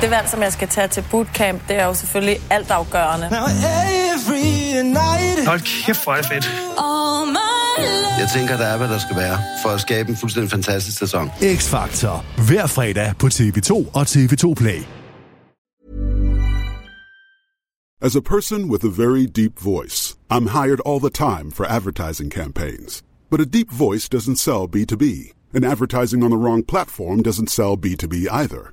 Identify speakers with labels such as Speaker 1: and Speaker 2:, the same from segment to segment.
Speaker 1: det valg, som jeg skal tage til bootcamp, det er jo selvfølgelig altafgørende.
Speaker 2: Hold kæft, hvor er det fedt.
Speaker 3: Jeg tænker, der er, hvad der skal være, for at skabe en fuldstændig fantastisk sæson.
Speaker 4: X Factor. Hver fredag på TV2 og TV2 Play.
Speaker 5: As a person with a very deep voice, I'm hired all the time for advertising campaigns. But a deep voice doesn't sell B2B, and advertising on the wrong platform doesn't sell B2B either.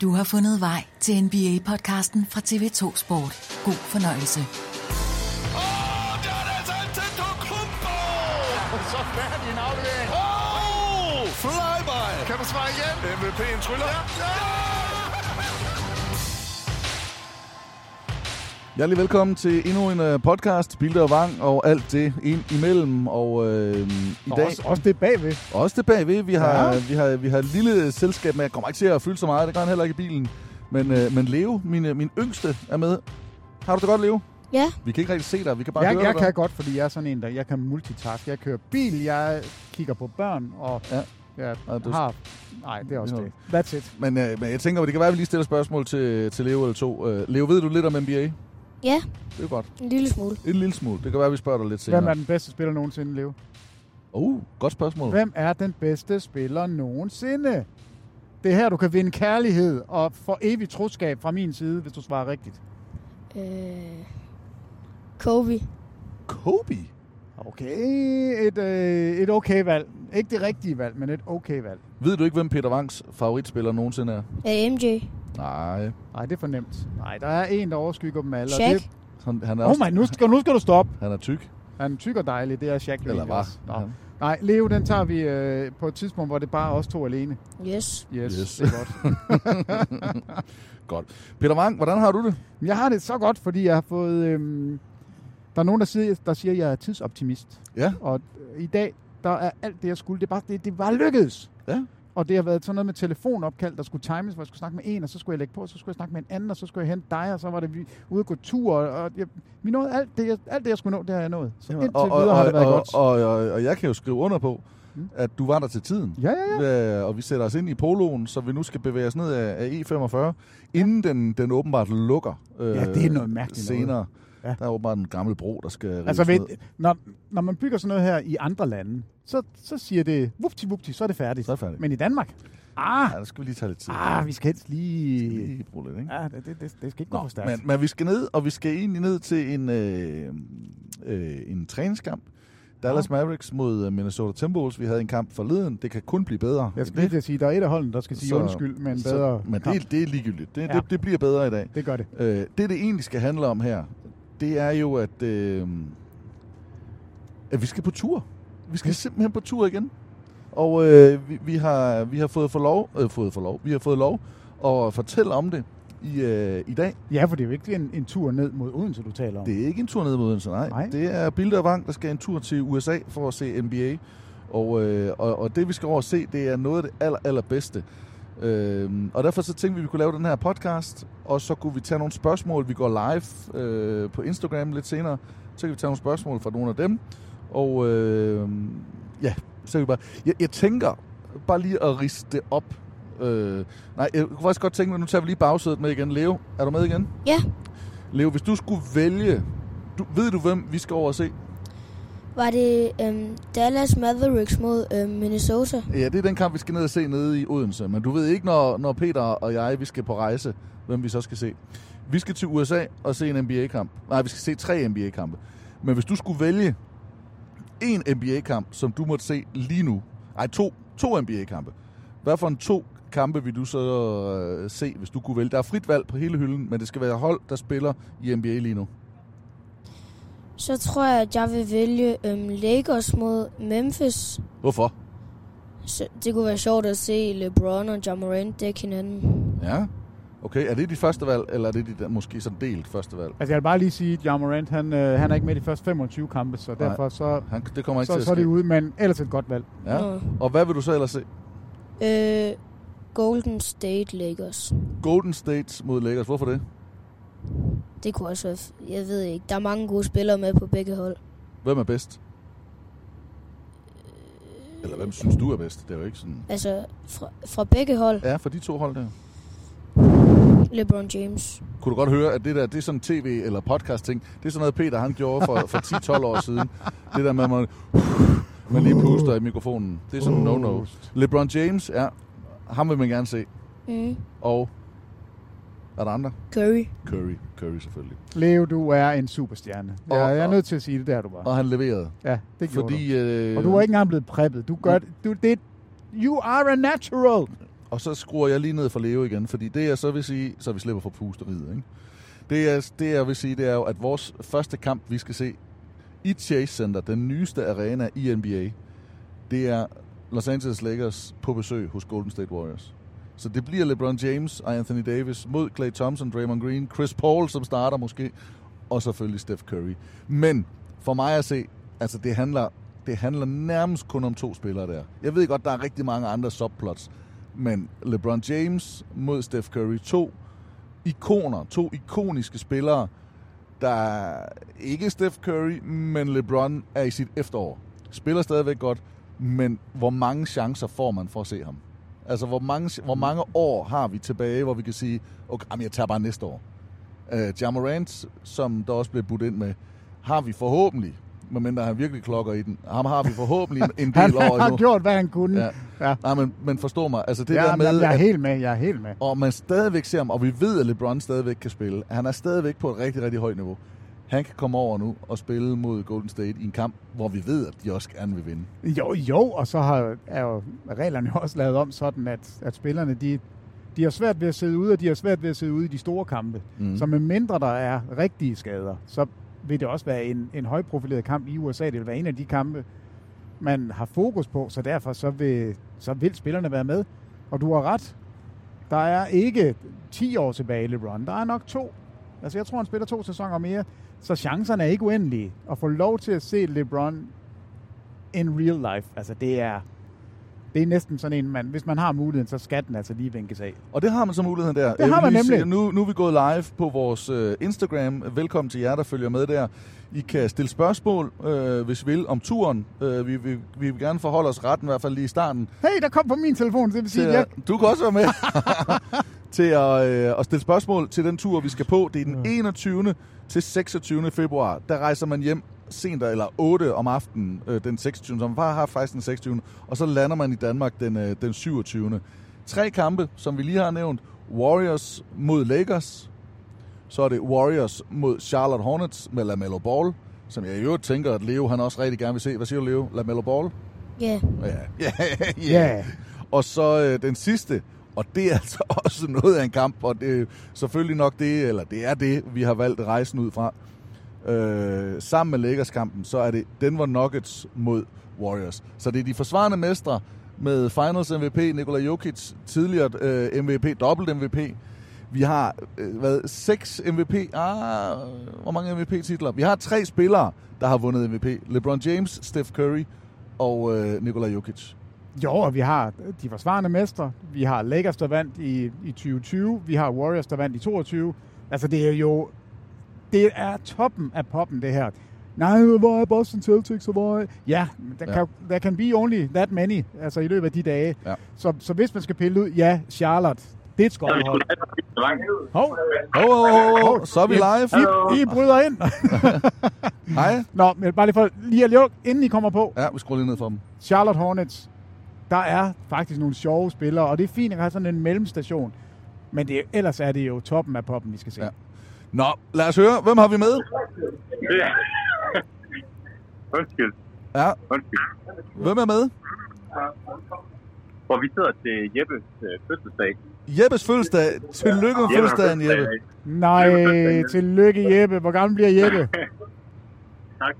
Speaker 6: Du har fundet vej til NBA-podcasten fra TV2 Sport. God fornøjelse.
Speaker 7: Så færdig en aflevering. Oh! Flyby! Kan du svare igen? MVP'en tryller. Ja.
Speaker 8: Hjertelig velkommen til endnu en øh, podcast, Bilder og Vang og alt det ind imellem. Og øh, i dag
Speaker 9: Også, også det bagved.
Speaker 8: også det bagved, vi har,
Speaker 9: Ja.
Speaker 8: vi, har, vi har et lille selskab med, jeg kommer ikke til at fylde så meget, det gør han heller ikke i bilen. Men, øh, men Leo, min, øh, min yngste, er med. Har du det godt, Leo?
Speaker 10: Ja.
Speaker 8: Vi kan ikke rigtig se dig, vi kan bare
Speaker 9: Jeg,
Speaker 8: høre
Speaker 9: jeg
Speaker 8: dig.
Speaker 9: kan godt, fordi jeg er sådan en, der jeg kan multitask. Jeg kører bil, jeg kigger på børn, og
Speaker 8: Ja.
Speaker 9: ja. jeg
Speaker 8: Og du-
Speaker 9: har... Nej, det er også
Speaker 8: Ja.
Speaker 9: det. That's it.
Speaker 8: Men, øh, men jeg tænker, det kan være, at vi lige stiller spørgsmål til, til Leo eller to. Øh, Leo, ved du lidt om NBA? Det
Speaker 10: Ja,
Speaker 8: er jo godt.
Speaker 10: en lille smule.
Speaker 8: En lille smule. Det kan være, at vi spørger dig lidt senere.
Speaker 9: Hvem er den bedste spiller nogensinde, Leo?
Speaker 8: Uh, godt spørgsmål.
Speaker 9: Hvem er den bedste spiller nogensinde? Det er her, du kan vinde kærlighed og for evigt troskab fra min side, hvis du svarer rigtigt.
Speaker 10: Øh, Kobe.
Speaker 8: Kobe?
Speaker 9: Okay, et, øh, et okay valg. Ikke det rigtige valg, men et okay valg.
Speaker 8: Ved du ikke, hvem Peter Wangs favoritspiller nogensinde er?
Speaker 10: Øh, MJ.
Speaker 8: Nej.
Speaker 9: Nej, det er for nemt. Nej, der er en, der overskygger dem alle. og
Speaker 10: Shaq.
Speaker 9: Det...
Speaker 8: Han, han er
Speaker 9: Oh man, nu skal, nu skal du stoppe.
Speaker 8: Han er tyk.
Speaker 9: Han er tyk og dejlig, det er Shaq. jo
Speaker 8: Eller
Speaker 9: egentlig
Speaker 8: var.
Speaker 9: også. Nå.
Speaker 8: Ja.
Speaker 9: Nej, Leo, den tager vi øh, på et tidspunkt, hvor det bare er os to alene.
Speaker 10: Yes.
Speaker 9: Yes,
Speaker 8: Yes.
Speaker 9: yes. det er godt.
Speaker 8: Godt. Peter Wang, hvordan har du det?
Speaker 9: Men jeg har det så godt, fordi jeg har fået... Øh, der er nogen, der siger, der siger, at jeg er tidsoptimist.
Speaker 8: Ja.
Speaker 9: Og øh, i dag, der er alt det, jeg skulle. Det, er bare, det, det var lykkedes.
Speaker 8: Ja.
Speaker 9: Og det har været sådan noget med telefonopkald, der skulle times, hvor jeg skulle snakke med en, og så skulle jeg lægge på, og så skulle jeg snakke med en anden, og så skulle jeg hente dig, og så var det vi ude og gå tur. Og, og jeg, vi nåede alt det, jeg, alt det, jeg skulle nå, det har jeg nået. Så indtil
Speaker 8: og, og,
Speaker 9: videre har det været
Speaker 8: og,
Speaker 9: godt. Mm.
Speaker 8: Og, og, og, og jeg kan jo skrive under på, at du var der til tiden.
Speaker 9: ja, ja, ja.
Speaker 8: Øh, Og vi sætter os ind i poloen, så vi nu skal bevæge os ned af, af E45, inden den, den åbenbart lukker øh,
Speaker 9: Ja, det er noget mærkeligt
Speaker 8: senere.
Speaker 9: Ja.
Speaker 8: Der er åbenbart en gammel bro, der skal rives
Speaker 9: Altså,
Speaker 8: ned.
Speaker 9: ved, når, når man bygger sådan noget her i andre lande, så, så siger det, vupti vupti, så er det færdigt.
Speaker 8: Så er det færdigt.
Speaker 9: Men i Danmark, ah,
Speaker 8: Ja, der skal vi lige tage lidt tid.
Speaker 9: ah vi skal helst lige...
Speaker 8: Lige bruge lidt, ikke?
Speaker 9: Ja, det, det, det, det skal ikke gå for
Speaker 8: Nå,
Speaker 9: stærkt.
Speaker 8: men, men vi skal ned, og vi skal egentlig ned til en, øh, øh, en træningskamp. Dallas Mavericks mod øh, Minnesota Timberwolves. Vi havde en kamp forleden. Det kan kun blive bedre.
Speaker 9: Jeg skal lige til at sige, der er et af holdene, der skal sige
Speaker 8: Så-
Speaker 9: undskyld, men
Speaker 8: så-
Speaker 9: bedre
Speaker 8: Men
Speaker 9: kamp.
Speaker 8: det, det er ligegyldigt. Det, ja.
Speaker 9: Ja.
Speaker 8: det, det bliver bedre i dag.
Speaker 9: det gør det.
Speaker 8: Øh, det, det egentlig skal handle om her, det er jo, at, øh, at vi skal på tur. Vi skal simpelthen på tur igen. Og øh, vi, vi, har, vi har fået for lov, øh, fået for lov, vi har fået lov at fortælle om det i, øh, i dag.
Speaker 9: Ja, for det er jo ikke en, en tur ned mod Odense, du taler om.
Speaker 8: Det er ikke en tur ned mod Odense, nej. nej.
Speaker 9: Nej.
Speaker 8: Det er Bilde og Vang, der skal en tur til USA for at se NBA. Og, øh, og, og det, vi skal over og se, det er noget af det aller, allerbedste. Øh, og derfor så tænkte vi, at vi kunne lave den her podcast, og så kunne vi tage nogle spørgsmål. Vi går live øh, på Instagram lidt senere, så kan vi tage nogle spørgsmål fra nogle af dem. Og øh, ja, så kan vi bare... Jeg, jeg tænker bare lige at riste det op. Øh, nej, jeg kunne faktisk godt tænke mig, nu tager vi lige bagsædet med igen. Leo, er du med igen?
Speaker 10: Ja.
Speaker 8: Leo, hvis du skulle vælge... Du, ved du, hvem vi skal over og se?
Speaker 10: Var det øhm, Dallas Mavericks mod øhm, Minnesota?
Speaker 8: Ja, det er den kamp, vi skal ned og se nede i Odense. Men du ved ikke, når, når Peter og jeg vi skal på rejse, hvem vi så skal se. Vi skal til USA og se en NBA-kamp. Nej, vi skal se tre NBA-kampe. Men hvis du skulle vælge en NBA-kamp, som du måtte se lige nu. Nej, to, to NBA-kampe. Hvad for en to kampe vil du så øh, se, hvis du kunne vælge? Der er frit valg på hele hylden, men det skal være hold, der spiller i NBA lige nu.
Speaker 10: Så tror jeg, at jeg vil vælge øhm, Lakers mod Memphis.
Speaker 8: Hvorfor?
Speaker 10: Så det kunne være sjovt at se LeBron og Jamorant dække hinanden.
Speaker 8: Ja. Okay, er det dit første valg, eller er det dit øh, måske sådan delt første valg?
Speaker 9: Altså, jeg vil bare lige sige, at Ja Morant, han, øh, han er ikke med i de første 25 kampe, så
Speaker 8: Nej.
Speaker 9: derfor så,
Speaker 8: Han, det kommer ikke
Speaker 9: så,
Speaker 8: til at
Speaker 9: så er
Speaker 8: ske.
Speaker 9: det ude, men ellers et godt valg.
Speaker 8: Ja.
Speaker 10: Nå.
Speaker 8: Og hvad vil du så ellers se?
Speaker 10: Øh, Golden State Lakers.
Speaker 8: Golden State mod Lakers. Hvorfor det?
Speaker 10: Det kunne også være... f- Jeg ved ikke. Der er mange gode spillere med på begge hold.
Speaker 8: Hvem er bedst? Eller hvem synes du er bedst? Det er jo ikke sådan...
Speaker 10: Altså, fra, fra begge hold.
Speaker 8: Ja, for de to hold der.
Speaker 10: LeBron James.
Speaker 8: Kunne du godt høre, at det der, det er sådan tv- eller podcast-ting. Det er sådan noget, Peter han gjorde for, for 10-12 år siden. Det der med, at man, man lige puster i mikrofonen. Det er sådan no-no. LeBron James, ja. Ham vil man gerne se.
Speaker 10: Mm.
Speaker 8: Og er der andre?
Speaker 10: Curry.
Speaker 8: Curry. Curry selvfølgelig.
Speaker 9: Leo, du er en superstjerne. Ja,
Speaker 8: Og-
Speaker 9: jeg er
Speaker 8: og-
Speaker 9: nødt til at sige det der, du var.
Speaker 8: Og han leverede.
Speaker 9: Ja, det gjorde
Speaker 8: Fordi, øh,
Speaker 9: du. Og du er ikke engang blevet preppet. Du gør det. Du, det you are a natural.
Speaker 8: Og så skruer jeg lige ned for Leo igen, fordi det jeg så vil sige, så vi slipper for pusteriet, ikke? Det jeg, det jeg vil sige, det er jo, at vores første kamp, vi skal se i Chase Center, den nyeste arena i NBA, det er Los Angeles Lakers på besøg hos Golden State Warriors. Så det bliver LeBron James og Anthony Davis mod Klay Thompson, Draymond Green, Chris Paul, som starter måske, og selvfølgelig Steph Curry. Men for mig at se, altså det handler, det handler nærmest kun om to spillere der. Jeg ved godt, der er rigtig mange andre subplots, men LeBron James mod Steph Curry, to ikoner, to ikoniske spillere, der er ikke Steph Curry, men LeBron er i sit efterår. Spiller stadigvæk godt, men hvor mange chancer får man for at se ham? Altså, hvor mange, hvor mange år har vi tilbage, hvor vi kan sige, okay, jamen, jeg tager bare næste år. Uh, Jamorant, som der også blev budt ind med, har vi forhåbentlig, medmindre han virkelig klokker i den, ham har vi forhåbentlig en
Speaker 9: Han
Speaker 8: del år endnu.
Speaker 9: har gjort, hvad han kunne.
Speaker 8: Ja.
Speaker 9: Ja. Mm. Ja.
Speaker 8: Nej, men, men forstå mig. Altså det
Speaker 9: ja,
Speaker 8: der med,
Speaker 9: jeg er
Speaker 8: at,
Speaker 9: helt med. Jeg er helt med.
Speaker 8: og man stadigvæk ser ham, og vi ved, at LeBron stadigvæk kan spille. Han er stadigvæk på et rigtig, rigtig højt niveau. Han kan komme over nu og spille mod Golden State i en kamp, hvor vi ved, at de også gerne vil vinde.
Speaker 9: Jo, jo, og så har, er jo reglerne jo også lavet om sådan, at, at spillerne, de, de har svært ved at sidde ude, og de har svært ved at sidde ude i de store kampe. Mm. Så med mindre der er rigtige skader, så vil det også være en, en højprofileret kamp i USA. Det vil være en af de kampe, man har fokus på, så derfor så vil, så vil spillerne være med. Og du har ret. Der er ikke 10 år tilbage i LeBron. Der er nok to. Altså, jeg tror, han spiller to sæsoner mere. Så chancerne er ikke uendelige. At få lov til at se LeBron in real life, altså det er, det er næsten sådan en, man, hvis man har muligheden, så skal den altså lige vinkes af.
Speaker 8: Og det har man så muligheden der. Jeg
Speaker 9: har man
Speaker 8: vil lige
Speaker 9: nemlig.
Speaker 8: sige, nu, nu er vi gået live på vores øh, Instagram. Velkommen til jer, der følger med der. I kan stille spørgsmål, øh, hvis I vil, om turen. Øh, vi, vi, vi vil gerne forholde os retten, i hvert fald lige i starten.
Speaker 9: Hey, der kom på min telefon, så det vil sige,
Speaker 8: til
Speaker 9: at jeg,
Speaker 8: at, du kan også være med til at, øh, at stille spørgsmål til den tur, vi skal på. Det er den 21. til 26. februar. Der rejser man hjem sent eller 8 om aftenen øh, den 26. Så man bare har faktisk den 26. Og så lander man i Danmark den, øh, den 27. Tre kampe, som vi lige har nævnt. Warriors mod Lakers. Så er det Warriors mod Charlotte Hornets med LaMelo Ball. Som jeg i øvrigt tænker, at Leo han også rigtig gerne vil se. Hvad siger du, Leo? LaMelo Ball?
Speaker 10: Ja.
Speaker 8: Ja. Ja,
Speaker 9: Ja.
Speaker 8: Og så øh, den sidste, og det er altså også noget af en kamp, og det er selvfølgelig nok det, eller det er det, vi har valgt rejsen ud fra. Øh, sammen med Lakers-kampen, så er det Denver Nuggets mod Warriors. Så det er de forsvarende mestre med Finals MVP, Nikola Jokic, tidligere øh, MVP, dobbelt MVP. Vi har, øh, hvad, seks MVP, ah, hvor mange MVP-titler? Vi har tre spillere, der har vundet MVP. LeBron James, Steph Curry og øh, Nikola Jokic.
Speaker 9: jo, og vi har de forsvarende mestre, vi har Lakers, der vandt i, i 2020, vi har Warriors, der vandt i 22. Altså, det er jo, det er toppen af poppen, det her. Nej, hvor er Boston Celtics, og hvor er... Ja, men der,
Speaker 8: Ja.
Speaker 9: ja. Kan, der can be only that many, altså i løbet af de dage.
Speaker 8: Ja.
Speaker 9: Så, så hvis man skal pille ud, ja, Charlotte, Det er et skøjt hold. Hov,
Speaker 8: Hov, hov, hov, hov, så er vi live.
Speaker 9: I, I bryder ind.
Speaker 8: Hej.
Speaker 9: Nå, men bare lige for lige at lukke, inden I kommer på.
Speaker 8: Ja, vi skruer lige ned for dem.
Speaker 9: Charlotte Hornets, der er faktisk nogle sjove spillere, og det er fint at have sådan en mellemstation. Men det, er- ellers er det jo toppen af poppen, vi skal se.
Speaker 8: Ja. Nå, lad os høre. Hvem har vi med?
Speaker 11: Undskyld,
Speaker 8: Ja,
Speaker 11: undskyld.
Speaker 8: hvem er med?
Speaker 11: Og vi sidder til Jeppes øh, fødselsdag.
Speaker 8: Jeppes fødselsdag. Tillykke med fødselsdagen, Jeppe.
Speaker 9: Nej, tillykke Jeppe. Hvor gammel bliver Jeppe?
Speaker 11: Tak.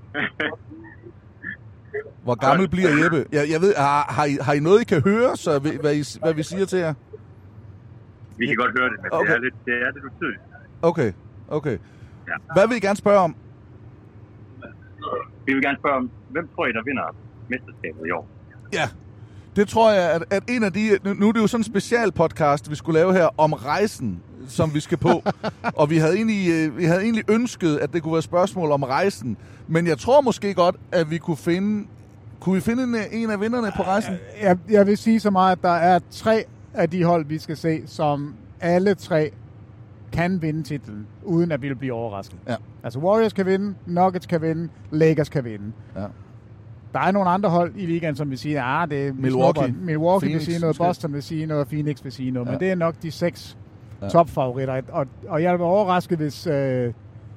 Speaker 8: Hvor gammel bliver Jeppe? Jeg, jeg ved, har, har, I, har I noget, I kan høre, så vi, hvad, I, hvad vi siger til jer?
Speaker 11: vi kan godt høre det, men okay. det
Speaker 8: Okay.
Speaker 11: er lidt, det er lidt utydeligt.
Speaker 8: Okay, okay. Hvad vil I gerne spørge om?
Speaker 11: Vi vil gerne spørge om, hvem tror I, der vinder mesterskabet i år?
Speaker 8: Ja, det tror jeg, at, at en af de... Nu, nu er det jo sådan en specialpodcast, vi skulle lave her om rejsen, som vi skal på. og vi havde, egentlig, øh, vi havde egentlig ønsket, at det kunne være spørgsmål om rejsen. Men jeg tror måske godt, at vi kunne finde... Kunne vi finde en, af- en af vinderne på rejsen?
Speaker 9: Jeg, jeg vil sige så meget, at der er tre af de hold, vi skal se, som alle tre kan vinde titlen, uden at vi vil blive overrasket.
Speaker 8: Ja.
Speaker 9: Altså Warriors kan vinde, Nuggets kan vinde, Lakers kan vinde.
Speaker 8: Ja.
Speaker 9: Der er nogle andre hold i ligaen, som vil sige, at det er
Speaker 8: Milwaukee.
Speaker 9: snupper. Milwaukee
Speaker 8: Phoenix
Speaker 9: vil sige noget,
Speaker 8: måske.
Speaker 9: Boston vil sige noget, Phoenix vil sige noget, ja.
Speaker 8: Ja.
Speaker 9: men det er nok de seks ja. topfavoritter. Og, og jeg vil være overrasket, hvis, øh,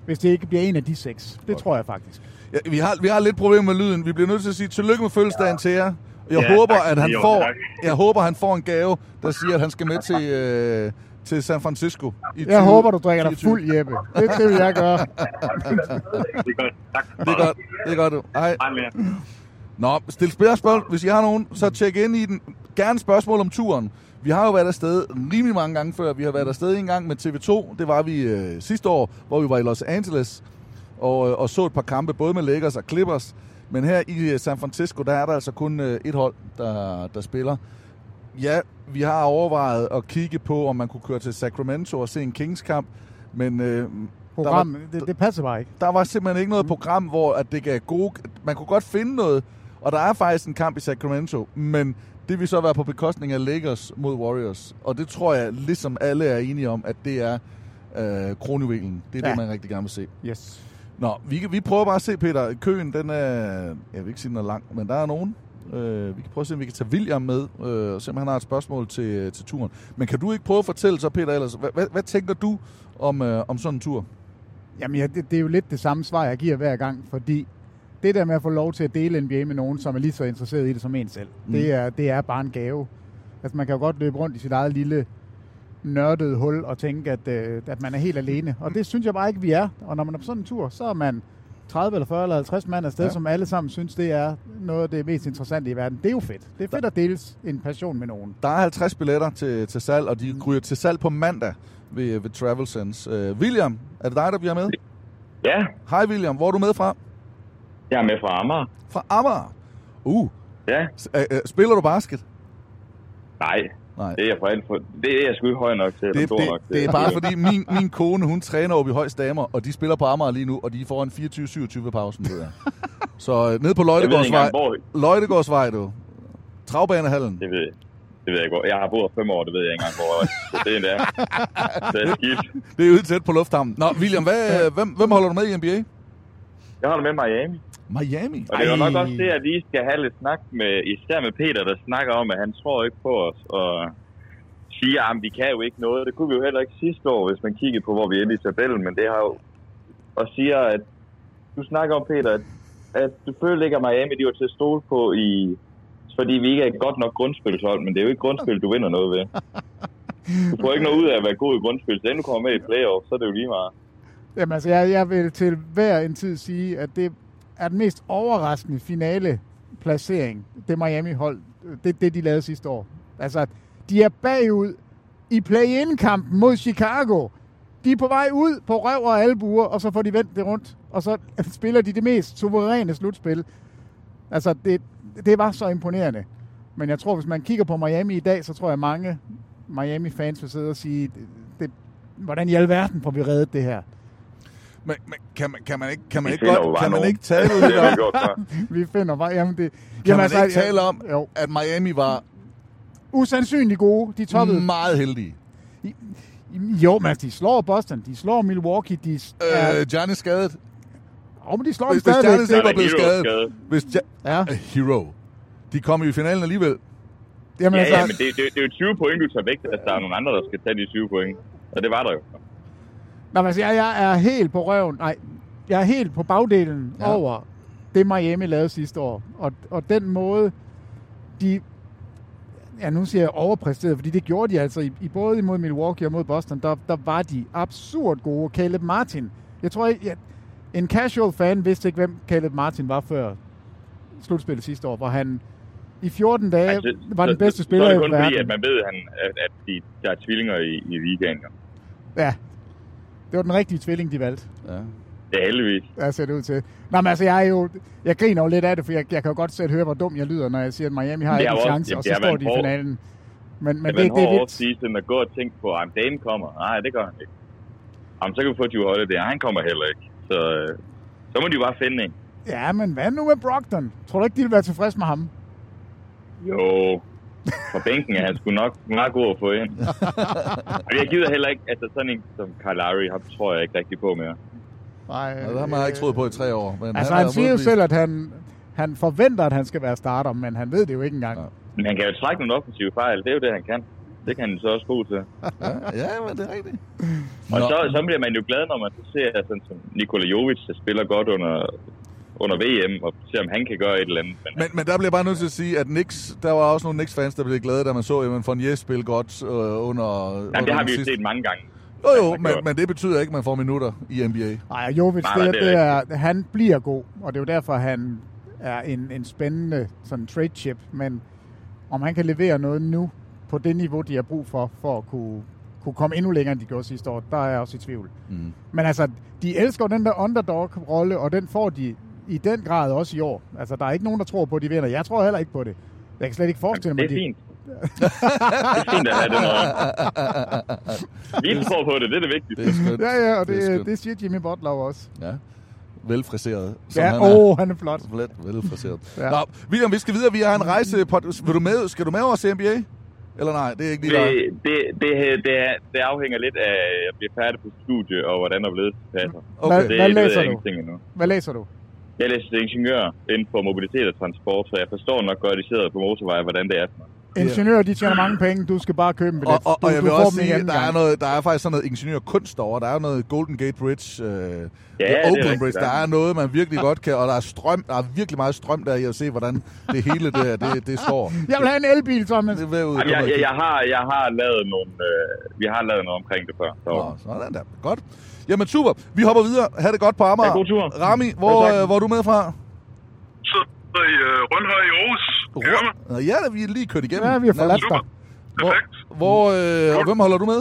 Speaker 9: hvis det ikke bliver en af de seks. Det tror jeg faktisk.
Speaker 8: Ja, vi, har, vi har lidt problemer med lyden. Vi bliver nødt til at sige tillykke med fødselsdagen ja. til jer. Jeg,
Speaker 11: Ja,
Speaker 8: håber,
Speaker 11: tak.
Speaker 8: at han
Speaker 11: Jo,
Speaker 8: får,
Speaker 11: tak.
Speaker 8: jeg håber, han får en gave, der siger, at han skal med til, øh, til San Francisco. I
Speaker 9: Jeg
Speaker 8: 20
Speaker 9: håber, du drikker dig
Speaker 8: 2020.
Speaker 9: fuld, Jeppe. Det, det vil jeg gøre.
Speaker 11: Det er godt. Tak.
Speaker 8: Det er godt. Det er godt. du. Hej.
Speaker 11: Hej med jer.
Speaker 8: Nå, stil spørgsmål. Hvis I har nogen, så tjek ind i den. Gerne spørgsmål om turen. Vi har jo været afsted rimelig mange gange før. Vi har været afsted en gang med TV2. Det var vi øh, sidste år, hvor vi var i Los Angeles og, øh, og så et par kampe, både med Lakers og Clippers. Men her i øh, San Francisco, der er der altså kun øh, et hold, der, der spiller. Ja, vi har overvejet at kigge på, om man kunne køre til Sacramento og se en Kings-kamp. Men øh, der var-
Speaker 9: Program, det, det passer bare ikke. Mm.
Speaker 8: der var simpelthen ikke noget program, hvor at det gav gode... Man kunne godt finde noget, og der er faktisk en kamp i Sacramento, men det vil så være på bekostning af Lakers mod Warriors. Og det tror jeg, ligesom alle er enige om, at det er øh, kronjuvelen. Det er ja.
Speaker 9: Ja.
Speaker 8: det, man rigtig gerne vil se.
Speaker 9: Yes.
Speaker 8: Nå, vi, vi prøver bare at se, Peter. Køen, den er... Jeg vil ikke sige, den er lang, men der er nogen. Øh, vi kan prøve at se, om vi kan tage William med, øh, og se, om han har et spørgsmål til, til turen. Men kan du ikke prøve at fortælle så, Peter, ellers, hvad, hvad, hvad tænker du om, øh, om sådan en tur?
Speaker 9: Jamen, ja, det, det er jo lidt det samme svar, jeg giver hver gang, fordi det der med at få lov til at dele NBA med nogen, som er lige så interesseret i det som en selv, mm. det, er, det er bare en gave. Altså, man kan jo godt løbe rundt i sit eget lille nørdede hul og tænke, at, øh, at man er helt alene. Og det synes jeg bare ikke, vi er. Og når man er på sådan en tur, så er man 30 eller 40 eller 50 mand afsted,
Speaker 8: Ja.
Speaker 9: ja. som alle sammen synes, det er noget af det mest interessante i verden. Det er jo fedt. Det er fedt at dele en passion med nogen.
Speaker 8: Der er 50 billetter til, til salg, og de ryger til salg på mandag ved, ved Travelsense. Øh, William, er det dig, der bliver med?
Speaker 11: Ja,
Speaker 8: Hej William, hvor er du med fra?
Speaker 11: jeg er med fra Amager.
Speaker 8: Fra Amager. Uh,
Speaker 11: Ja,
Speaker 8: s- øh, øh, spiller du basket?
Speaker 11: nej.
Speaker 8: Nej.
Speaker 11: Det er jeg for alt for... Det er jeg sgu ikke høj nok til. eller
Speaker 8: Det,
Speaker 11: stor
Speaker 8: det,
Speaker 11: nok til.
Speaker 8: det er bare fordi min, min kone, hun træner oppe i Højs Damer, og de spiller på Amager lige nu, og de får en 24-27 ved pausen, ved jeg. Så øh, ned på
Speaker 11: Jeg ved ikke
Speaker 8: Løjtegårdsvej,
Speaker 11: engang, hvor...
Speaker 8: Løjtegårdsvej du. Travbanehallen.
Speaker 11: Det ved jeg. Det ved jeg godt. Jeg har boet fem år, det ved jeg ikke engang, hvor det er. Det er skidt.
Speaker 8: Det er ude tæt på lufthavnen. Nå, William, hvad, øh, hvem, hvem holder du med i NBA?
Speaker 11: Jeg holder med Miami.
Speaker 8: Miami.
Speaker 11: Og det er jo
Speaker 8: Ej.
Speaker 11: nok også det, at vi skal have lidt snak med, især med Peter, der snakker om, at han tror ikke på os, og siger, at vi kan jo ikke noget. Det kunne vi jo heller ikke sidste år, hvis man kiggede på, hvor vi endte i tabellen, men det har jo... Og siger, at du snakker om, Peter, at, at selvfølgelig ligger Miami, de var til at stole på i... Fordi vi ikke er et godt nok grundspilshold, men det er jo ikke grundspil, du vinder noget ved. Du får ikke noget ud af at være god i grundspil, så inden du kommer med i playoff, så er det jo lige meget.
Speaker 9: Jamen altså, jeg, jeg vil til hver en tid sige, at det er den mest overraskende finale placering, det Miami-hold, det, det de lavede sidste år. Altså, at de er bagud i play-in-kampen mod Chicago. De er på vej ud på røv og albuer, og så får de vendt det rundt, og så spiller de det mest suveræne slutspil. Altså, det, det var så imponerende. Men jeg tror, hvis man kigger på Miami i dag, så tror jeg, mange Miami-fans vil sidde og sige, det, det, hvordan i alverden får vi reddet det her?
Speaker 8: Men, men kan, man, kan man ikke, kan man
Speaker 11: Vi
Speaker 8: ikke,
Speaker 11: finder jo
Speaker 8: godt,
Speaker 11: bare
Speaker 8: kan man
Speaker 11: nogen.
Speaker 8: ikke tale
Speaker 11: Det
Speaker 8: lidt
Speaker 11: har
Speaker 8: om,
Speaker 11: vi gjort før.
Speaker 9: Vi finder bare, jamen altså, det... Kan
Speaker 8: Kan man ikke tale om,
Speaker 9: Jo.
Speaker 8: at Miami var
Speaker 9: Usandsynligt gode, de toppede. Mm.
Speaker 8: meget heldige?
Speaker 9: Jo, men altså, de slår Boston, de slår Milwaukee, de...
Speaker 8: Øh, John er skadet.
Speaker 9: Åh, oh, men de slår ham
Speaker 8: Hvis, hvis
Speaker 9: stadigvæk.
Speaker 8: Giannis ikke var blevet
Speaker 11: Hero
Speaker 8: skadet.
Speaker 11: skadet.
Speaker 8: Hvis ja. Øh,
Speaker 9: Ja.
Speaker 8: Hero. De kom i finalen alligevel.
Speaker 9: Jamen,
Speaker 11: Ja,
Speaker 9: altså,
Speaker 11: ja, men det, det, det er jo 20 point, du tager væk, at der er nogle andre, der skal tage de 20 point. Og det var der jo.
Speaker 9: Nå, altså, jeg, jeg er helt på røven. Nej, jeg er helt på bagdelen
Speaker 8: Ja.
Speaker 9: ja. over det, Miami lavede sidste år. Og, og den måde, de... Ja, nu siger jeg overpræsteret, fordi det gjorde de altså. I, i både imod Milwaukee og mod Boston, der, der var de absurd gode. Caleb Martin. Jeg tror, jeg, en casual fan vidste ikke, hvem Caleb Martin var før slutspillet sidste år, hvor han i 14 dage altså, var den bedste
Speaker 11: så,
Speaker 9: spiller
Speaker 11: så
Speaker 9: i
Speaker 11: er det kun
Speaker 9: verden.
Speaker 11: fordi, at man ved, at, han, at, at de, der er tvillinger i, i weekenden. jo.
Speaker 9: Ja, det var den rigtige tvilling, de valgte.
Speaker 8: Ja.
Speaker 11: Det er heldigvis.
Speaker 9: Ja, ser det ud til. Nå, men altså, jeg er jo... Jeg griner jo lidt af det, for jeg, jeg kan jo godt selv høre, hvor dum jeg lyder, når jeg siger, at Miami har
Speaker 11: Det
Speaker 9: ikke en
Speaker 11: har jo også-
Speaker 9: chance,
Speaker 11: jamen,
Speaker 9: og
Speaker 11: det
Speaker 9: så
Speaker 11: har
Speaker 9: står
Speaker 11: været
Speaker 9: de i
Speaker 11: hård-
Speaker 9: finalen. Men, men
Speaker 11: Men det,
Speaker 9: det,
Speaker 11: man
Speaker 9: det er
Speaker 11: har
Speaker 9: lidt...
Speaker 11: off-season at gå og tænke på, at Dane kommer. Nej, det gør han ikke. Jamen, så kan vi få Drew Holiday. Han kommer heller ikke. Så, øh, så må de bare finde en.
Speaker 9: Ja, men hvad nu med Brogdon? Tror du ikke, de vil være tilfredse med ham?
Speaker 11: Jo, på bænken er han sgu nok meget god at få ind. Og jeg gider heller ikke, altså sådan en som Kyle Lowry, ham tror jeg ikke rigtig på mere.
Speaker 9: Nej, øh,
Speaker 8: Ja, det har man ikke troet på i tre år. Men
Speaker 9: Altså,
Speaker 8: er
Speaker 9: han siger jo
Speaker 8: modbevist.
Speaker 9: selv, at han, han forventer, at han skal være starter, men han ved det jo ikke engang.
Speaker 8: Ja.
Speaker 9: Ja.
Speaker 11: Men han kan jo trække nogle offensive fejl, det er jo det, han kan. Det kan han så også god til.
Speaker 8: Ja, ja, men det er rigtigt.
Speaker 11: Og
Speaker 8: Nå.
Speaker 11: så, så bliver man jo glad, når man så ser sådan som Nikola Jovic, der spiller godt under, under VM, og ser, om han kan gøre et eller andet. Men,
Speaker 8: Men, men der bliver jeg bare nødt til at sige, at Knicks, der var også nogle Knicks-fans, der blev glade, da man så Evan Fournier spille godt øh, under...
Speaker 11: jamen, det har vi jo set
Speaker 8: med.
Speaker 11: mange gange.
Speaker 8: Jo, jo,
Speaker 11: man
Speaker 8: men,
Speaker 11: gjorde.
Speaker 8: men det betyder ikke, at man får minutter i NBA.
Speaker 9: Ej, og Jovic,
Speaker 11: Nej,
Speaker 9: det,
Speaker 11: nej,
Speaker 9: er,
Speaker 11: det er
Speaker 9: det er, han bliver god, og det er jo derfor, han er en, en spændende sådan trade chip, men om han kan levere noget nu på det niveau, de har brug for, for at kunne, kunne komme endnu længere, end de gjorde sidste år, der er jeg også i tvivl. Mm. Men altså, de elsker jo den der underdog-rolle, og den får de i den grad også i år. Altså, der er ikke nogen, der tror på, at de vinder. Jeg tror heller ikke på det. Jeg kan slet ikke forestille
Speaker 11: Det
Speaker 9: mig, de-
Speaker 11: er fint. det er fint at have det noget. Vi tror på det, det er det vigtigste.
Speaker 8: Det er skønt.
Speaker 9: Ja, ja, og det,
Speaker 8: er
Speaker 9: det,
Speaker 8: skønt.
Speaker 9: det siger Jimmy Butler jo også.
Speaker 8: Ja. Velfriseret. som
Speaker 9: Ja,
Speaker 8: han er.
Speaker 9: åh, oh, han er flot.
Speaker 8: Let, velfriseret. ja.
Speaker 9: Ja.
Speaker 8: Nå, William, vi skal videre. Vi har en rejse på... Vil du med, skal du med over til NBA? Eller nej, det er ikke lige
Speaker 11: Det,
Speaker 8: dig.
Speaker 11: det, det, det, er- det afhænger lidt af, at jeg bliver færdig på studie og hvordan og blevet passer.
Speaker 8: Okay.
Speaker 11: Det
Speaker 9: Hvad
Speaker 11: ved
Speaker 9: læser
Speaker 11: jeg
Speaker 9: du?
Speaker 11: ingenting endnu.
Speaker 9: Hvad læser du?
Speaker 11: Jeg læser ingeniør inden for mobilitet og transport, så jeg forstår nok godt, at de sidder på motorveje, hvordan det er.
Speaker 9: Ingeniører, de tjener mange penge. Du skal bare købe en billet.
Speaker 8: Og, og,
Speaker 9: du,
Speaker 8: og jeg
Speaker 9: du
Speaker 8: vil
Speaker 9: får
Speaker 8: også
Speaker 9: dem i
Speaker 8: sige, at
Speaker 9: anden
Speaker 8: der er,
Speaker 9: gang.
Speaker 8: noget, der er faktisk sådan noget ingeniørkunst over. Der er jo noget Golden Gate Bridge, øh, ja,
Speaker 11: det er
Speaker 8: Oakland
Speaker 11: rigtigt,
Speaker 8: Bridge. Der
Speaker 11: der er.
Speaker 8: er noget, man virkelig godt kan, og der er strøm. Der er virkelig meget strøm der i at se, hvordan det hele der, det, det står.
Speaker 9: Jeg vil have en elbil, Thomas.
Speaker 8: Det er ved ud.
Speaker 11: Jamen, jeg, jeg, jeg, har, jeg har lavet nogle, øh, vi har lavet noget omkring det før. Så.
Speaker 8: Nå, sådan der. Godt. Jamen super. Vi hopper videre. Ha' det godt på Amager.
Speaker 11: Ja, god tur.
Speaker 8: Rami, hvor,
Speaker 11: Velkommen.
Speaker 8: øh, hvor er du med fra?
Speaker 12: Så sidder i øh, Rundhøj i Aarhus. Kan I høre mig?
Speaker 8: Nå, Ja, da vi er lige kørt igennem.
Speaker 9: Ja, vi har forladt dig.
Speaker 8: Hvor,
Speaker 12: Perfekt.
Speaker 8: hvor, øh, og hvem holder du med?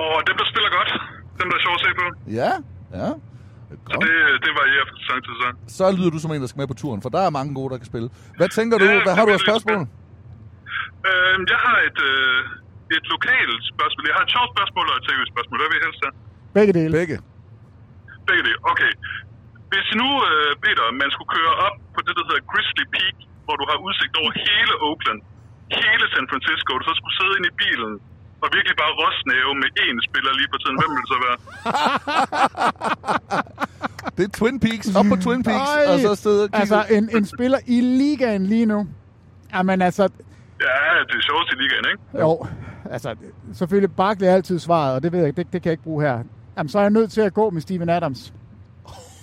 Speaker 12: Og dem, der spiller godt. Dem, der er sjovt at se på.
Speaker 8: Ja, ja.
Speaker 12: Så
Speaker 8: Godt.
Speaker 12: det, det varierer fra sang til sang.
Speaker 8: Så lyder du som en, der skal med på turen, for der er mange gode, der kan spille. Hvad tænker du?
Speaker 12: Ja,
Speaker 8: Hvad har du af
Speaker 12: det er lidt
Speaker 8: spørgsmål?
Speaker 12: Øh, jeg har et, øh, et lokalt spørgsmål. Jeg har et sjovt spørgsmål og et seriøst spørgsmål. Hvad vil I helst have?
Speaker 9: Begge dele.
Speaker 8: Begge.
Speaker 12: Begge det. Okay. Hvis nu, øh, Peter, man skulle køre op på det, der hedder Grizzly Peak, hvor du har udsigt over hele Oakland, hele San Francisco, og du så skulle sidde ind i bilen og virkelig bare rostnæve med én spiller lige på tiden, hvem vil det så være?
Speaker 8: Det er Twin Peaks. Op på Twin Peaks,
Speaker 9: Ej,
Speaker 8: og så sidde og kigge.
Speaker 9: altså, en, en spiller i ligaen lige nu. Jamen altså,
Speaker 12: Ja, det er sjovt i ligaen, ikke?
Speaker 9: jo, altså, selvfølgelig Barkley er altid svaret, og det ved jeg, det, det kan jeg ikke bruge her. Jamen, så er jeg nødt til at gå med Steven Adams.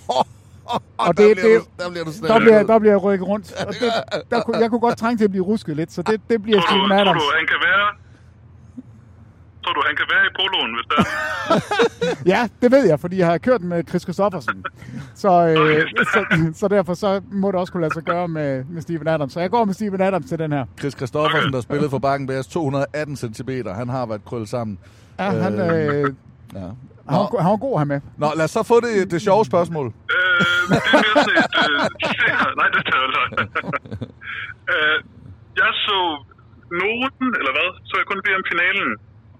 Speaker 8: og
Speaker 9: og
Speaker 8: der,
Speaker 9: det-
Speaker 8: bliver
Speaker 9: det-
Speaker 8: du, der bliver du snart.
Speaker 9: Der bliver, der bliver jeg rykket rundt. Og det, der, kunne- jeg kunne godt trænge til at blive rusket lidt, så det, det bliver
Speaker 12: Tror du,
Speaker 9: Steven
Speaker 12: tror
Speaker 9: Adams.
Speaker 12: du, han kan være... Tror du, han kan være i poloen, hvis der er?
Speaker 9: Ja, det ved jeg, fordi jeg har kørt med Chris Christoffersen. Så, øh, så, så derfor så må det også kunne lade sig gøre med, med Steven Adams. Så jeg går med Steven Adams til den her.
Speaker 8: Chris Christoffersen, der spillede for Bakken Bears 218 cm. Han har været krøllet sammen.
Speaker 9: Ja, han, øh,
Speaker 8: Ja.
Speaker 9: han, var, go- han var god her med.
Speaker 8: Nå, lad os så få det, det sjove spørgsmål.
Speaker 12: Øh, det er mere sådan et... Øh, ser- nej, det er taget løgn. øh, jeg så nogen, eller hvad, så jeg kun lige om finalen,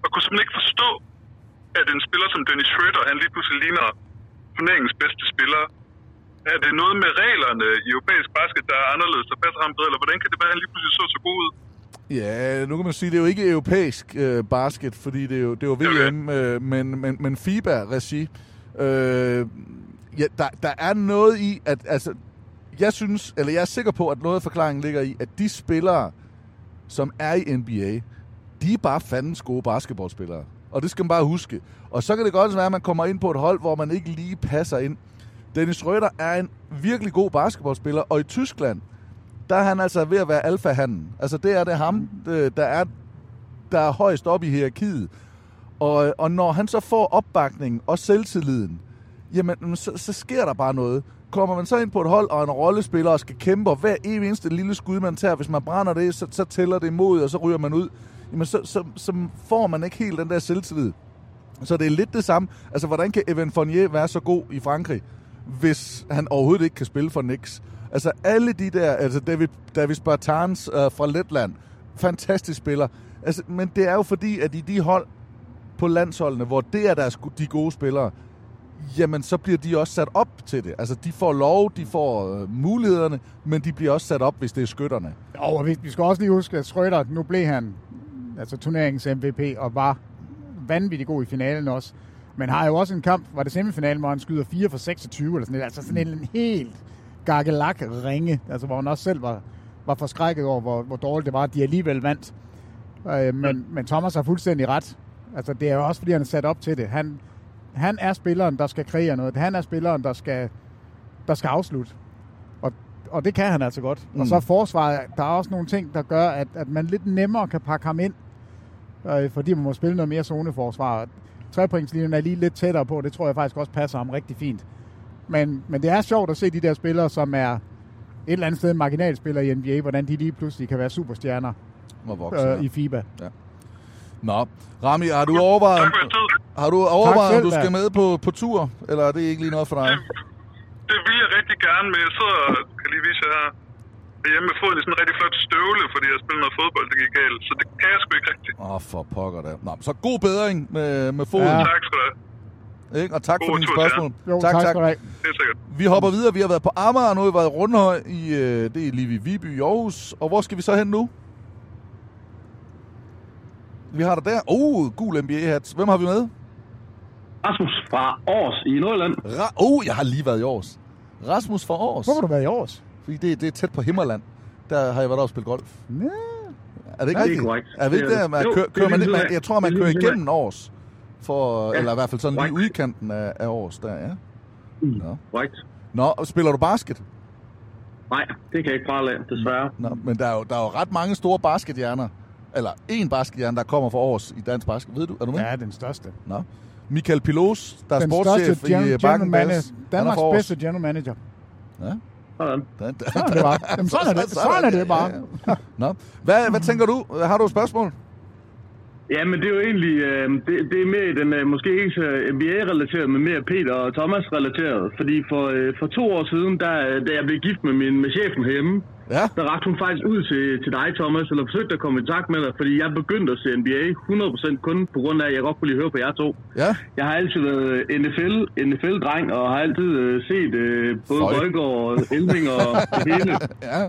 Speaker 12: og kunne simpelthen ikke forstå, at en spiller som Dennis Schröder, han lige pludselig ligner turneringens bedste spiller. Er det noget med reglerne i europæisk basket, der er anderledes, der passer ham bedre, eller hvordan kan det være, at han lige pludselig så så god ud?
Speaker 8: Ja, nu kan man sige, det er jo ikke europæisk øh, basket, fordi det er jo, det er jo VM, øh, men, men, men FIBA-regi. Øh, ja, der, der er noget i, at altså, jeg synes, eller jeg er sikker på, at noget af forklaringen ligger i, at de spillere, som er i NBA, de er bare fandens gode basketballspillere. Og det skal man bare huske. Og så kan det godt være, at man kommer ind på et hold, hvor man ikke lige passer ind. Dennis Røder er en virkelig god basketballspiller, og i Tyskland, der er han altså ved at være alfahanden. Altså det er det ham, det- der er, der er højst oppe i hierarkiet. Og, og når han så får opbakningen og selvtilliden, jamen så, så sker der bare noget. Kommer man så ind på et hold og en rollespiller og skal kæmpe, og hver evig eneste lille skud, man tager, hvis man brænder det, så, så tæller det imod, og så ryger man ud. Jamen så, så, så får man ikke helt den der selvtillid. Så det er lidt det samme. Altså, hvordan kan Evan Fournier være så god i Frankrig, hvis han overhovedet ikke kan spille for Knicks? Altså, alle de der, altså David, Davis Bartans øh, fra Letland, fantastisk spiller. Altså, men det er jo fordi, at i de hold på landsholdene, hvor det er deres, de gode spillere, jamen så bliver de også sat op til det. Altså, de får lov, de får øh, mulighederne, men de bliver også sat op, hvis det er skytterne.
Speaker 9: Jo, og vi, vi skal også lige huske, at Schrøder, nu blev han altså turneringens MVP og var vanvittig god i finalen også. Men har jo også en kamp, var det semifinalen, hvor han skyder 4 for 26 eller sådan noget. Altså sådan en helt gakkelak ringe, altså hvor han også selv var, var forskrækket over, hvor, hvor dårligt det var, at de alligevel vandt. Øh, men, men Thomas har fuldstændig ret. Altså det er jo også, fordi han er sat op til det. Han, han er spilleren, der skal kreere noget. Han er spilleren, der skal, der skal afslutte. Og, og det kan han altså godt. Mm.
Speaker 13: Mm.
Speaker 9: Og så er forsvaret, der er også nogle ting, der gør, at, at man lidt nemmere kan pakke ham ind, øh, fordi man må spille noget mere zoneforsvar. Trepointslinjen er lige lidt tættere på, det tror jeg faktisk også passer ham rigtig fint. Men, men det er sjovt at se de der spillere, som er et eller andet sted marginalspillere i NBA, hvordan de lige pludselig kan være superstjerner
Speaker 8: Og vokse,
Speaker 9: øh, i FIBA.
Speaker 8: Ja. Nå, Rami, har du overvejet, har du overvejet om
Speaker 9: selv,
Speaker 8: du
Speaker 9: da.
Speaker 8: skal med på, på tur, eller er det ikke lige noget for dig?
Speaker 12: Det vil jeg rigtig gerne, men jeg sidder og kan lige vise jer her hjemme med foden i sådan en rigtig flot støvle, fordi jeg spillede noget fodbold, det gik galt. Så det kan jeg sgu ikke rigtig.
Speaker 8: Åh, oh, for pokker da. Nå, så god bedring med, med foden.
Speaker 12: Ja.
Speaker 8: Ja.
Speaker 12: Tak skal du have.
Speaker 8: Ikke? Og tak for
Speaker 12: God
Speaker 8: dine
Speaker 12: tur til jer.
Speaker 8: spørgsmål.
Speaker 12: Jo, tak skal du have.
Speaker 8: Vi hopper videre. Vi har været på Amager, nu har vi været i Rundhøj, i, øh, det er lige ved Viby i Aarhus. Og hvor skal vi så hen nu? Vi har dig der. Oh, gul NBA-hat. Hvem har vi med?
Speaker 14: Rasmus fra Aarhus i Nordjylland.
Speaker 8: Ra- oh, jeg har lige været i Aarhus. Rasmus fra Aarhus. Hvor har
Speaker 9: du været i Aarhus?
Speaker 8: Fordi det, det er tæt på Himmerland. Der har jeg været oppe og spille golf.
Speaker 9: Ja.
Speaker 8: Er det ikke
Speaker 14: Ja, det er
Speaker 8: rigtigt?
Speaker 14: korrekt.
Speaker 8: Er vi ikke
Speaker 14: Det er
Speaker 8: der,
Speaker 14: det.
Speaker 8: man
Speaker 14: Jo,
Speaker 8: kører,
Speaker 14: det er
Speaker 8: kører man,
Speaker 14: lige ved
Speaker 8: man,
Speaker 14: siden af.
Speaker 8: jeg tror, man
Speaker 14: Det er
Speaker 8: kører
Speaker 14: lige ved siden
Speaker 8: igennem Aarhus, for, ja.
Speaker 14: Ja,
Speaker 8: eller i hvert fald sådan lige udkanten af, af Aarhus, der, ja.
Speaker 14: Mm.
Speaker 8: Nå.
Speaker 14: Korrekt.
Speaker 8: Nå, og spiller du basket?
Speaker 14: Nej, det kan jeg ikke prale af, desværre.
Speaker 8: Nå, men der er, jo, der er jo ret mange store baskethjerner, eller én baskethjerne, der kommer fra Aarhus i dansk basket. Ved du, er du med?
Speaker 9: Ja, den største.
Speaker 8: Nå. Michael Pilos, der er
Speaker 9: Den
Speaker 8: sportschef
Speaker 9: største gen-
Speaker 8: i øh, Bakken
Speaker 9: general
Speaker 8: Dallas.
Speaker 9: manager-
Speaker 8: Han er fra
Speaker 9: Danmarks
Speaker 8: Aarhus.
Speaker 9: bedste general manager.
Speaker 8: Ja.
Speaker 14: Sådan.
Speaker 8: Den, den,
Speaker 9: Sådan er det bare. Jamen, sådan er det. Sådan er det bare.
Speaker 8: ja. Nå. Hvad, hvad tænker du? Har du et spørgsmål?
Speaker 14: Ja, men det er jo egentlig, øh, det, det er mere i den, øh, måske ikke så NBA-relateret, men mere Peter og Thomas-relateret. Fordi for, øh, for to år siden, der, øh, da jeg blev gift med, min, med chefen herhjemme,
Speaker 8: ja.
Speaker 14: der rakte hun faktisk ud til, til dig, Thomas, eller forsøgte at komme i kontakt med dig, fordi jeg begyndte at se NBA 100% kun på grund af, at jeg godt kunne lide at høre på jer to.
Speaker 8: Ja.
Speaker 14: Jeg har altid været NFL, NFL-dreng, og har altid øh, set øh, både
Speaker 7: Føj.
Speaker 14: Bøjgaard og Elving og det hele.
Speaker 8: ja.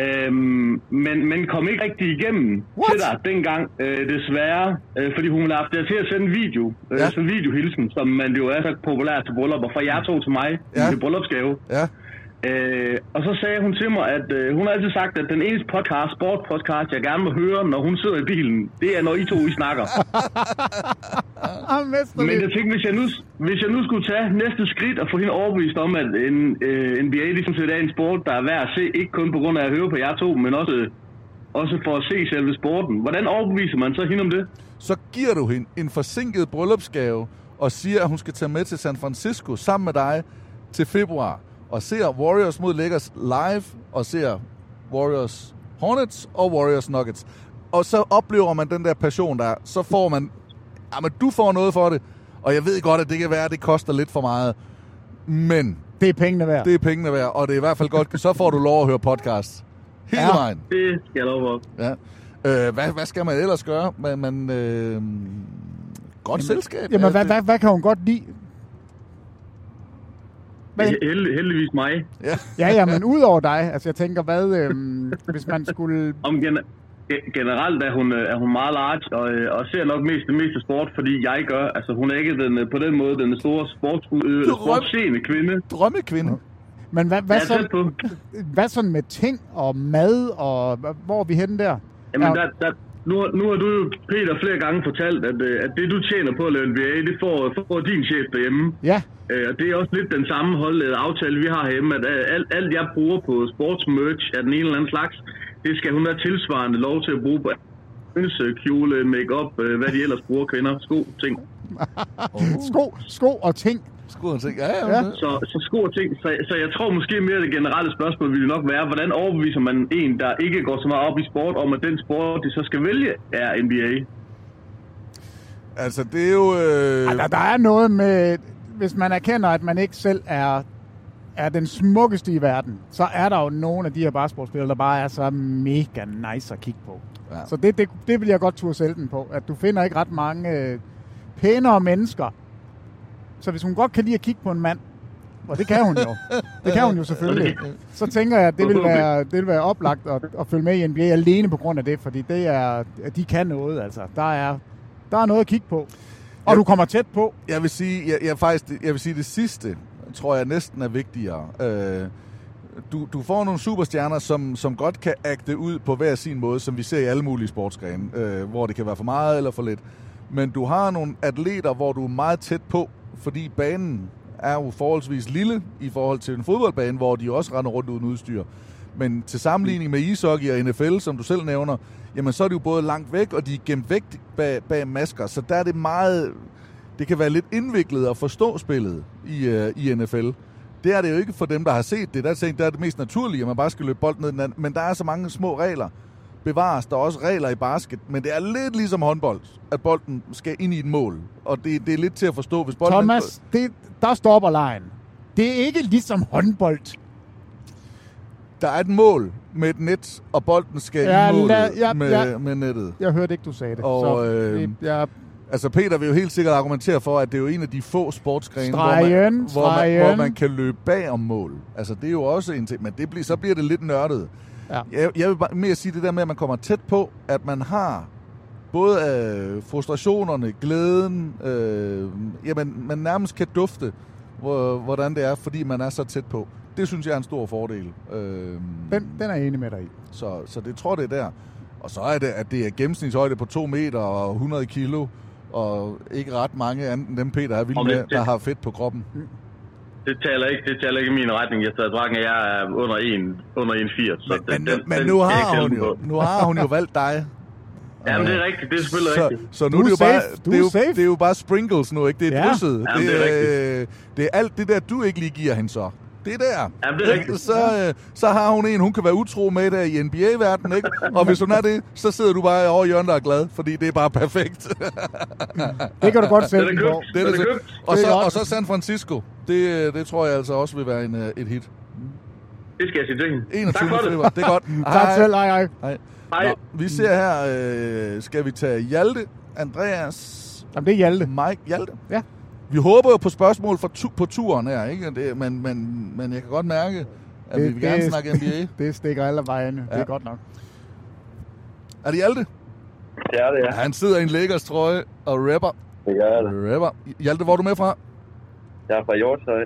Speaker 14: Øhm, men, men kom ikke rigtig igennem What? til dig dengang, øh, desværre, øh, fordi hun ville have haft dig til at sende en video, øh, ja. sådan en videohilsen, som man jo er så populær til bryllupper, fra jer to til mig, ja. til bryllupsgave.
Speaker 8: Ja.
Speaker 14: Øh, og så sagde hun til mig, at øh, hun har altid sagt, at den eneste podcast, sportpodcast, jeg gerne må høre, når hun sidder i bilen, det er, når I to I snakker.
Speaker 9: Ah,
Speaker 14: Men
Speaker 9: mesterligt.
Speaker 14: jeg tænkte, hvis jeg, nu, hvis jeg nu skulle tage næste skridt og få hende overbevist om, at en, øh, NBA ligesom set er en sport, der er værd at se, ikke kun på grund af at høre på jer to, men også, også for at se selve sporten. Hvordan overbeviser man så hende om det?
Speaker 8: så giver du hende en forsinket bryllupsgave og siger, at hun skal tage med til San Francisco sammen med dig til februar og ser Warriors mod Lakers live og ser Warriors Hornets og Warriors Nuggets. Og så oplever man den der passion der, er. så får man, jamen du får noget for det, og jeg ved godt, at det kan være, at det koster lidt for meget, men
Speaker 9: det er pengene værd.
Speaker 8: Det er pengene værd, og det er i hvert fald godt, så får du lov at høre podcast. Hele
Speaker 14: Ja.
Speaker 8: ja. vejen.
Speaker 14: Det skal jeg lov for.
Speaker 8: Ja. Øh, hvad, hvad skal man ellers gøre? Man, man, øh, godt jamen, selskab.
Speaker 9: Jamen,
Speaker 8: Altså,
Speaker 9: hvad, hvad, hvad kan hun godt lide?
Speaker 14: Held, heldigvis mig.
Speaker 8: Ja,
Speaker 9: Ja, ja, men ud over dig. Altså, jeg tænker, hvad, øhm, hvis man skulle...
Speaker 14: Om gen- ge- generelt er hun, øh, er hun meget large, og, øh, og ser nok mest det meste sport, fordi jeg gør. Altså, hun er ikke den, øh, på den måde den store sportsudøver,
Speaker 9: Drøm-
Speaker 14: sportsseende kvinde.
Speaker 8: Drømmekvinde.
Speaker 9: Men hvad, hvad,
Speaker 14: Ja, tæt
Speaker 9: så, hvad sådan med ting og mad, og hva- hvor er vi henne der?
Speaker 14: Jamen,
Speaker 9: Er-
Speaker 14: der, der, nu, har- nu har du jo, Peter, flere gange fortalt, at, øh, at det, du tjener på at lave NBA, det får, får din chef derhjemme.
Speaker 9: Ja.
Speaker 14: Øh, og det er også lidt den samme holdlede aftale, vi har hjemme, at øh, alt, alt jeg bruger på sportsmerch af den ene eller anden slags, det skal hun have tilsvarende lov til at bruge på ønse, kjole, make-up, øh, hvad de ellers bruger, kvinder, sko, ting.
Speaker 9: Sko, sko og ting.
Speaker 8: Sko og ting, ja, ja.
Speaker 14: Så, så sko og ting. Så, så jeg tror måske mere det generelle spørgsmål ville nok være, hvordan overbeviser man en, der ikke går så meget op i sport, om at den sport, de så skal vælge, er NBA?
Speaker 8: Altså, det er jo... Øh...
Speaker 9: Der, der er noget med, hvis man erkender, at man ikke selv er, er den smukkeste i verden, så er der jo nogle af de her basketballspillere, der bare er så mega nice at kigge på.
Speaker 8: Ja.
Speaker 9: Så det, det, det vil jeg godt turde sælge den på, at du finder ikke ret mange øh, pænere mennesker. Så hvis hun godt kan lide at kigge på en mand, og det kan hun jo, det kan hun jo selvfølgelig, så tænker jeg, at det vil være, det vil være oplagt at, at følge med i NBA alene på grund af det, fordi det er, at de kan noget, altså. Der er, der er noget at kigge på. Og du kommer tæt på.
Speaker 8: Jeg vil sige, jeg, jeg faktisk, jeg vil sige det sidste, tror jeg næsten er vigtigere. Øh, du, du får nogle superstjerner, som, som godt kan agte ud på hver sin måde, som vi ser i alle mulige sportsgrene, øh, hvor det kan være for meget eller for lidt. Men du har nogle atleter, hvor du er meget tæt på, fordi banen er jo forholdsvis lille i forhold til en fodboldbane, hvor de også render rundt uden udstyr. Men til sammenligning med ishockey og NFL, som du selv nævner, jamen så er de jo både langt væk, og de er gemt væk bag, bag masker. Så der er det meget det kan være lidt indviklet at forstå spillet i, øh, i NFL. Det er det jo ikke for dem, der har set det. Der, tænkt, der er det mest naturlige, at man bare skal løbe bolden ned i den anden. Men der er så mange små regler. Bevares, der er også regler i basket, men det er lidt ligesom håndbold, at bolden skal ind i et mål. Og det, det er lidt til at forstå, hvis bolden...
Speaker 9: Thomas, det, der stopper lejen. Det er ikke ligesom håndbold.
Speaker 8: Der er et mål med et net, og bolden skal
Speaker 9: Ja,
Speaker 8: i målet
Speaker 9: lad- ja,
Speaker 8: med,
Speaker 9: ja.
Speaker 8: med nettet.
Speaker 9: Jeg hørte ikke, du sagde det.
Speaker 8: Og,
Speaker 9: så,
Speaker 8: øh,
Speaker 9: det- jeg,
Speaker 8: Altså Peter vil jo helt sikkert argumentere for, at det er jo en af de få sportsgrene, hvor,
Speaker 9: Stregen,
Speaker 8: man, hvor, man,
Speaker 9: stregen.
Speaker 8: hvor man kan løbe bag om mål. Altså det er jo også en ting, men det bliver, så bliver det lidt nørdet.
Speaker 9: Ja.
Speaker 8: Jeg, jeg vil bare mere sige det der med, at man kommer tæt på, at man har både øh, frustrationerne, glæden, øh, jamen man nærmest kan dufte, hvor, hvordan det er, fordi man er så tæt på. Det synes jeg er en stor fordel. Øh,
Speaker 9: den, den er jeg enig med dig i.
Speaker 8: så, så det tror det er der. Og så er det, at det er gennemsnitshøjde på 2 meter og 100 kilo, og ikke ret mange andet end dem, Peter er vild
Speaker 14: Og det-
Speaker 8: med,
Speaker 14: det-
Speaker 8: der har fedt på kroppen.
Speaker 14: Det taler ikke, det taler ikke i min retning. Jeg sad og drak, og jeg er under 1, under 1,80. Men, den, den,
Speaker 8: Men
Speaker 14: den
Speaker 8: nu
Speaker 14: skal jeg
Speaker 8: har
Speaker 14: ikke
Speaker 8: hun
Speaker 14: tælle
Speaker 8: jo,
Speaker 14: på.
Speaker 8: nu har hun jo valgt dig.
Speaker 14: Jamen, det er rigtigt. Det er selvfølgelig
Speaker 8: Så,
Speaker 14: rigtigt.
Speaker 8: så nu
Speaker 14: Du
Speaker 8: er det jo
Speaker 14: er safe.
Speaker 8: bare,
Speaker 14: Du
Speaker 8: det er
Speaker 14: er
Speaker 8: jo,
Speaker 14: safe.
Speaker 8: det er jo bare sprinkles nu, ikke? Det er
Speaker 14: Ja.
Speaker 8: drysset.
Speaker 14: Jamen, det er
Speaker 8: øh, det er alt det der, du ikke lige giver hende så. Det der.
Speaker 14: Jamen, det er rigtigt.
Speaker 8: Så, øh, så har hun en, hun kan være utro med der i NBA-verdenen, ikke? Og hvis hun er det, så sidder du bare over i hjørnet og er glad, fordi det er bare perfekt.
Speaker 9: Det kan du godt sælge
Speaker 8: Det er
Speaker 9: den på.
Speaker 8: købt. Det er det købt. Og så, og så San Francisco. Det, det tror jeg altså også vil være en, øh, et hit.
Speaker 14: Det skal jeg sige til hende.
Speaker 8: 21.
Speaker 14: Tak for
Speaker 8: februar. Det er godt.
Speaker 9: tak selv, hej, hej.
Speaker 8: Hej.
Speaker 14: Hej.
Speaker 8: Nå, vi ser her, øh, skal vi tage Hjalte, Andreas...
Speaker 9: Jamen, det er Hjalte.
Speaker 8: Mike Hjalte.
Speaker 9: Ja.
Speaker 8: Vi håber jo på spørgsmål fra tu- på turen her, ikke? Det, men, men, men jeg kan godt mærke, at det, vi vil gerne snakke NBA.
Speaker 9: det stikker alle vejene. Ja. Det
Speaker 8: Ja.
Speaker 9: er godt nok.
Speaker 8: Er det Hjalte?
Speaker 11: Ja, det er.
Speaker 8: Han sidder i en lækkers trøje og rapper.
Speaker 11: Det gør jeg da.
Speaker 8: Rapper. Hjalte, hvor er du med fra?
Speaker 11: Jeg er fra Hjortøj.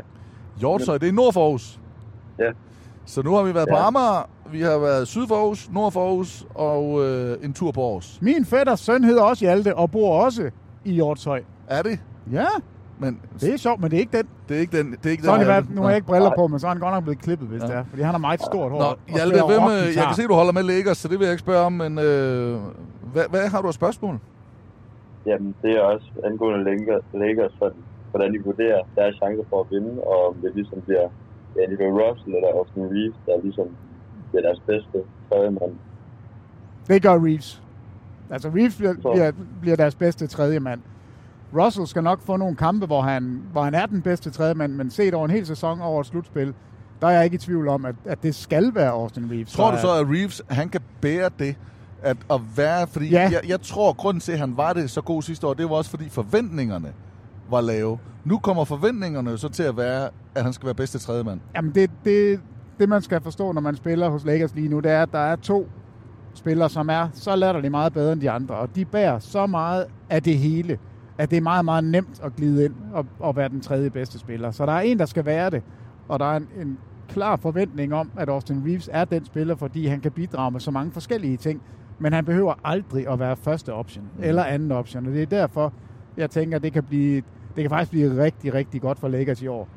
Speaker 8: Hjortøj, det er nord for Aarhus.
Speaker 11: Ja.
Speaker 8: Så nu har vi været ja. på
Speaker 11: Ja.
Speaker 8: Amager, vi har været syd for Aarhus, nord for Aarhus og øh, en tur på Aarhus.
Speaker 9: Min fætters søn hedder også Hjalte og bor også i Hjortshøj.
Speaker 8: Er det?
Speaker 9: Ja,
Speaker 8: Men
Speaker 9: det er sjovt, men det er ikke den.
Speaker 8: Det er ikke den. Det er ikke
Speaker 9: Så har
Speaker 8: den,
Speaker 9: det været,
Speaker 8: Hjalte.
Speaker 9: nu har jeg ikke briller
Speaker 8: Nej.
Speaker 9: på, men så er han godt nok blevet klippet, hvis
Speaker 8: Ja.
Speaker 9: ja. det er. Fordi han har meget stort hår. og
Speaker 8: Nå, Hjalte,
Speaker 9: spiller
Speaker 8: hvem, øh,
Speaker 9: rockguitar.
Speaker 8: jeg kan se, du holder med Lakers, så det vil jeg ikke spørge om, men øh, hvad, hvad har du af spørgsmål?
Speaker 11: Jamen, det er også angående Lakers- Lakers, sådan, hvordan de vurderer deres chancer for at vinde, og om det ligesom bliver Andrew Russell eller Austin Reeves, der ligesom bliver deres bedste tredje mand.
Speaker 9: Det gør Reeves. Altså, Reeves bliver, bliver, bliver deres bedste tredje mand. Russell skal nok få nogle kampe, hvor han, hvor han er den bedste tredje mand, men set over en hel sæson over et slutspil, der er jeg ikke i tvivl om, at, at det skal være Austin Reeves.
Speaker 8: Tror
Speaker 9: der
Speaker 8: du
Speaker 9: er-
Speaker 8: så, at Reeves han kan bære det at, at være? Fordi
Speaker 9: Ja.
Speaker 8: ja. jeg, jeg tror, grunden til, at han var det så god sidste år, det var også, fordi forventningerne var lave. Nu kommer forventningerne jo så til at være, at han skal være bedste tredje mand.
Speaker 9: Jamen det, det, det, man skal forstå, når man spiller hos Lakers lige nu, det er, at der er to spillere, som er så latterligt meget bedre end de andre, og de bærer så meget af det hele, at det er meget, meget nemt at glide ind og, og være den tredje bedste spiller. Så der er en, der skal være det, og der er en, en klar forventning om, at Austin Reeves er den spiller, fordi han kan bidrage med så mange forskellige ting, men han behøver aldrig at være første option eller anden option, og det er derfor, jeg tænker, det kan, blive, det kan faktisk blive rigtig, rigtig godt for Lakers i år.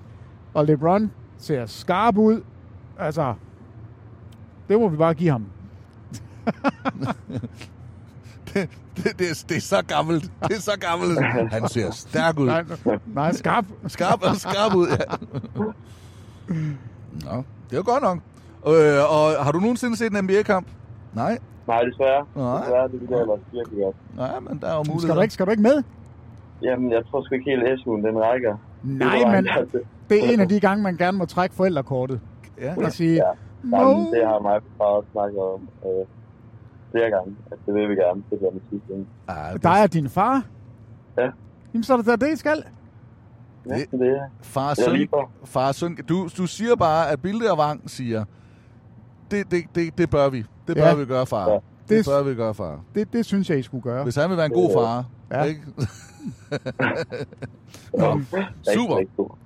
Speaker 9: Og LeBron ser skarp ud. Altså, det må vi bare give ham.
Speaker 8: det, det, det, er, det er så gammelt. Det er så gammelt. Han ser stærk ud.
Speaker 9: Nej, nej skarp.
Speaker 8: Skarp og skarp ud, ja. Nå, det er godt nok. Øh, og har du nogensinde set en NBA-kamp? Nej.
Speaker 11: Nej, desværre.
Speaker 8: Nej.
Speaker 11: Desværre, det vil jeg ellers virkelig godt.
Speaker 8: Nej, men der er jo mulighed.
Speaker 9: Skal du ikke, skal du ikke med?
Speaker 11: Jamen, jeg tror sgu ikke helt, SU'en den rækker.
Speaker 9: Nej, men det er en af de gange, man gerne må trække forældrekortet.
Speaker 8: Ja.
Speaker 9: Og sige,
Speaker 11: Ja.
Speaker 9: No.
Speaker 11: Jamen, det har mig og far også snakket om øh, flere gange, at det vil vi gerne. Det bliver med sidste ende.
Speaker 9: dig og din far?
Speaker 11: Ja.
Speaker 9: Jamen, så er det da det, I skal.
Speaker 11: Næsten det, ja.
Speaker 8: Far og
Speaker 11: Jeg er lige
Speaker 8: søn,
Speaker 11: for.
Speaker 8: far og søn du, du siger bare, at Bilde og Vang siger, det, det, det, det bør vi. Det bør
Speaker 9: Ja.
Speaker 8: ja. vi gøre, far.
Speaker 9: Ja.
Speaker 8: Ja. Det,
Speaker 9: Det-
Speaker 8: det bør vi gøre, far.
Speaker 9: Det, det synes jeg, I skulle gøre.
Speaker 8: Hvis han vil være en god far,
Speaker 9: Ja.
Speaker 8: ja. ikke? Nå, super.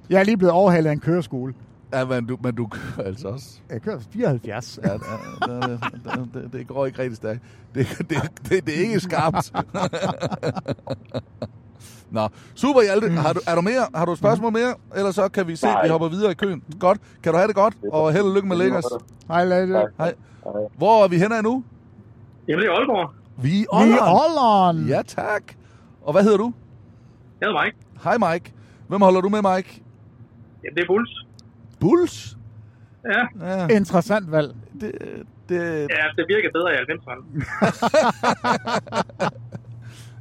Speaker 9: Jeg er lige blevet overhalet af en køreskole.
Speaker 8: Ja, men du, men du kører altså også.
Speaker 9: Jeg kører 74.
Speaker 8: Ja, det, det, det, det, det går ikke rigtig stærkt. Det, det, det, det er ikke skarpt. Nå, super Hjalte. Har du, er du mere? Har du et spørgsmål mere? Ellers så kan vi se, at vi hopper videre i køen. Godt. Kan du have det godt? Og held og lykke med Lakers.
Speaker 9: Hej, Lasse.
Speaker 8: Hej. Hvor er vi henne nu?
Speaker 12: Jamen, det er Aalborg.
Speaker 8: Vi er
Speaker 9: Vi
Speaker 8: Olleren.
Speaker 9: er Olleren.
Speaker 8: Ja, tak. Og hvad hedder du?
Speaker 12: Jeg hedder Mike.
Speaker 8: Hej Mike. Hvem holder du med, Mike?
Speaker 12: Jamen, det er Bulls.
Speaker 8: Bulls?
Speaker 12: Ja.
Speaker 8: Ja,
Speaker 9: Interessant valg.
Speaker 8: det, det,
Speaker 12: ja, det virker bedre i 90'erne.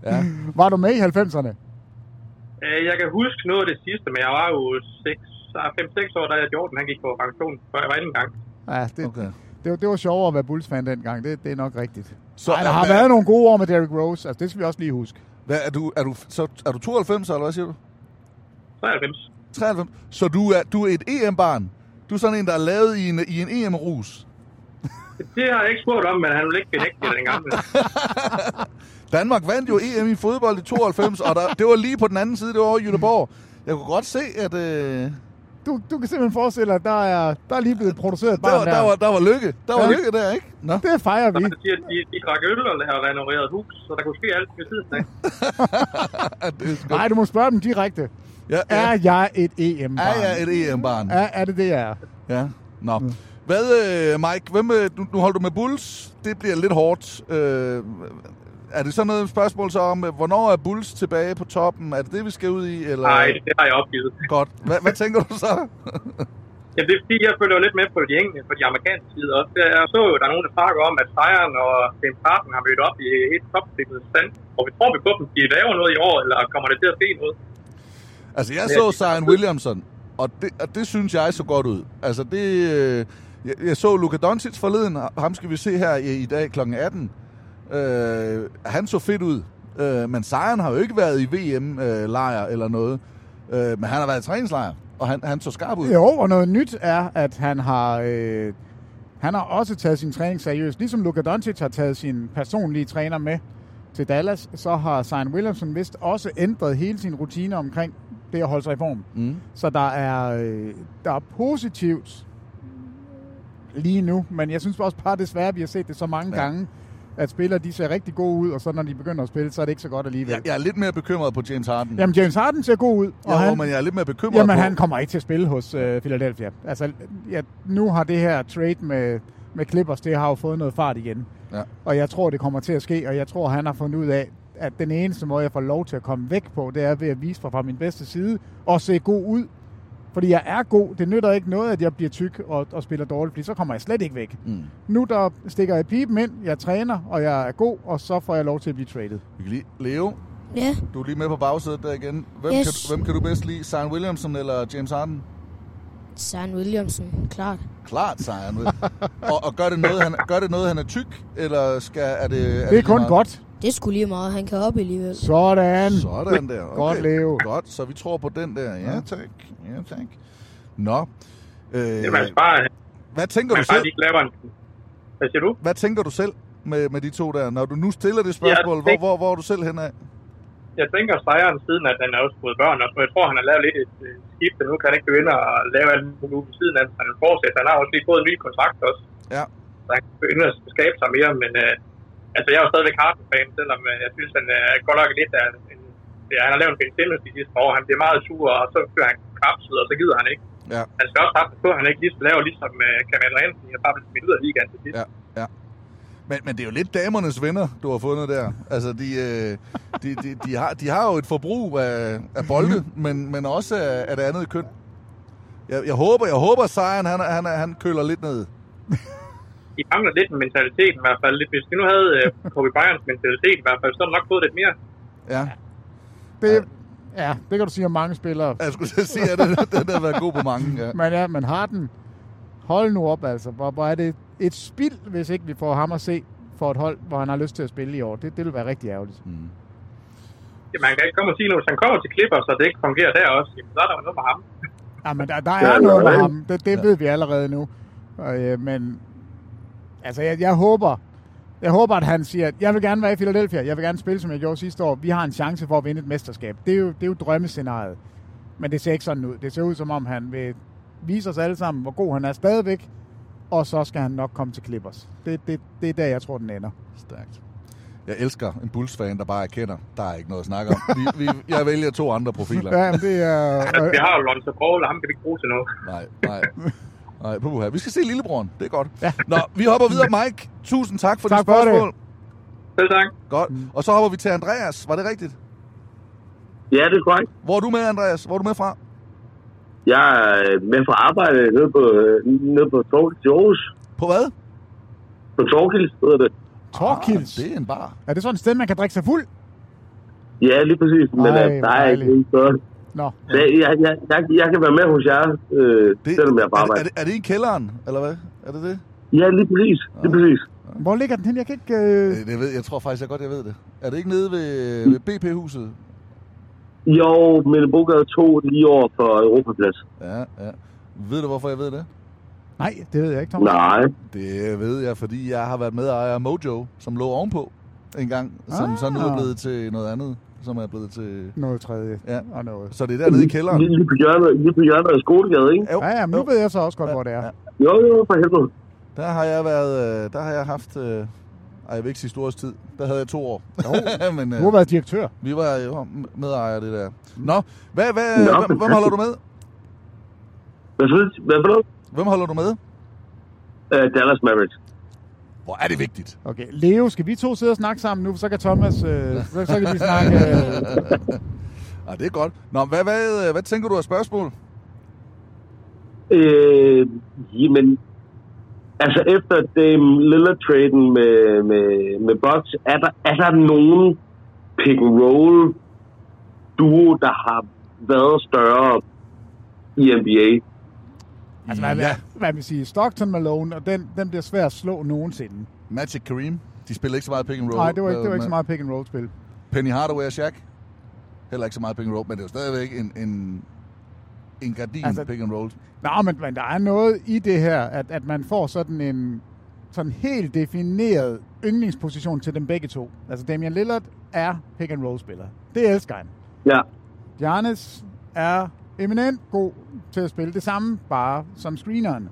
Speaker 8: ja.
Speaker 9: Var du med i 90'erne?
Speaker 12: Øh, Jeg kan huske noget af det sidste, men jeg var jo 5-6 år, da jeg Jordan han gik på pension, før jeg var inde engang.
Speaker 9: Ja, det,
Speaker 8: Okay.
Speaker 9: det, var, det var sjovere at være Bulls-fan dengang. Det, det er nok rigtigt.
Speaker 8: Så
Speaker 9: Så, Ej, der
Speaker 8: er-
Speaker 9: har
Speaker 8: hvad-
Speaker 9: været nogle gode år med Derrick Rose. Altså, det skal vi også lige huske.
Speaker 8: Hvad, er, du, er, du, så, er du 92, eller hvad siger du?
Speaker 12: 93.
Speaker 8: 93. Så du er, du er et EM-barn. Du er sådan en, der er lavet i en, i en E EM-rus.
Speaker 12: Det har jeg ikke spurgt om, men han ville ikke benægte det dengang.
Speaker 8: Danmark vandt jo EM i fodbold i 92, og der, det var lige på den anden side, det var over i Jødeborg. Jeg kunne godt se, at øh,
Speaker 9: Du, du kan simpelthen forestille dig, at der er, der er lige blevet produceret et
Speaker 8: der,
Speaker 9: barn
Speaker 8: var, der, var, der var lykke. Der
Speaker 9: Ja.
Speaker 8: var lykke der, ikke? Nå.
Speaker 9: Det fejrer
Speaker 12: Så
Speaker 9: vi.
Speaker 12: han siger, at de, de drak øl og har renoveret hus, så der kunne ske alt ved siden af.
Speaker 9: Nej, du må spørge dem direkte.
Speaker 8: Ja, ja.
Speaker 9: Er jeg et em
Speaker 8: Er jeg et EM-barn?
Speaker 9: Er, er det det, jeg er? Mm.
Speaker 8: Ja. Nå. Hvad, øh, Mike, hvem, øh, nu, nu holder du med Bulls. Det bliver lidt hårdt. Øh, er det sådan noget spørgsmål så om, øh, hvornår er Bulls tilbage på toppen? Er det det, vi skal ud i? Eller?
Speaker 12: Nej, det har jeg opgivet.
Speaker 8: Godt. Hvad, hvad tænker du så?
Speaker 12: Jamen, det er fordi, jeg følger jo lidt med på de engelske, på de amerikanske sider også. Jeg så jo, der er nogen, der snakker om, at Bayern og James Harden har mødt op i et topstillet stand. Og vi tror vi på dem, de laver noget i år, eller kommer det til at ske noget?
Speaker 8: Altså, jeg
Speaker 12: Ja.
Speaker 8: så Zion Williamson, og det, og det synes jeg så godt ud. Altså, det... Øh, jeg, jeg så Luka Doncic forleden, og ham skal vi se her i, i dag kl. 18. Øh, han så fedt ud, øh, men Zion har jo ikke været i VM-lejr eller noget. Øh, men han har været i træningslejr, og han, han så skarp ud.
Speaker 9: Jo, og noget nyt er, at han har, øh, han har også taget sin træning seriøst. Ligesom Luka Doncic har taget sin personlige træner med til Dallas, så har Zion Williamson vist også ændret hele sin rutine omkring det at holde sig i form.
Speaker 8: Mm.
Speaker 9: Så der er, øh, der er positivt lige nu, men jeg synes også bare desværre, at vi har set det så mange ja. gange, at spillere de ser rigtig gode ud, og så når de begynder at spille, så er det ikke så godt alligevel.
Speaker 8: Jeg, jeg er lidt mere bekymret på James Harden.
Speaker 9: Jamen, James Harden ser god ud.
Speaker 8: Jo, han, men jeg er lidt mere bekymret
Speaker 9: Jamen,
Speaker 8: på...
Speaker 9: han kommer ikke til at spille hos øh, Philadelphia. Altså, ja, nu har det her trade med, med Clippers, det har jo fået noget fart igen.
Speaker 8: Ja.
Speaker 9: Og jeg tror, det kommer til at ske, og jeg tror, han har fundet ud af, at den eneste måde, jeg får lov til at komme væk på, det er ved at vise mig fra min bedste side og se god ud. Fordi jeg er god. Det nytter ikke noget, at jeg bliver tyk og, og spiller dårligt, fordi så kommer jeg slet ikke væk.
Speaker 8: Mm.
Speaker 9: Nu der stikker jeg pipen ind, jeg træner, og jeg er god, og så får jeg lov til at blive traded.
Speaker 8: Vi kan lige- Leo,
Speaker 10: Ja.
Speaker 8: du er lige med på bagsædet der igen. Hvem,
Speaker 10: Yes.
Speaker 8: yes. kan, du- hvem kan du bedst lide? Zion Williamson eller James Harden?
Speaker 10: Søren Williamson, klart.
Speaker 8: Klart sejrer han ud. og, og gør, det noget, han, gør det noget, han er tyk, eller skal, er det... Er det,
Speaker 9: Det er
Speaker 8: lige
Speaker 9: kun
Speaker 8: meget?
Speaker 9: godt.
Speaker 10: Det skulle lige meget, han kan op alligevel.
Speaker 9: Sådan.
Speaker 8: Sådan der. Okay.
Speaker 9: Godt, Leo.
Speaker 8: Godt, så vi tror på den der. Ja, tak. Ja, tak. Nå. Øh,
Speaker 12: Jamen, altså bare,
Speaker 8: hvad tænker du
Speaker 12: man bare
Speaker 8: selv?
Speaker 12: lige laver en... Hvad siger du?
Speaker 8: Hvad tænker du selv? med, med de to der? Når du nu stiller det spørgsmål, ja, hvor, hvor, hvor er du selv henad?
Speaker 15: jeg tænker sejren siden, at han har også fået børn, og jeg tror, han har lavet lidt et øh, skifte. Nu kan han ikke begynde at lave alt muligt ved siden af, han fortsætter. Han har også lige fået en ny kontrakt også.
Speaker 8: Ja.
Speaker 15: Så han kan begynde at skabe sig mere, men øh, altså, jeg er jo stadigvæk Harden-fan, selvom øh, jeg synes, han er øh, godt nok lidt af en, ja, han har lavet en Ben Simmons de sidste år. Han bliver meget sur, og så kører han kapsel, og så gider han ikke.
Speaker 8: Ja.
Speaker 15: Han skal også passe på, at han ikke lige laver ligesom øh, Kamal Ramsen, jeg bare bliver smidt ud af ligaen til sidst.
Speaker 8: Ja, ja. Men, men det er jo lidt damernes venner, du har fundet der. Altså, de, øh, de, de, de, har, de har jo et forbrug af, af bolde, men, men også af, af det andet køn. Jeg, jeg håber, jeg håber, Sejren, han, han, han køler lidt ned.
Speaker 15: De mangler lidt en mentalitet i hvert fald. Hvis de nu havde øh, Kobe Bryants mentalitet i hvert fald, så havde de nok fået lidt mere.
Speaker 8: Ja.
Speaker 9: Det, ja, det kan du sige om mange spillere.
Speaker 8: Jeg skulle til at sige, at den, den har været god på mange. Ja.
Speaker 9: Men ja, men har den... Hold nu op, altså. Hvor, hvor er det et spild, hvis ikke vi får ham at se for et hold, hvor han har lyst til at spille i år. Det, det vil være rigtig ærgerligt. Mm.
Speaker 15: Ja, man kan ikke komme og sige noget. Hvis han kommer til klipper, så det ikke fungerer der også, jamen, så er der jo noget med ham.
Speaker 9: Ja, men der, der er noget med ham. Det, det ja. ved vi allerede nu. Og, øh, men altså, jeg, jeg håber, jeg håber, at han siger, at jeg vil gerne være i Philadelphia. Jeg vil gerne spille, som jeg gjorde sidste år. Vi har en chance for at vinde et mesterskab. Det er jo, det er jo drømmescenariet. Men det ser ikke sådan ud. Det ser ud, som om han vil vise os alle sammen, hvor god han er stadigvæk, og så skal han nok komme til Clippers. Det, det, det er der, jeg tror, den ender.
Speaker 8: Stærkt. Jeg elsker en Bulls-fan, der bare erkender, der er ikke noget at snakke om. Vi, vi, jeg vælger to andre profiler.
Speaker 9: ja, det er...
Speaker 15: Altså, Vi har jo Lonzo Ball, og ham kan vi ikke bruge til noget.
Speaker 8: Øh, Nej, nej. Nej, puha. Vi skal se lillebroren. Det er godt. Ja. Nå, vi hopper videre, Mike. Tusind tak for
Speaker 9: tak
Speaker 8: dit spørgsmål. Det.
Speaker 15: Selv tak.
Speaker 8: Godt. Og så hopper vi til Andreas. Var det rigtigt?
Speaker 16: Ja, det er korrekt.
Speaker 8: Hvor er du med, Andreas? Hvor er du med fra?
Speaker 16: Jeg er øh, med fra arbejde nede på, nede på Torkils i Aarhus.
Speaker 8: På hvad?
Speaker 16: På Torkils, hedder det.
Speaker 9: Torkils?
Speaker 8: Ah, det er en bar.
Speaker 9: Er det sådan et sted, man kan drikke sig fuld?
Speaker 16: Ja, lige præcis. Ej, men Ej, der er ikke nogen steder.
Speaker 9: Nå.
Speaker 16: Så jeg, jeg, jeg, jeg, jeg kan være med hos jer, øh, det, selvom jeg er på arbejde.
Speaker 8: Er det, er det i kælderen, eller hvad? Er det det?
Speaker 16: Ja, lige præcis. Ah. Lige præcis.
Speaker 9: Hvor ligger den hen? Jeg kan ikke... Øh...
Speaker 8: Det, det ved, jeg tror faktisk, jeg godt, jeg ved det. Er det ikke nede ved, ved BP-huset?
Speaker 16: Jo, Mellembogade 2 lige over for Europaplads.
Speaker 8: Ja, ja. Ved du, hvorfor jeg ved det?
Speaker 9: Nej, det ved jeg ikke, Thomas.
Speaker 16: Nej.
Speaker 8: Det ved jeg, fordi jeg har været medejer af Mojo, som lå ovenpå en gang, som ah. så nu er blevet til noget andet, som er blevet til...
Speaker 9: Noget tredje.
Speaker 8: Ja.
Speaker 9: Og noget.
Speaker 8: Så det er dernede i kælderen.
Speaker 16: Lige, lige på hjørnet, lige på hjørnet af skolegade, ikke?
Speaker 9: Jo. Ja, ja, men nu jo. ved jeg så også godt, ja. hvor det er. Ja.
Speaker 16: Jo, jo, for helvede.
Speaker 8: Der har jeg været... øh, Der har jeg haft... Ej, jeg vil ikke sige historisk tid. Der havde jeg to år.
Speaker 9: men, øh, du har været direktør.
Speaker 8: Vi var jo medejer det der. Nå, hvad, hvad, Nå. Hvem, hvem holder du med?
Speaker 16: Hvad, hvad for noget?
Speaker 8: Hvem holder du med?
Speaker 16: Uh, Dallas Mavericks.
Speaker 8: Hvor er det vigtigt.
Speaker 9: Okay, Leo, skal vi to sidde og snakke sammen nu? Så kan Thomas... Øh, så, så kan vi snakke... Øh.
Speaker 8: Ej, det er godt. Nå, hvad, hvad, hvad tænker du af spørgsmål?
Speaker 16: Øh, jamen, altså efter Dame Lillard-traden med, med, med Bucks, er der, er der nogen pick-and-roll duo, der har været større i NBA?
Speaker 9: Altså, hvad, ja. hvad vil sige, Stockton Malone, og den, den bliver svær at slå nogensinde.
Speaker 8: Magic Kareem, de spiller ikke så meget pick-and-roll.
Speaker 9: Nej, det var, ikke, det var ikke så meget pick-and-roll-spil.
Speaker 8: Penny Hardaway og Shaq, heller ikke så meget pick-and-roll, men det er jo stadigvæk en, en, en gardin altså, pick and roll.
Speaker 9: Nej, men, men der er noget i det her, at, at man får sådan en sådan helt defineret yndlingsposition til dem begge to. Altså Damian Lillard er pick and roll spiller. Det elsker han.
Speaker 16: Ja.
Speaker 9: Giannis er eminent god til at spille det samme, bare som screeneren.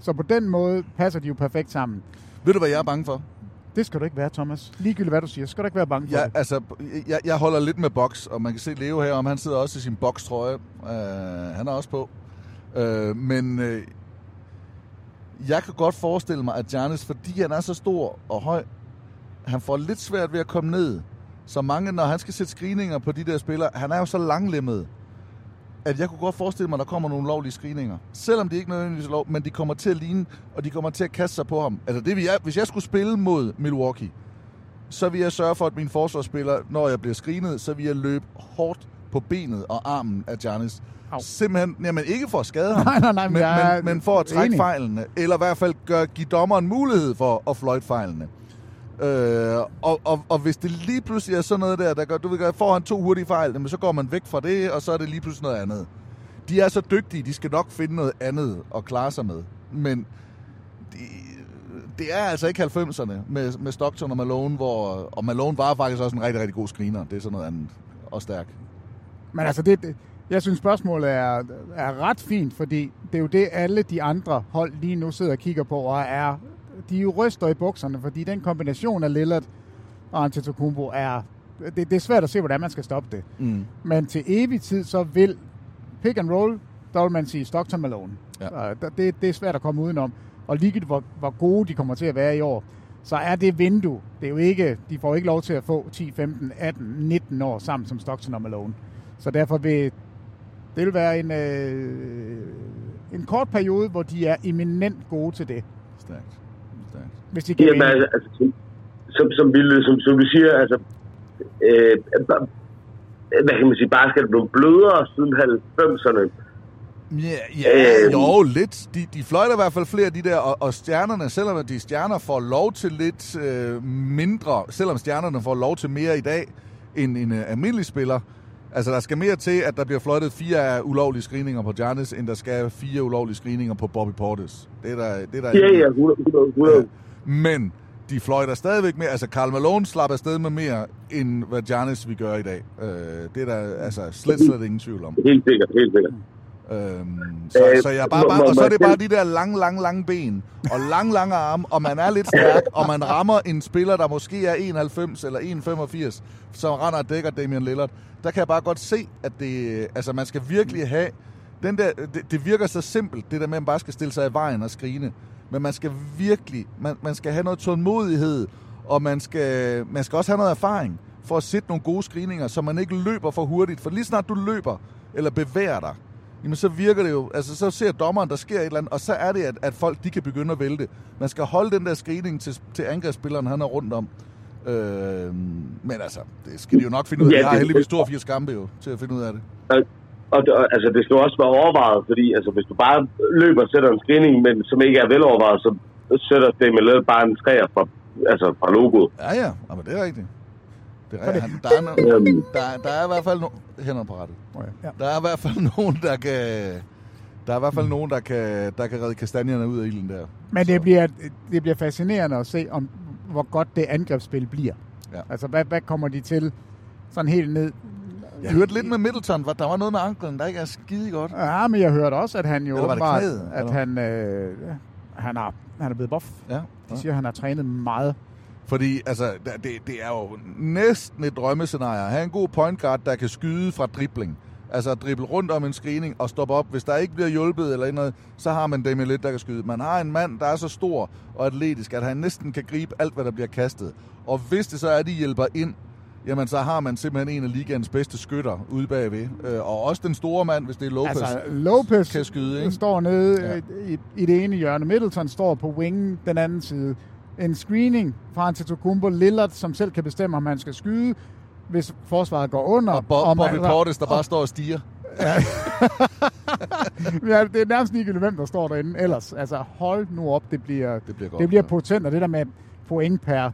Speaker 9: Så på den måde passer de jo perfekt sammen.
Speaker 8: Ved du, hvad jeg er bange for?
Speaker 9: Det skal du ikke være, Thomas. Ligegyldigt hvad du siger, skal du ikke være bange for
Speaker 8: ja,
Speaker 9: det.
Speaker 8: Altså, jeg, jeg holder lidt med boks, og man kan se Leo her, om han sidder også i sin bokstrøje. Uh, han er også på. Uh, men uh, jeg kan godt forestille mig, at Giannis, fordi han er så stor og høj, han får lidt svært ved at komme ned. Så mange, når han skal sætte screeninger på de der spillere, han er jo så langlemmet, at jeg kunne godt forestille mig, at der kommer nogle lovlige screeninger. Selvom det ikke nødvendigvis er lov, men de kommer til at ligne, og de kommer til at kaste sig på ham. Altså det, jeg, hvis jeg skulle spille mod Milwaukee, så vil jeg sørge for, at min forsvarsspiller, når jeg bliver screenet, så vil jeg løbe hårdt på benet og armen af Giannis. Au. Simpelthen, jamen ikke for at skade ham,
Speaker 9: nej, nej, nej, men,
Speaker 8: men, men, men for at trække enig. fejlene, eller i hvert fald gør, give dommeren mulighed for at fløjte fejlene. Øh, og, og, og hvis det lige pludselig er sådan noget der, der gør, du ved, får han to hurtige fejl, men så går man væk fra det, og så er det lige pludselig noget andet. De er så dygtige, de skal nok finde noget andet at klare sig med. Men de, det er altså ikke 90'erne med, med Stockton og Malone, hvor, og Malone var faktisk også en rigtig, rigtig god screener. Det er sådan noget andet og stærk.
Speaker 9: Men altså, det, det jeg synes, spørgsmålet er, er ret fint, fordi det er jo det, alle de andre hold lige nu sidder og kigger på, og er, de er jo ryster i bukserne, fordi den kombination af Lillard og Antetokounmpo er... Det, det er svært at se, hvordan man skal stoppe det.
Speaker 8: Mm.
Speaker 9: Men til evig tid, så vil pick and roll, der vil man sige Stockton Malone. Ja. Det, det er svært at komme udenom. Og ligegyldigt, hvor, hvor gode de kommer til at være i år, så er det vindue. Det er jo ikke, de får ikke lov til at få 10, 15, 18, 19 år sammen som Stockton og Malone. Så derfor vil det vil være en, øh, en kort periode, hvor de er eminent gode til det.
Speaker 8: Stærkt. Stærkt.
Speaker 9: Hvis de kan
Speaker 16: Jamen,
Speaker 9: vinde.
Speaker 16: altså, altså, som, som, som, Vilde, som, som du siger, altså, øh, ba- hvad kan man sige, basket blev blødere siden 90'erne.
Speaker 8: Ja, ja
Speaker 16: Øhm.
Speaker 8: øh, jo, lidt. De, de fløjter i hvert fald flere af de der, og, og stjernerne, selvom de stjerner får lov til lidt øh, mindre, selvom stjernerne får lov til mere i dag, end en øh, almindelig spiller, Altså, der skal mere til, at der bliver fløjtet fire ulovlige screeninger på Giannis, end der skal fire ulovlige screeninger på Bobby Portis. Det er der... Det er der
Speaker 16: Ja, ja, 100, 100, 100. Ja.
Speaker 8: Men de fløjter stadigvæk mere. Altså, Karl Malone slapper afsted med mere, end hvad Giannis vi gør i dag. Øh, det er der altså slet, slet ingen tvivl om.
Speaker 16: Helt sikkert, helt sikkert.
Speaker 8: Øhm, så,
Speaker 16: Øh,
Speaker 8: så jeg er bare,
Speaker 16: må-
Speaker 8: bare,
Speaker 16: må-
Speaker 8: og
Speaker 16: må
Speaker 8: så er det
Speaker 16: jeg
Speaker 8: bare de
Speaker 16: selv-
Speaker 8: der lange, lange, lange ben, og lange, lange arme, og man er lidt stærk, og man rammer en spiller, der måske er 91 eller 1,85, som render og dækker Damian Lillard. Der kan jeg bare godt se, at det, altså man skal virkelig have, den der, det, det virker så simpelt, det der med, at man bare skal stille sig i vejen og skrine, men man skal virkelig, man, man skal have noget tålmodighed, og man skal, man skal også have noget erfaring for at sætte nogle gode screeninger, så man ikke løber for hurtigt, for lige snart du løber, eller bevæger dig, jamen så virker det jo, altså så ser dommeren, der sker et eller andet, og så er det, at, at folk de kan begynde at vælte. Man skal holde den der screening til, til angrebsspilleren, han er rundt om. Øh, men altså, det skal de jo nok finde ud af.
Speaker 16: Ja,
Speaker 8: Ja, jeg har
Speaker 16: det-
Speaker 8: heldigvis 82 kampe jo, til at finde ud af det.
Speaker 16: Og, og, og altså, det skal jo også være overvejet, fordi altså, hvis du bare løber og sætter en screening, men som ikke er velovervejet, så sætter det med lavet bare en træer fra, altså, fra logoet.
Speaker 8: Ja, ja, jamen, det er rigtigt. Det er, rigtigt. han, der, er no,
Speaker 16: Øhm.
Speaker 8: der, er- der er i hvert fald nogen... Hænder på rettet.
Speaker 9: Ja.
Speaker 8: Der er i hvert fald nogen, der kan... Der er i hvert fald nogen, der kan, der kan redde kastanjerne ud af ilden der.
Speaker 9: Men det bliver, det bliver fascinerende at se, om, hvor godt det angrebsspil bliver.
Speaker 8: Ja.
Speaker 9: Altså, hvad, hvad kommer de til sådan helt ned?
Speaker 8: Jeg hørte lidt med Middleton, hvor der var noget med anklen, der ikke er skide godt.
Speaker 9: Ja, men jeg hørte også, at han jo
Speaker 8: Eller var det
Speaker 9: åbenbart,
Speaker 8: knæet,
Speaker 9: at
Speaker 8: eller?
Speaker 9: han, øh, han, er, han er blevet buff.
Speaker 8: Ja, ja.
Speaker 9: De siger, at han har trænet meget.
Speaker 8: Fordi altså, der- det, det er jo næsten et drømmescenarie. Have en god point guard, der kan skyde fra dribling. Altså drible rundt om en screening og stoppe op. Hvis der ikke bliver hjulpet eller noget, så har man Damian Lillard, der kan skyde. Man har en mand, der er så stor og atletisk, at han næsten kan gribe alt, hvad der bliver kastet. Og hvis det så er, at de hjælper ind, jamen så har man simpelthen en af ligaens bedste skytter ude bagved. Øh, Og også den store mand, hvis det er Lopez.
Speaker 9: Altså, Lopez
Speaker 8: kan skyde,
Speaker 9: Den
Speaker 8: ikke?
Speaker 9: står nede
Speaker 8: Ja.
Speaker 9: ja. i, i det ene hjørne. Middleton står på wingen den anden side. En screening fra Antetokounmpo Lillard, som selv kan bestemme, om han skal skyde, hvis forsvaret går under.
Speaker 8: Og Bo-
Speaker 9: om
Speaker 8: Bobby
Speaker 9: altså-
Speaker 8: Portis, der bare står og stiger.
Speaker 9: ja, det er nærmest ligegyldigt, hvem der står derinde ellers. Altså, hold nu op, det bliver, det
Speaker 8: bliver,
Speaker 9: godt, det bliver potent, og det der med point per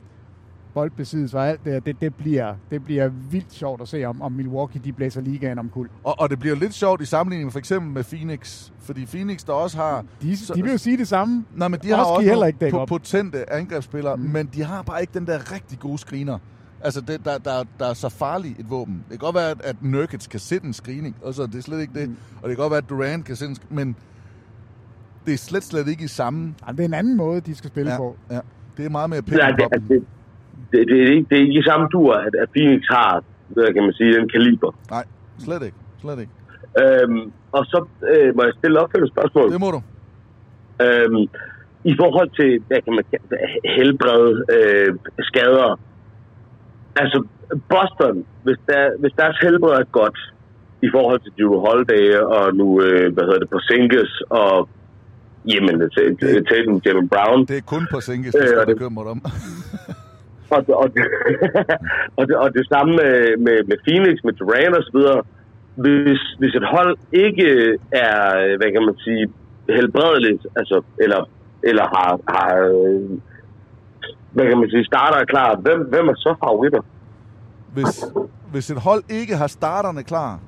Speaker 9: boldbesiddelse og alt det, der, det, det, bliver, det bliver vildt sjovt at se, om, om Milwaukee de blæser ligaen om kul.
Speaker 8: Og, og det bliver jo lidt sjovt i sammenligning for eksempel med Phoenix, fordi Phoenix der også har...
Speaker 9: De, de vil jo sige det samme.
Speaker 8: Nej, men de
Speaker 9: Også
Speaker 8: har
Speaker 9: kan
Speaker 8: også
Speaker 9: I heller
Speaker 8: nogle
Speaker 9: ikke dække
Speaker 8: po-
Speaker 9: op.
Speaker 8: potente angrebsspillere, mm. men de har bare ikke den der rigtig gode screener. Altså, det, der, der, der er så farlig et våben. Det kan godt være, at, at Nurkic kan sætte en screening, og så er det slet ikke det. Mm. Og det kan godt være, at Durant kan sætte en sk- men det er slet, slet ikke i samme...
Speaker 9: Jamen, det er en anden måde, de skal spille
Speaker 8: ja,
Speaker 9: på.
Speaker 8: Ja, det er meget mere pick
Speaker 16: Nej,
Speaker 8: and
Speaker 16: det,
Speaker 8: pop.
Speaker 16: altså, det, det, det, er ikke, det er ikke i samme dur, at, at Phoenix har, hvad kan man sige, den kaliber.
Speaker 8: Nej, slet ikke. Slet ikke.
Speaker 16: Øhm, og så øh, må jeg stille opfølgende spørgsmål. Det
Speaker 8: må du.
Speaker 16: Øhm, I forhold til, hvad kan man kalde det, helbred, øh, skader. Altså, Boston, hvis, der, hvis deres helbred er godt i forhold til Drew Holiday og nu, øh, hvad hedder det, Porzingis og jamen, Tatum, Tatum, Jalen Brown.
Speaker 8: Det er kun på Sinkes,
Speaker 16: Øh,
Speaker 8: det
Speaker 16: og
Speaker 8: skal
Speaker 16: det-
Speaker 8: bekymre dig om.
Speaker 16: Og, og, og, det, og det samme med, med, med Phoenix, med Durant og så videre. Hvis, hvis et hold ikke er, hvad kan man sige, helbredeligt, altså, eller, eller har, har, øh, hvad kan man sige, starter er klar, hvem, hvem er så favoritter?
Speaker 8: Hvis, hvis et hold ikke har starterne klar,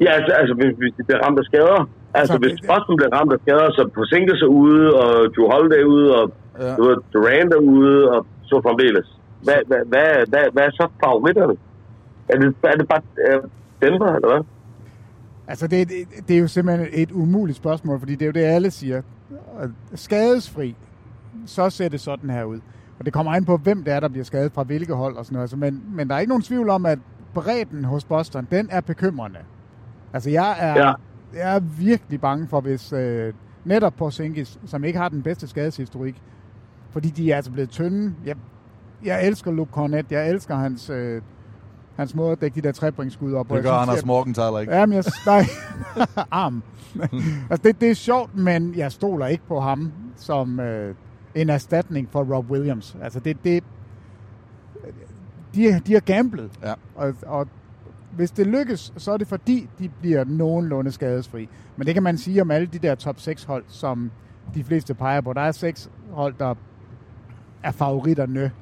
Speaker 16: Ja, altså, altså hvis, hvis de bliver ramt af skader. Altså, hvis Boston bliver ramt af skader, så på sig ude, og Drew Holiday ude, og Ja. Du ved, Durant er ude, og så fremdeles. Hvad, hvad, hvad, hvad, hvad er så favoritterne? Er det, er det bare øh, Denver, eller hvad?
Speaker 9: Altså, det, det, det er jo simpelthen et umuligt spørgsmål, fordi det er jo det, alle siger. Skadesfri, så ser det sådan her ud. Og det kommer an på, hvem det er, der bliver skadet fra hvilke hold og sådan noget. Altså, men, men der er ikke nogen tvivl om, at bredden hos Boston, den er bekymrende. Altså, jeg er, ja. jeg er virkelig bange for, hvis øh, netop Porzingis, som ikke har den bedste skadeshistorik, fordi de er altså blevet tynde. Jeg, jeg elsker Luke Cornett, jeg elsker hans... Øh, hans måde at dække de der trebringsskud op.
Speaker 8: Det gør synes, Anders jeg... Morgenthaler ikke.
Speaker 9: Jamen, jeg... Nej. Arm. altså, det, det er sjovt, men jeg stoler ikke på ham som øh, en erstatning for Rob Williams. Altså, det... det de, de har gamblet. Ja. Og, og hvis det lykkes, så er det fordi, de bliver nogenlunde skadesfri. Men det kan man sige om alle de der top 6 hold, som de fleste peger på. Der er seks hold, der er favoritterne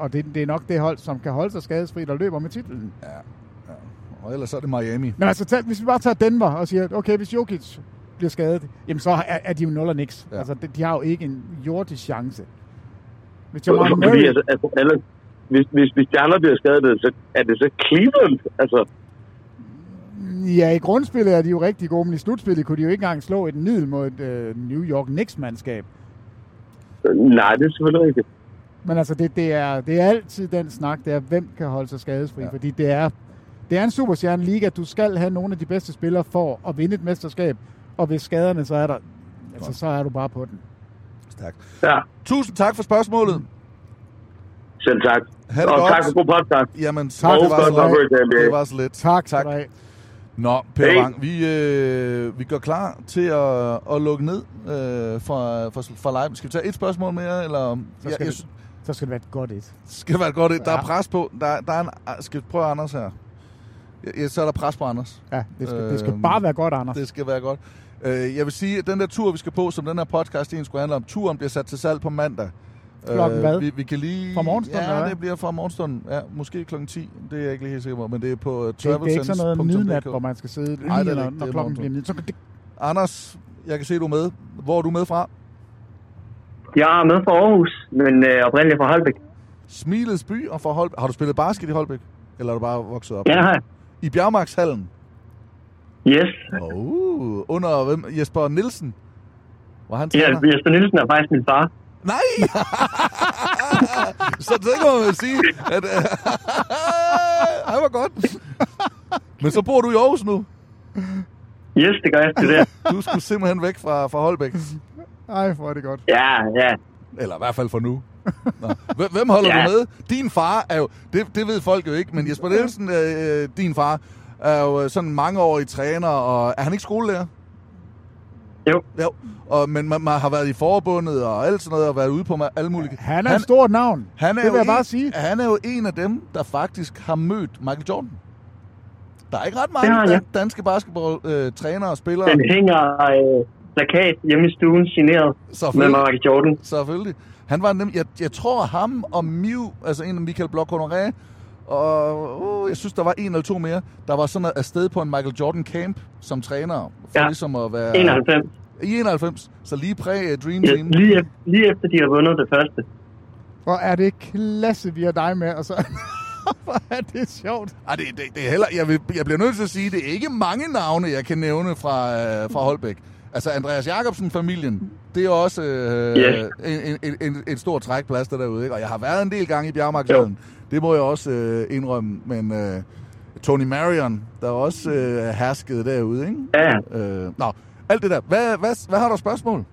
Speaker 9: og det, det er nok det hold, som kan holde sig skadesfrit og løber med titlen.
Speaker 8: Ja. ja. Og ellers er det Miami.
Speaker 9: Men altså, tag, hvis vi bare tager Denver og siger, okay, hvis Jokic bliver skadet, jamen så er, er de jo nul og niks. Ja. Altså, de, de har jo ikke en jordisk chance.
Speaker 16: Hvis Jamal Murray... Fordi, altså, altså, alle, hvis, hvis, hvis de andre bliver skadet, så er det så Cleveland, altså...
Speaker 9: Ja, i grundspillet er de jo rigtig gode, men i slutspillet kunne de jo ikke engang slå et middel mod et øh, New York Knicks-mandskab.
Speaker 16: Nej, det er selvfølgelig ikke.
Speaker 9: Men altså, det, det, er, det er altid den snak, det er, hvem kan holde sig skadesfri, ja. fordi det er, det er en superstjerne liga, du skal have nogle af de bedste spillere for at vinde et mesterskab, og hvis skaderne så er der, altså, så er du bare på den.
Speaker 8: Stærkt. Ja. Tusind tak for spørgsmålet.
Speaker 16: Selv tak. Ha og godt. tak for god podcast.
Speaker 8: Jamen, tak. tak.
Speaker 16: Det, var
Speaker 8: så lidt. det var så lidt.
Speaker 9: Tak. tak. tak.
Speaker 8: Nå, Per hey. Wang, vi, øh, vi går klar til at, at lukke ned øh, fra, fra, fra live. Skal vi tage et spørgsmål mere? Eller?
Speaker 9: Så skal ja, jeg, så skal det være et godt et.
Speaker 8: Skal det være et godt et. Der ja. er pres på. Der, der er en, skal vi prøve Anders her? Ja, så er der pres på Anders.
Speaker 9: Ja, det skal, øh, det skal bare være godt, Anders.
Speaker 8: Det skal være godt. Øh, jeg vil sige, at den der tur, vi skal på, som den her podcast egentlig skulle handle om, turen bliver sat til salg på mandag. Øh,
Speaker 9: Klokken hvad?
Speaker 8: Vi, vi kan lige...
Speaker 9: Fra morgenstunden,
Speaker 8: Ja, det bliver fra morgenstunden. Ja, måske klokken 10. Det er jeg ikke lige helt sikker på, men det er på uh,
Speaker 9: travelsense.dk. Det, det er ikke sådan noget midnat, hvor man skal sidde lige, Ej, det er når, ikke, når klokken bliver midnat. Så det...
Speaker 8: Anders, jeg kan se, du er med. Hvor er du med fra?
Speaker 17: Jeg er med fra Aarhus, men øh, oprindeligt fra Holbæk.
Speaker 8: Smilets by og fra Holbæk. Har du spillet basket i Holbæk? Eller er du bare vokset op?
Speaker 17: Ja, har jeg.
Speaker 8: I Bjergmarkshallen?
Speaker 17: Yes.
Speaker 8: Oh, under hvem? Jesper Nielsen?
Speaker 17: Var han træner? Ja, Jesper Nielsen er faktisk min far.
Speaker 8: Nej! så det kan man vel sige, at... Ej, hvor godt. Men så bor du i Aarhus nu?
Speaker 17: Yes, det gør jeg. Det der.
Speaker 8: Du skulle simpelthen væk fra, fra Holbæk.
Speaker 9: Ej, hvor er det godt.
Speaker 17: Ja, ja.
Speaker 8: Eller i hvert fald for nu. Nå. Hvem holder ja. du med? Din far er jo... Det, det ved folk jo ikke, men Jesper Nielsen, øh, din far, er jo øh, sådan mangeårig træner, og er han ikke skolelærer?
Speaker 17: Jo.
Speaker 8: jo. Og, men man, man har været i forbundet og alt sådan noget, og været ude på alle mulige... Ja,
Speaker 9: han er han, et stort navn. Han er det vil jeg
Speaker 8: en,
Speaker 9: bare sige.
Speaker 8: Han er jo en af dem, der faktisk har mødt Michael Jordan. Der er ikke ret mange ja, ja. danske basketballtrænere øh, og spillere.
Speaker 17: Den hænger... Øh plakat hjemme i stuen, signeret med Michael Jordan.
Speaker 8: Selvfølgelig. Han var nem, jeg, jeg tror ham og Miu, altså en af Michael Bloch Honoré, og uh, jeg synes, der var en eller to mere, der var sådan afsted på en Michael Jordan camp som træner. For ja, ligesom at være,
Speaker 17: 91.
Speaker 8: I 91, så lige præg uh, Dream
Speaker 17: ja,
Speaker 8: Team.
Speaker 17: Lige, efter, lige efter, de har vundet det første.
Speaker 9: Hvor er det klasse, vi har dig med, og så... Hvor er det sjovt.
Speaker 8: Ej, det, det, det er heller, jeg, vil, jeg bliver nødt til at sige, det er ikke mange navne, jeg kan nævne fra, øh, fra Holbæk. Altså Andreas Jacobsen-familien, det er også øh, yeah. en, en, en, en stor trækplaster derude. Ikke? Og jeg har været en del gange i Bjergmarkshallen. Det må jeg også øh, indrømme. Men øh, Tony Marion, der også øh, herskede derude. Ikke?
Speaker 17: Ja. Yeah.
Speaker 8: Øh, nå, alt det der. Hvad, hvad, hvad har du spørgsmål?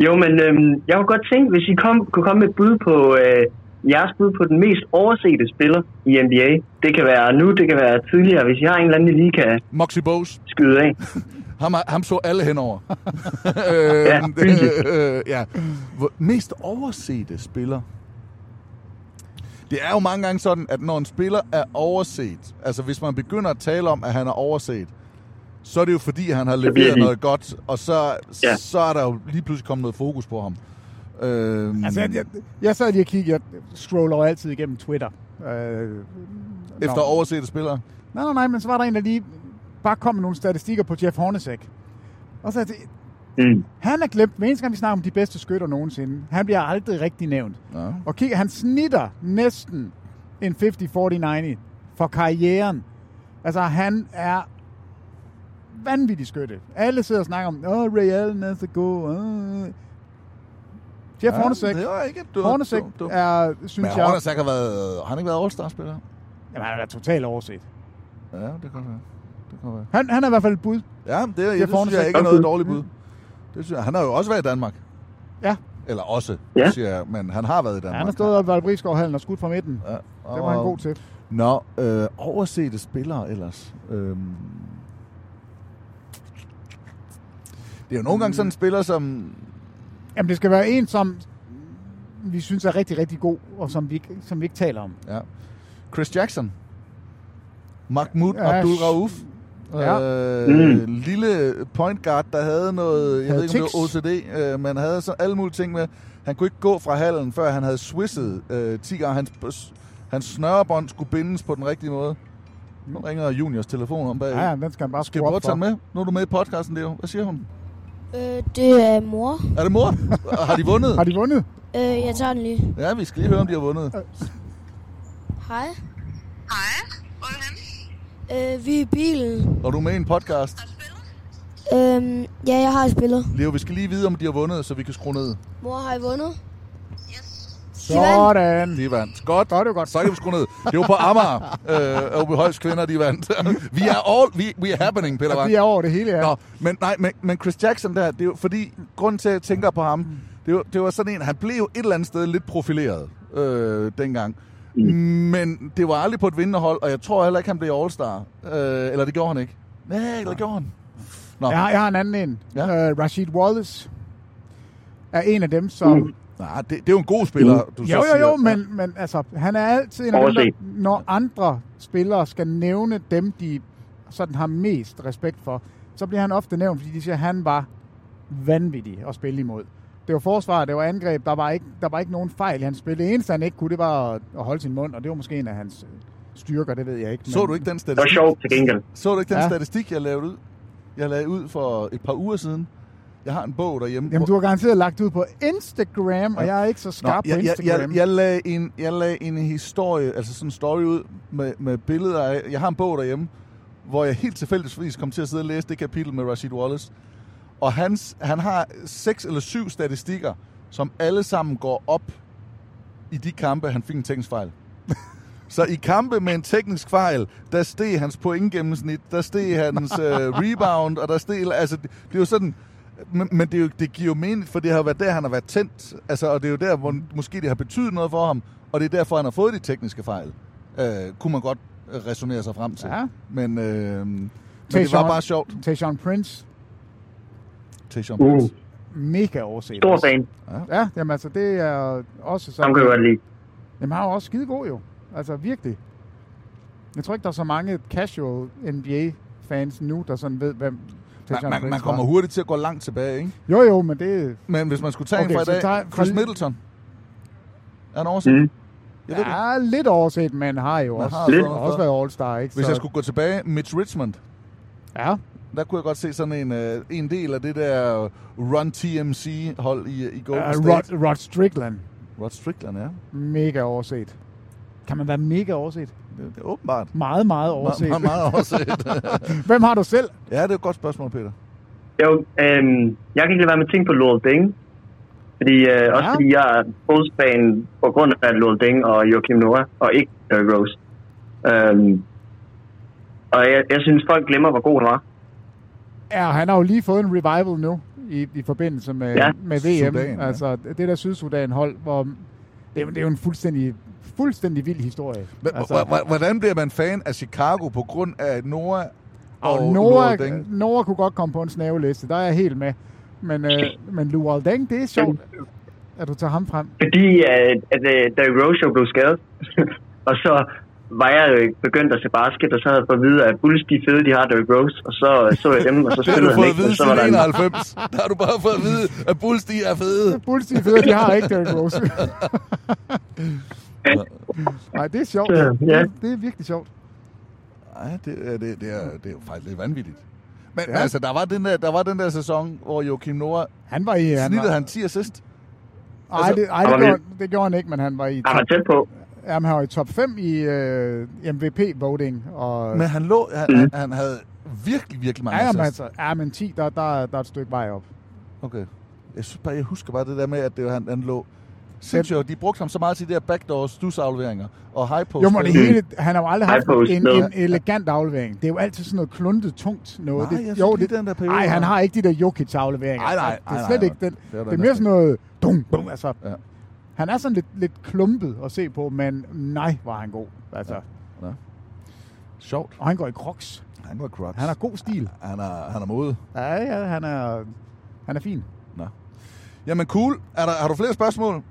Speaker 17: Jo, men øh, jeg kunne godt tænke, hvis I kom, kunne komme med et bud på øh, jeres bud på den mest oversete spiller i NBA. Det kan være nu, det kan være tidligere, hvis I har en eller anden, I lige kan
Speaker 8: Moxie Bose.
Speaker 17: skyde af.
Speaker 8: Ham, ham så alle henover. øh, ja, øh, øh, ja. Mest oversete spiller. Det er jo mange gange sådan, at når en spiller er overset, altså hvis man begynder at tale om, at han er overset, så er det jo fordi, han har leveret noget godt, og så, ja. så er der jo lige pludselig kommet noget fokus på ham. Øhm,
Speaker 9: Øh, altså, jeg, jeg, jeg sad lige og kiggede, jeg scroller altid igennem Twitter. Øh,
Speaker 8: Efter no. oversete spillere?
Speaker 9: Nej, nej, nej, men så var der en, der lige bare kom med nogle statistikker på Jeff Hornacek. Og så Mm. Han er glemt, hver eneste gang vi snakker om de bedste skytter nogensinde, han bliver aldrig rigtig nævnt. Ja. Og kig, han snitter næsten en 50-40-90 for karrieren. Altså, han er vanvittig skytte. Alle sidder og snakker om, åh, oh, Ray Allen er så god. Oh. Jeff ja, Hornacek.
Speaker 8: Det var ikke du,
Speaker 9: Hornacek
Speaker 8: du, du.
Speaker 9: er, synes
Speaker 8: Men
Speaker 9: jeg...
Speaker 8: Hornacek har været... Har han ikke været All-Star-spiller?
Speaker 9: Jamen, han er totalt overset.
Speaker 8: Ja, det kan være. Det kan være.
Speaker 9: Han, han er i hvert fald et bud.
Speaker 8: Ja, det, jeg, det synes jeg ikke er noget dårligt bud. Det synes jeg. Han har jo også været i Danmark.
Speaker 9: Ja.
Speaker 8: Eller også, ja. siger jeg. Men han har været i Danmark. Ja,
Speaker 9: han har stået op ved Albriskovhallen og skudt fra midten. Ja. Og... Det var han god til.
Speaker 8: Nå, øh, oversete spillere ellers. Øhm. Det er jo nogle gange sådan en spiller, som...
Speaker 9: Mm. Jamen, det skal være en, som vi synes er rigtig, rigtig god, og som vi, som vi ikke taler om.
Speaker 8: Ja. Chris Jackson. Mahmoud ja, Abdul Rauf. Ja. Øh, mm. Lille point guard, der havde noget, jeg havde ved ikke om tics. det var OCD, øh, men havde sådan alle mulige ting med. Han kunne ikke gå fra hallen, før han havde swisset øh, 10 gange. Hans, hans snørebånd skulle bindes på den rigtige måde. Nu ringer Juniors telefon om bag.
Speaker 9: Ja, ja, den skal han bare skrue op
Speaker 8: for. med? Nu er du med i podcasten, Leo. Hvad siger hun?
Speaker 10: Øh, det er mor.
Speaker 8: Er det mor? har de vundet?
Speaker 9: har de vundet?
Speaker 10: Øh, jeg tager den lige.
Speaker 8: Ja, vi skal lige høre, om de har vundet. Øh.
Speaker 10: Hej.
Speaker 18: Hej. Hvor er
Speaker 10: du øh, vi er i bilen.
Speaker 8: Og du er med i en podcast?
Speaker 10: Øhm, ja, jeg har spillet.
Speaker 8: Leo, vi skal lige vide, om de har vundet, så vi kan skrue ned.
Speaker 10: Mor, har I vundet?
Speaker 9: Sådan.
Speaker 8: De vandt. Godt. Godt, det godt. Så kan vi skrue ned. Det var på Amager. Øh, Åbe Højs kvinder, de vandt. vi er all, we, we are happening, Peter Wang.
Speaker 9: Vi er over det hele, ja. Nå,
Speaker 8: men, nej, men, men Chris Jackson der, det er jo, fordi grunden til, at jeg tænker på ham, det var, det var sådan en, han blev jo et eller andet sted lidt profileret øh, dengang. Mm. Men det var aldrig på et vindende hold, og jeg tror heller ikke, han blev All-Star. Øh, eller det gjorde han ikke. Nej, eller ja. gjorde han?
Speaker 9: Nå. Jeg, har, jeg har en anden en. Ja? Uh, Rashid Wallace er en af dem, som... Mm.
Speaker 8: Nej, det, det er jo en god spiller, mm. du
Speaker 9: jo,
Speaker 8: så
Speaker 9: jo,
Speaker 8: siger.
Speaker 9: jo, men, men altså, han er altid en af dem, der, når andre spillere skal nævne dem, de sådan har mest respekt for, så bliver han ofte nævnt, fordi de siger, at han var vanvittig at spille imod. Det var forsvar, det var angreb, der var ikke, der var ikke nogen fejl i hans spil. Det eneste, han ikke kunne, det var at holde sin mund, og det var måske en af hans øh, styrker, det ved jeg ikke. Men...
Speaker 8: Så du ikke den statistik?
Speaker 16: Det var sjovt til gengæld.
Speaker 8: Så du ikke den ja. statistik, jeg lavede ud? Jeg lavede ud for et par uger siden. Jeg har en bog derhjemme.
Speaker 9: Jamen, du har garanteret lagt ud på Instagram, ja. og jeg er ikke så skarp Nå,
Speaker 8: jeg,
Speaker 9: på Instagram.
Speaker 8: Jeg, jeg, jeg, lagde en, jeg lagde en historie, altså sådan en story ud med, med billeder af... Jeg har en bog derhjemme, hvor jeg helt tilfældigvis kom til at sidde og læse det kapitel med Rashid Wallace. Og hans, han har seks eller syv statistikker, som alle sammen går op i de kampe, han fik en teknisk fejl. Så i kampe med en teknisk fejl, der steg hans point gennemsnit, der steg hans øh, rebound, og der steg... Altså, det, det er jo sådan men, men det, er jo, det giver jo mening, for det har været der, han har været tændt. Altså, og det er jo der, hvor måske det har betydet noget for ham, og det er derfor, han har fået de tekniske fejl. Øh, kunne man godt resonere sig frem til. Ja. Men, øh, men det var bare sjovt.
Speaker 9: Tayshaun Prince.
Speaker 8: Tayshaun Prince.
Speaker 9: Uh. Mega overset.
Speaker 16: Stor fan.
Speaker 9: Ja, ja jamen, altså, det er også sådan.
Speaker 16: Han kan godt lide.
Speaker 9: Jamen, han er også skide god jo. Altså, virkelig. Jeg tror ikke, der er så mange casual NBA-fans nu, der sådan ved, hvem,
Speaker 8: man, man, man kommer hurtigt til at gå langt tilbage, ikke?
Speaker 9: Jo, jo, men det...
Speaker 8: Men hvis man skulle tage okay, en fra i dag, tager... Chris Middleton. Er han overset? Mm.
Speaker 9: Jeg ved ja, det. lidt overset, men har jo man også, har lidt. også været All-Star, ikke?
Speaker 8: Hvis så... jeg skulle gå tilbage, Mitch Richmond.
Speaker 9: Ja.
Speaker 8: Der kunne jeg godt se sådan en, øh, en del af det der Run TMC-hold i, i Golden uh,
Speaker 9: State. Rod, Rod Strickland.
Speaker 8: Rod Strickland, ja.
Speaker 9: Mega overset. Kan man være mega overset?
Speaker 8: Det er åbenbart.
Speaker 9: Meget, meget overset.
Speaker 8: Me- meget, meget overset.
Speaker 9: Hvem har du selv?
Speaker 8: Ja, det er et godt spørgsmål, Peter.
Speaker 16: Jo, øhm, jeg kan ikke lade være med at tænke på Lord Deng. Fordi, øh, ja. Også fordi jeg er Bulls-fan på grund af Lord Deng og Joachim Noah, og ikke Derrick Rose. Øhm, og jeg, jeg synes, folk glemmer, hvor god han var.
Speaker 9: Ja, han har jo lige fået en revival nu i, i forbindelse med, ja. med VM. Sudan, ja. Altså det der Sydsudan-hold, hvor det, det er jo en fuldstændig fuldstændig vild historie.
Speaker 8: Men, altså, hvordan bliver man fan af Chicago på grund af Noah og, og
Speaker 9: Noah, Noah, Noah kunne godt komme på en snaveliste, der er jeg helt med. Men, øh, men Luol Deng, det er sjovt, at du tager ham frem.
Speaker 16: Fordi at, at, øh, at da Rojo blev skadet, og så var jeg begyndt at se basket, og så havde jeg fået at vide, at Bulls de fede, de har Derrick Rose, og så øh, så jeg dem, og så spillede han ikke.
Speaker 8: Det har du fået at
Speaker 16: siden
Speaker 8: vide der 91. Der har du bare fået at vide, at Bulls de er fede.
Speaker 9: Bulls de er fede, de har ikke Derrick Rose. Nej, det er sjovt. Ja. Det, er, det er virkelig sjovt.
Speaker 8: Nej, det, er, det, er, det, er, det er jo faktisk lidt vanvittigt. Men ja. altså, der var, den der, der var den der sæson, hvor Joachim Noah
Speaker 9: han var i, han
Speaker 8: snittede
Speaker 9: var-
Speaker 8: han 10 assist.
Speaker 9: Ej, altså, det, ej det, gjorde, det gjorde han ikke, men han var i
Speaker 8: Han var tæt på.
Speaker 9: Jamen, han var i top 5 i øh, MVP-voting. Og,
Speaker 8: Men han, lå, han,
Speaker 9: Mhm.
Speaker 8: han, han havde virkelig, virkelig mange
Speaker 9: ja, jamen,
Speaker 8: assist.
Speaker 9: altså, ja, men 10, der, der, der er et stykke vej op.
Speaker 8: Okay. Jeg, synes bare, jeg husker bare det der med, at det, var- han, han lå sindssygt. De brugte ham så meget til de der backdoor stusafleveringer og high post.
Speaker 9: Jo, men det hele, han har jo aldrig haft
Speaker 8: High post,
Speaker 9: en,
Speaker 8: no.
Speaker 9: en elegant aflevering. Det er jo altid sådan noget kluntet, tungt noget.
Speaker 8: Nej,
Speaker 9: det,
Speaker 8: jeg
Speaker 9: jo,
Speaker 8: synes lige den der periode,
Speaker 9: Nej, han
Speaker 8: han-
Speaker 9: har ikke de der Jokic-afleveringer.
Speaker 8: Nej, nej,
Speaker 9: Det
Speaker 8: nej,
Speaker 9: er
Speaker 8: nej,
Speaker 9: slet
Speaker 8: nej.
Speaker 9: ikke den.
Speaker 8: Det var
Speaker 9: Det
Speaker 8: den
Speaker 9: er
Speaker 8: der
Speaker 9: mere sådan noget... Dum, dum, altså.
Speaker 8: Ja.
Speaker 9: Han er sådan lidt, lidt klumpet at se på, men nej, var han god. Altså.
Speaker 8: Ja. Sjovt.
Speaker 9: Og han går i crocs.
Speaker 8: Han går i crocs.
Speaker 9: Han har god stil.
Speaker 8: Han er, han er mode.
Speaker 9: Ja, ja, han er, han er fin.
Speaker 8: Nå. Jamen cool. Er der, har du flere spørgsmål?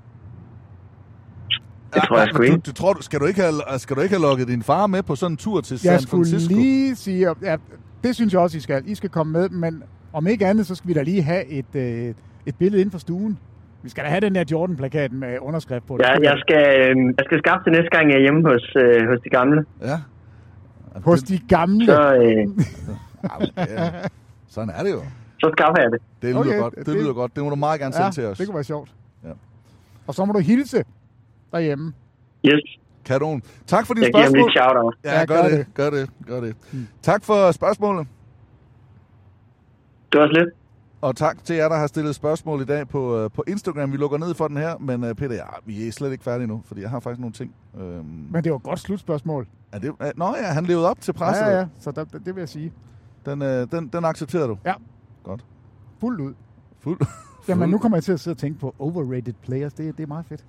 Speaker 16: Det tror jeg sgu
Speaker 8: du,
Speaker 16: ikke.
Speaker 8: du, tror, du, skal, du ikke have, skal du ikke have lukket din far med på sådan en tur til
Speaker 9: Jeg
Speaker 8: San
Speaker 9: skulle
Speaker 8: Francisco?
Speaker 9: lige sige, at- ja, det synes jeg også, I skal. I skal komme med, men om ikke andet, så skal vi da lige have et, øh, et billede inden for stuen. Vi skal da have den der Jordan-plakat med underskrift på.
Speaker 17: Ja, jeg skal, øh,
Speaker 16: øhm,
Speaker 17: jeg skal skaffe det næste gang, jeg er hjemme hos, øh, hos de gamle.
Speaker 8: Ja.
Speaker 9: Hos de gamle.
Speaker 17: Så, øh,
Speaker 8: Ja. Sådan er det jo.
Speaker 17: så skaffer jeg det.
Speaker 8: Det lyder, okay, godt. Det, det lyder godt. Det må du meget gerne sende
Speaker 9: ja,
Speaker 8: til os.
Speaker 9: det kunne være sjovt.
Speaker 8: Ja.
Speaker 9: Og så må du hilse derhjemme.
Speaker 17: Yes.
Speaker 8: Kanon. Tak for dine
Speaker 17: Jeg giver ham
Speaker 8: spørgsmål.
Speaker 17: lige et shout-out.
Speaker 8: Ja, ja, gør, gør det. det. Gør det. Gør det.
Speaker 9: Mm.
Speaker 8: Hmm. Tak for spørgsmålet.
Speaker 17: Det var slet.
Speaker 8: Og tak til jer, der har stillet spørgsmål i dag på, øh, på Instagram. Vi lukker ned for den her, men øh, Peter, ja, vi er slet ikke færdige nu, fordi jeg har faktisk nogle ting. Øhm,
Speaker 9: Men det var et godt slutspørgsmål.
Speaker 8: er det, er, nå ja, han levede op til presset.
Speaker 9: Ja, ja, ja. Så der, det vil jeg sige.
Speaker 8: Den, øh, den, den accepterer du?
Speaker 9: Ja.
Speaker 8: Godt.
Speaker 9: Fuldt ud.
Speaker 8: Fuld.
Speaker 9: Jamen, nu kommer jeg til at sidde og tænke på overrated players. Det, det er meget fedt.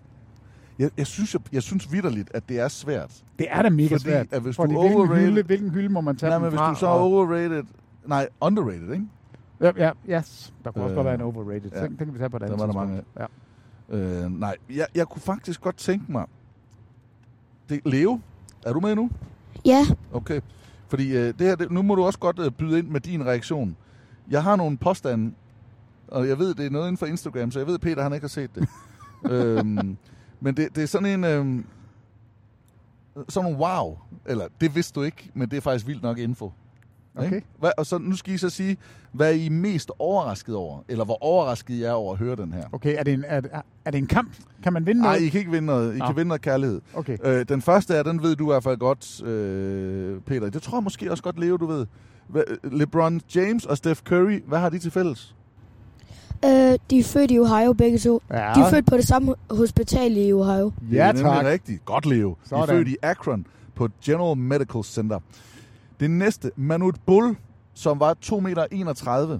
Speaker 8: Jeg, jeg, synes, jeg, jeg synes vidderligt, at det er svært.
Speaker 9: Det er da mega
Speaker 8: fordi,
Speaker 9: svært.
Speaker 8: At hvis
Speaker 9: Fordi
Speaker 8: du
Speaker 9: hvilken
Speaker 8: overrated...
Speaker 9: hylde- hvilken hylde må man tage
Speaker 8: Nej,
Speaker 9: dem
Speaker 8: men hvis
Speaker 9: fra,
Speaker 8: du så
Speaker 9: og-
Speaker 8: overrated... Nej, underrated, ikke? Øh,
Speaker 9: Ja, ja, yes. Der kunne også godt være en overrated. Den- den kan vi tage på et andet
Speaker 8: Der var der mange.
Speaker 9: tidspunkt.
Speaker 8: Ja. Øh, nej, jeg, jeg kunne faktisk godt tænke mig... Det, Leo, er du med nu?
Speaker 10: Ja,
Speaker 8: Okay. Fordi øh, det her, det, nu må du også godt øh, byde ind med din reaktion. Jeg har nogle påstande, og jeg ved, det er noget inden for Instagram, så jeg ved, Peter han ikke har set det. øhm, men det, det er sådan en... Øhm, sådan nogle wow. Eller, det vidste du ikke, men det er faktisk vildt nok info.
Speaker 9: Okay.
Speaker 8: Ikke? Hvad, og så nu skal I så sige, hvad er I mest overrasket over? Eller hvor overrasket I er over at høre den her?
Speaker 9: Okay, er det en, er, det- er det en kamp? Kan man vinde
Speaker 8: Nej,
Speaker 9: noget?
Speaker 8: I kan ikke vinde noget. I
Speaker 9: Nå.
Speaker 8: kan vinde noget kærlighed.
Speaker 9: Okay.
Speaker 8: Øh, den første er, den ved du i hvert fald godt, øh, Peter. Det tror jeg måske også godt, Leo, du ved. Hva- LeBron James og Steph Curry, hvad har de til fælles?
Speaker 10: øh, de er født i Ohio begge to.
Speaker 8: Ja.
Speaker 10: De er født på det samme hospital i Ohio.
Speaker 8: Det er nemlig rigtigt. Godt, Leo. Sådan. De
Speaker 10: Sådan.
Speaker 8: er født i Akron på General Medical Center. Det næste, Manut Bull, som var 2,31 meter.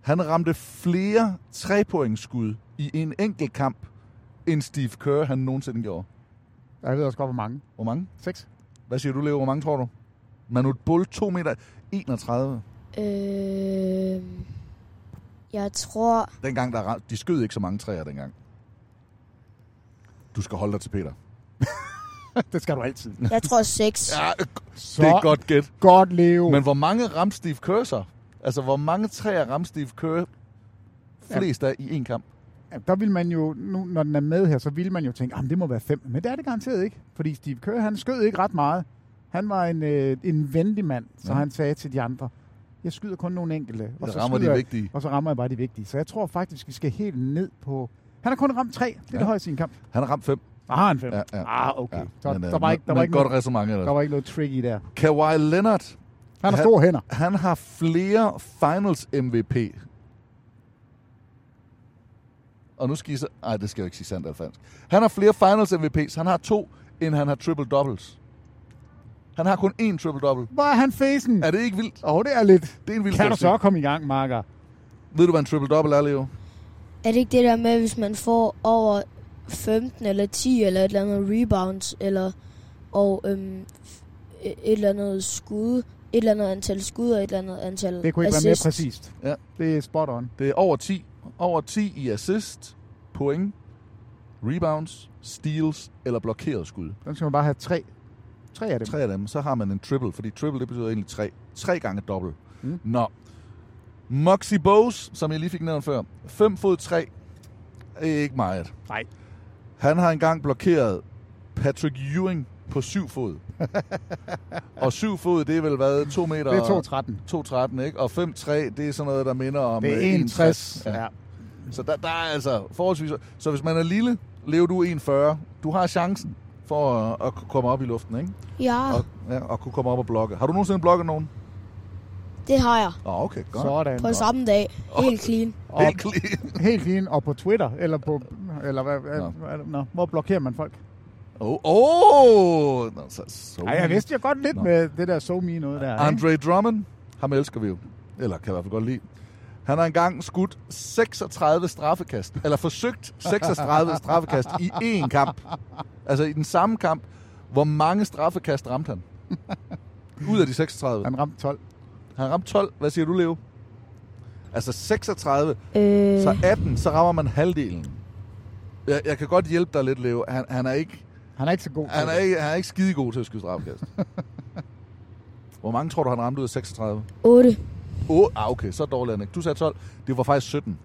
Speaker 8: Han ramte flere trepoingsskud i en enkelt kamp, end Steve Kerr han nogensinde gjorde.
Speaker 9: Jeg ved også godt, hvor mange.
Speaker 8: Hvor mange?
Speaker 9: Seks.
Speaker 8: Hvad siger du, Leo? Hvor mange tror du? Manut Bull, 2,31 meter.
Speaker 10: Øh, jeg tror...
Speaker 8: Dengang, der ram- de skød ikke så mange træer dengang. Du skal holde dig til Peter.
Speaker 9: det skal du altid.
Speaker 10: Jeg tror seks.
Speaker 8: Ja, det er et godt gæt.
Speaker 9: Godt, Leo.
Speaker 8: Men hvor mange ramte Steve Kerr så? Altså, hvor mange træer ramte Steve Kerr flest af i en kamp?
Speaker 9: Ja, der vil man jo, nu, når den er med her, så vil man jo tænke, at det må være fem. Men det er det garanteret ikke, fordi Steve Kerr, han skød ikke ret meget. Han var en, øh, en venlig mand, så
Speaker 8: Ja.
Speaker 9: ja. han sagde til de andre, jeg skyder kun nogle enkelte.
Speaker 8: Jeg
Speaker 9: så
Speaker 8: rammer de
Speaker 9: skyder jeg-
Speaker 8: vigtige."
Speaker 9: Og så rammer jeg bare de vigtige. Så jeg tror faktisk, vi skal helt ned på... Han har kun ramt tre. Det er ja. det højeste i en kamp.
Speaker 8: Han har ramt fem.
Speaker 9: Ah, har han fem?
Speaker 8: Ja, ja.
Speaker 9: Ah, okay. Så
Speaker 8: Men, øh,
Speaker 9: der var ikke, der
Speaker 8: men
Speaker 9: var ikke
Speaker 8: godt
Speaker 9: noget-
Speaker 8: ræsonnement ellers.
Speaker 9: Der var ikke noget tricky der.
Speaker 8: Kawhi Leonard.
Speaker 9: Han har store hænder.
Speaker 8: Han har flere finals MVP. Og nu skal I så... Ej, det skal jeg jo ikke sige sandt eller falsk. Han har flere finals MVP's. Han har to, end han har triple doubles. Han har kun én triple double.
Speaker 9: Hvor er han fæsen?
Speaker 8: Er det ikke vildt?
Speaker 9: Åh, oh, det er lidt.
Speaker 8: Det er en vild
Speaker 9: Kan du
Speaker 8: statistik.
Speaker 9: så komme i gang, Marker?
Speaker 8: Ved du, hvad en triple double er, Leo?
Speaker 10: Er det ikke det der med, hvis man får over 15 eller 10 eller et eller andet rebounds, eller og øhm, et eller andet skud, et eller andet antal skud og et eller andet antal
Speaker 9: Det kunne ikke
Speaker 10: assist.
Speaker 9: være mere præcist.
Speaker 8: Ja.
Speaker 9: Det er spot on.
Speaker 8: Det er over 10. Over 10 i assist, point, rebounds, steals eller blokeret skud.
Speaker 9: Den skal man bare have tre. Tre af dem.
Speaker 8: Tre af dem. Så har man en triple, fordi triple det betyder egentlig tre. Tre gange dobbelt.
Speaker 9: Mm.
Speaker 8: Nå. Moxie Bose, som jeg lige fik nævnt før. 5 fod 3. Ikke meget.
Speaker 9: Nej.
Speaker 8: Han har engang blokeret Patrick Ewing på syv fod. og syv fod, det er vel hvad? 2 meter?
Speaker 9: Det er
Speaker 8: 2,13. 2,13, ikke? Og 5,3, det er sådan noget, der minder om... øh,
Speaker 9: Det er 61. Ja. ja.
Speaker 8: Så der, der er altså forholdsvis... Så hvis man er lille, lever du 1,40. Du har chancen for at, at komme op i luften, ikke?
Speaker 10: Ja.
Speaker 8: Og, ja, og kunne komme op og blokke. Har du nogensinde blokket nogen?
Speaker 10: Det har jeg.
Speaker 8: Åh, oh, okay, godt.
Speaker 9: Sådan.
Speaker 10: På samme dag. Helt clean.
Speaker 8: Oh, helt clean.
Speaker 9: helt clean. Og på Twitter, eller på... Eller hvad, no. no. hvor blokerer man folk?
Speaker 8: Åh! Oh, oh. Nå, så, so
Speaker 9: Ej, jeg vidste jo godt lidt no. med det der so me noget der.
Speaker 8: Andre ikke? Drummond, ham elsker vi jo. Eller kan i hvert fald godt lide. Han har engang skudt 36 straffekast, eller forsøgt 36 straffekast i én kamp. Altså i den samme kamp. Hvor mange straffekast ramte han? Ud af de 36.
Speaker 9: Han ramte 12.
Speaker 8: Han ramte 12. Hvad siger du, Leo? Altså 36, øh... så 18, så rammer man halvdelen. Jeg, jeg kan godt hjælpe dig lidt, Leo. Han, han er ikke...
Speaker 9: Han er ikke så god.
Speaker 8: Han er ikke, han er ikke skide god til at skyde straffekast. Hvor mange tror du, han ramte ud af 36?
Speaker 10: 8.
Speaker 8: 8? Ah, okay, så dårlig han ikke. Du sagde 12. Det var faktisk 17.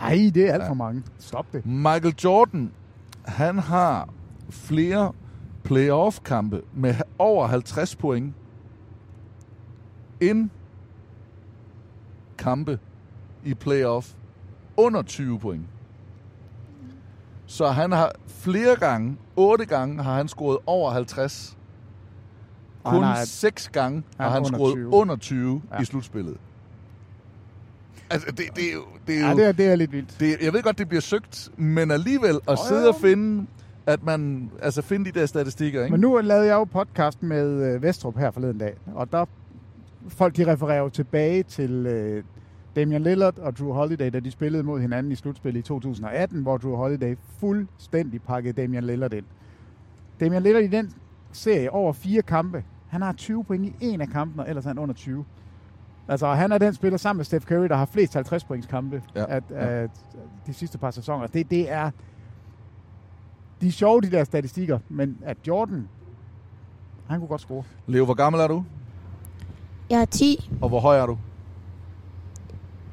Speaker 9: Ej, det er alt for mange. Stop det.
Speaker 8: Michael Jordan, han har flere playoff-kampe med over 50 point end kampe i playoff under 20 point. Så han har flere gange, otte gange, har han scoret over 50. Kun oh, nej. seks gange har han, han scoret 20. under 20 ja. i slutspillet. Altså, det, det, er jo... Det er, jo,
Speaker 9: ja, det er, det er lidt vildt.
Speaker 8: Det, jeg ved godt, det bliver søgt, men alligevel at oh, sidde ja. og finde at man altså finde de der statistikker, ikke?
Speaker 9: Men nu lavede jeg jo podcast med øh, Vestrup her forleden dag, og der folk de refererer jo tilbage til øh, Damian Lillard og Drew Holiday, da de spillede mod hinanden i slutspillet i 2018, hvor Drew Holiday fuldstændig pakkede Damian Lillard ind. Damian Lillard i den serie over fire kampe, han har 20 point i en af kampene, og ellers er han under 20. Altså, han er den spiller sammen med Steph Curry, der har flest 50 points kampe ja. at, ja. at, de sidste par sæsoner. Det, det er... De er sjove, de der statistikker, men at Jordan, han kunne godt score.
Speaker 8: Leo, hvor gammel er du?
Speaker 10: Jeg er 10.
Speaker 8: Og hvor høj er du?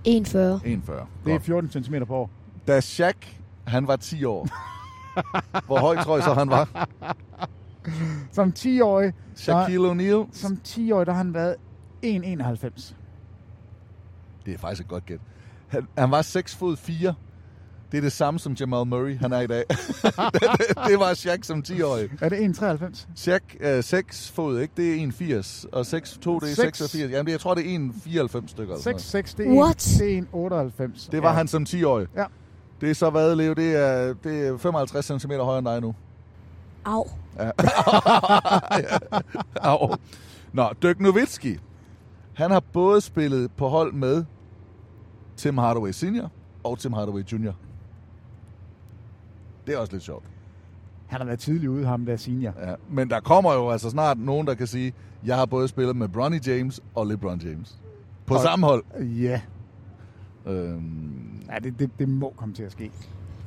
Speaker 10: 41.
Speaker 8: 41.
Speaker 9: Det er 14 cm på år.
Speaker 8: Da Shaq, han var 10 år. hvor høj tror jeg så, han var?
Speaker 9: Som 10-årig...
Speaker 8: Shaquille O'Neal.
Speaker 9: Som 10-årig, der har han været 1,91.
Speaker 8: Det er faktisk et godt gæt. Han, han var 6 fod 4. Det er det samme som Jamal Murray, han er i dag. det, det, det var Shaq som 10-årig.
Speaker 9: Er det 1,93?
Speaker 8: Shaq, øh, 6 fod, ikke? Det er 1,80. Og 6, 2, det er 86. Jamen, jeg tror, det er 1,94 stykker.
Speaker 9: 6, 6, det er 1,98.
Speaker 8: Altså- Det var ja. han som 10-årig.
Speaker 9: Ja.
Speaker 8: Det er så hvad, Leo? Det er, det er 55 cm højere end dig nu.
Speaker 10: Au.
Speaker 8: Ja. Au. Nå, Dirk Nowitzki. Han har både spillet på hold med Tim Hardaway Senior og Tim Hardaway Jr. Det er også lidt sjovt.
Speaker 9: Han har været tidlig ude, ham der senior.
Speaker 8: Ja, men der kommer jo altså snart nogen, der kan sige, jeg har både spillet med Bronny James og LeBron James. På og, samme hold.
Speaker 9: Ja.
Speaker 8: Øhm.
Speaker 9: Ja, det, det, det må komme til at ske.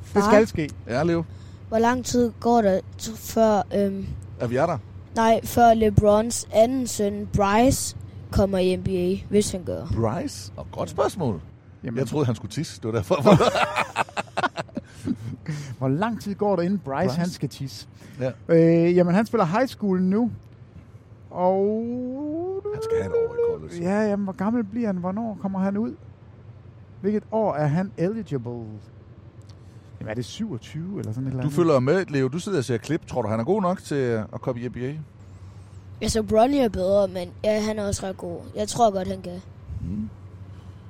Speaker 9: Far, det skal ske.
Speaker 8: Ja, Leo.
Speaker 10: Hvor lang tid går der før... Øhm,
Speaker 8: er vi er der?
Speaker 10: Nej, før LeBrons anden søn, Bryce, kommer i NBA, hvis han gør.
Speaker 8: Bryce? Og oh, godt spørgsmål. Jamen. Jeg troede, han skulle tisse. Det var derfor.
Speaker 9: Hvor lang tid går der, inden Bryce, Bryce? han skal tisse?
Speaker 8: Ja.
Speaker 9: Øh, jamen, han spiller high school nu. Og...
Speaker 8: Han skal have et år i college.
Speaker 9: Ja, jamen, hvor gammel bliver han? Hvornår kommer han ud? Hvilket år er han eligible? Jamen, er det 27 eller sådan et eller
Speaker 8: andet? Du følger med, Leo. Du sidder og ser klip. Tror du, han er god nok til at komme i NBA?
Speaker 10: Altså, Bronny er bedre, men ja, han er også ret god. Jeg tror godt, han kan.
Speaker 8: Mm.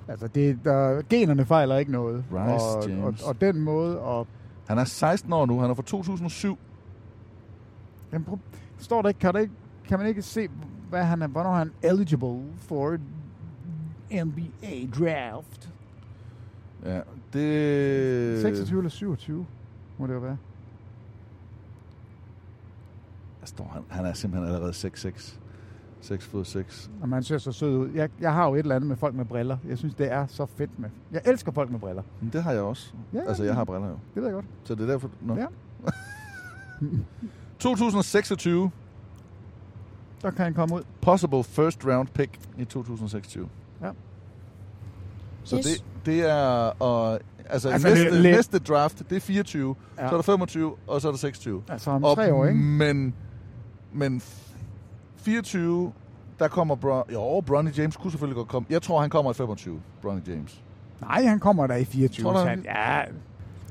Speaker 9: Altså, det, der, generne fejler ikke noget.
Speaker 8: Rice,
Speaker 9: og,
Speaker 8: James.
Speaker 9: Og, og den måde... Og
Speaker 8: han er 16 år nu. Han er fra 2007.
Speaker 9: Jamen, står der ikke, kan, der ikke, kan man ikke se, hvad han er, hvornår han er eligible for NBA draft?
Speaker 8: Ja, det...
Speaker 9: 26 eller 27 må det jo være.
Speaker 8: Der står, han, han er simpelthen allerede 6'6. 6 fod 6.
Speaker 9: Og man ser så sød ud. Jeg, jeg har jo et eller andet med folk med briller. Jeg synes, det er så fedt med. Jeg elsker folk med briller.
Speaker 8: Men det har jeg også. Ja, altså, jeg har briller jo. Det
Speaker 9: ved jeg godt.
Speaker 8: Så det er derfor... Nå.
Speaker 9: Ja.
Speaker 8: 2026.
Speaker 9: Der kan han komme ud.
Speaker 8: Possible first round pick i 2026.
Speaker 9: Ja.
Speaker 8: Så yes. det, det er... Og, altså, altså næste, det, næste draft, det er 24. Ja. Så er der 25, og så er der 26.
Speaker 9: Altså om tre år, ikke?
Speaker 8: Men Men 24, der kommer... Bron- jo, Bronny James kunne selvfølgelig godt komme. Jeg tror, han kommer i 25, Bronny James.
Speaker 9: Nej, han kommer da i 24.
Speaker 8: Tror du,
Speaker 9: så
Speaker 8: han-
Speaker 9: ja,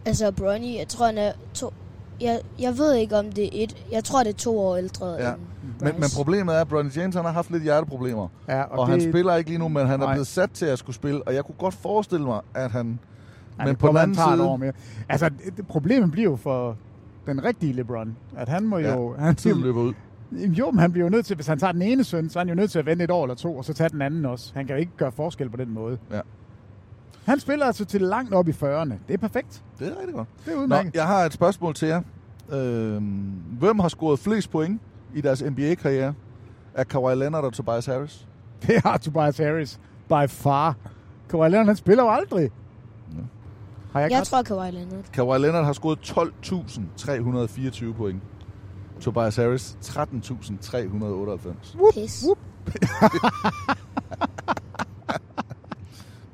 Speaker 10: Altså, Bronny, jeg tror, han er to... Jeg, jeg ved ikke, om det er et... Jeg tror, det er to år ældre.
Speaker 8: Ja.
Speaker 10: end
Speaker 8: Men,
Speaker 10: Bryce.
Speaker 8: men problemet er, at Bronny James han har haft lidt hjerteproblemer.
Speaker 9: Ja,
Speaker 8: og
Speaker 9: og
Speaker 8: han
Speaker 9: det-
Speaker 8: spiller ikke lige nu, men han er
Speaker 9: Nej.
Speaker 8: blevet sat til at skulle spille. Og jeg kunne godt forestille mig, at han...
Speaker 9: Ja, men på den anden side... År mere. Altså, det, det- problemet bliver jo for den rigtige LeBron, at han må
Speaker 8: Ja,
Speaker 9: jo... Han,
Speaker 8: tiden løber ud.
Speaker 9: Jamen, Jo, men han bliver jo nødt til, hvis han tager den ene søn, så er han jo nødt til at vente et år eller to, og så tage den anden også. Han kan jo ikke gøre forskel på den måde.
Speaker 8: Ja.
Speaker 9: Han spiller altså til langt op i 40'erne. Det er perfekt.
Speaker 8: Det er rigtig godt.
Speaker 9: Det er
Speaker 8: Nå,
Speaker 9: udmærket.
Speaker 8: jeg har et spørgsmål til jer. Øhm, hvem har scoret flest point i deres NBA-karriere? Er Kawhi Leonard og Tobias Harris?
Speaker 9: Det har Tobias Harris by far. Kawhi Leonard, han spiller jo aldrig. Har jeg,
Speaker 10: Jeg tror, Kawhi Leonard.
Speaker 8: Kawhi Leonard har scoret 12.324 point. Tobias Harris 13.398.
Speaker 10: Pis.